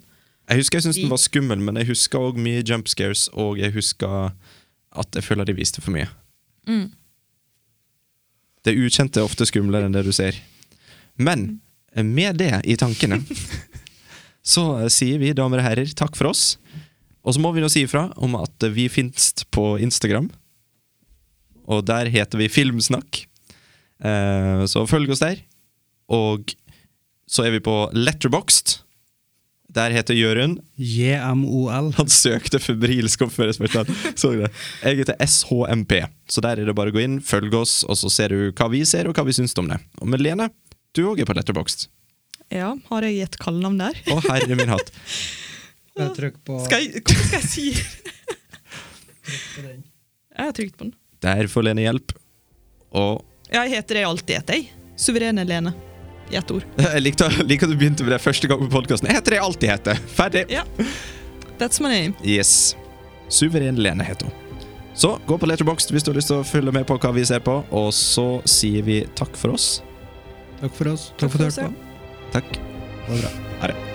Jeg husker jeg syntes den
Vi-
var skummel, men jeg husker òg mye jump scares, og jeg husker at jeg føler de viste for mye. Det ukjente er ofte skumlere enn det du ser. Men med det i tankene så eh, sier vi, damer og herrer, takk for oss. Og så må vi nå si ifra om at eh, vi fins på Instagram, og der heter vi Filmsnakk. Eh, Så følg oss der. Og så er vi på Letterboxd. Der heter Jørund.
JMOL.
Han søkte febrilsk om førespørselen. Så du det? Jeg heter SHMP, så der er det bare å gå inn, følg oss, og så ser du hva vi ser, og hva vi syns om det. Og med Lene, du òg er på Letterboxd.
Ja, har jeg et kallenavn der?
Å, herre min hatt.
Jeg trykker på
Skal jeg, hva skal jeg si? Jeg har trykt på den.
Der får Lene hjelp. Og *laughs*
Ja, jeg heter det jeg alltid heter, jeg. Suverene Lene. I ett ord.
jeg likte, liker at du begynte med det første gang på podkasten. Jeg heter det jeg alltid heter. Ferdig.
Ja. That's my name.
Yes. Suveren Lene heter hun. Så gå på Letterboxd hvis du har lyst til å følge med på hva vi ser på, og så sier vi takk for oss.
Takk for oss. Takk for at du hørte på.
Takk.
Ha det bra.
Ha det.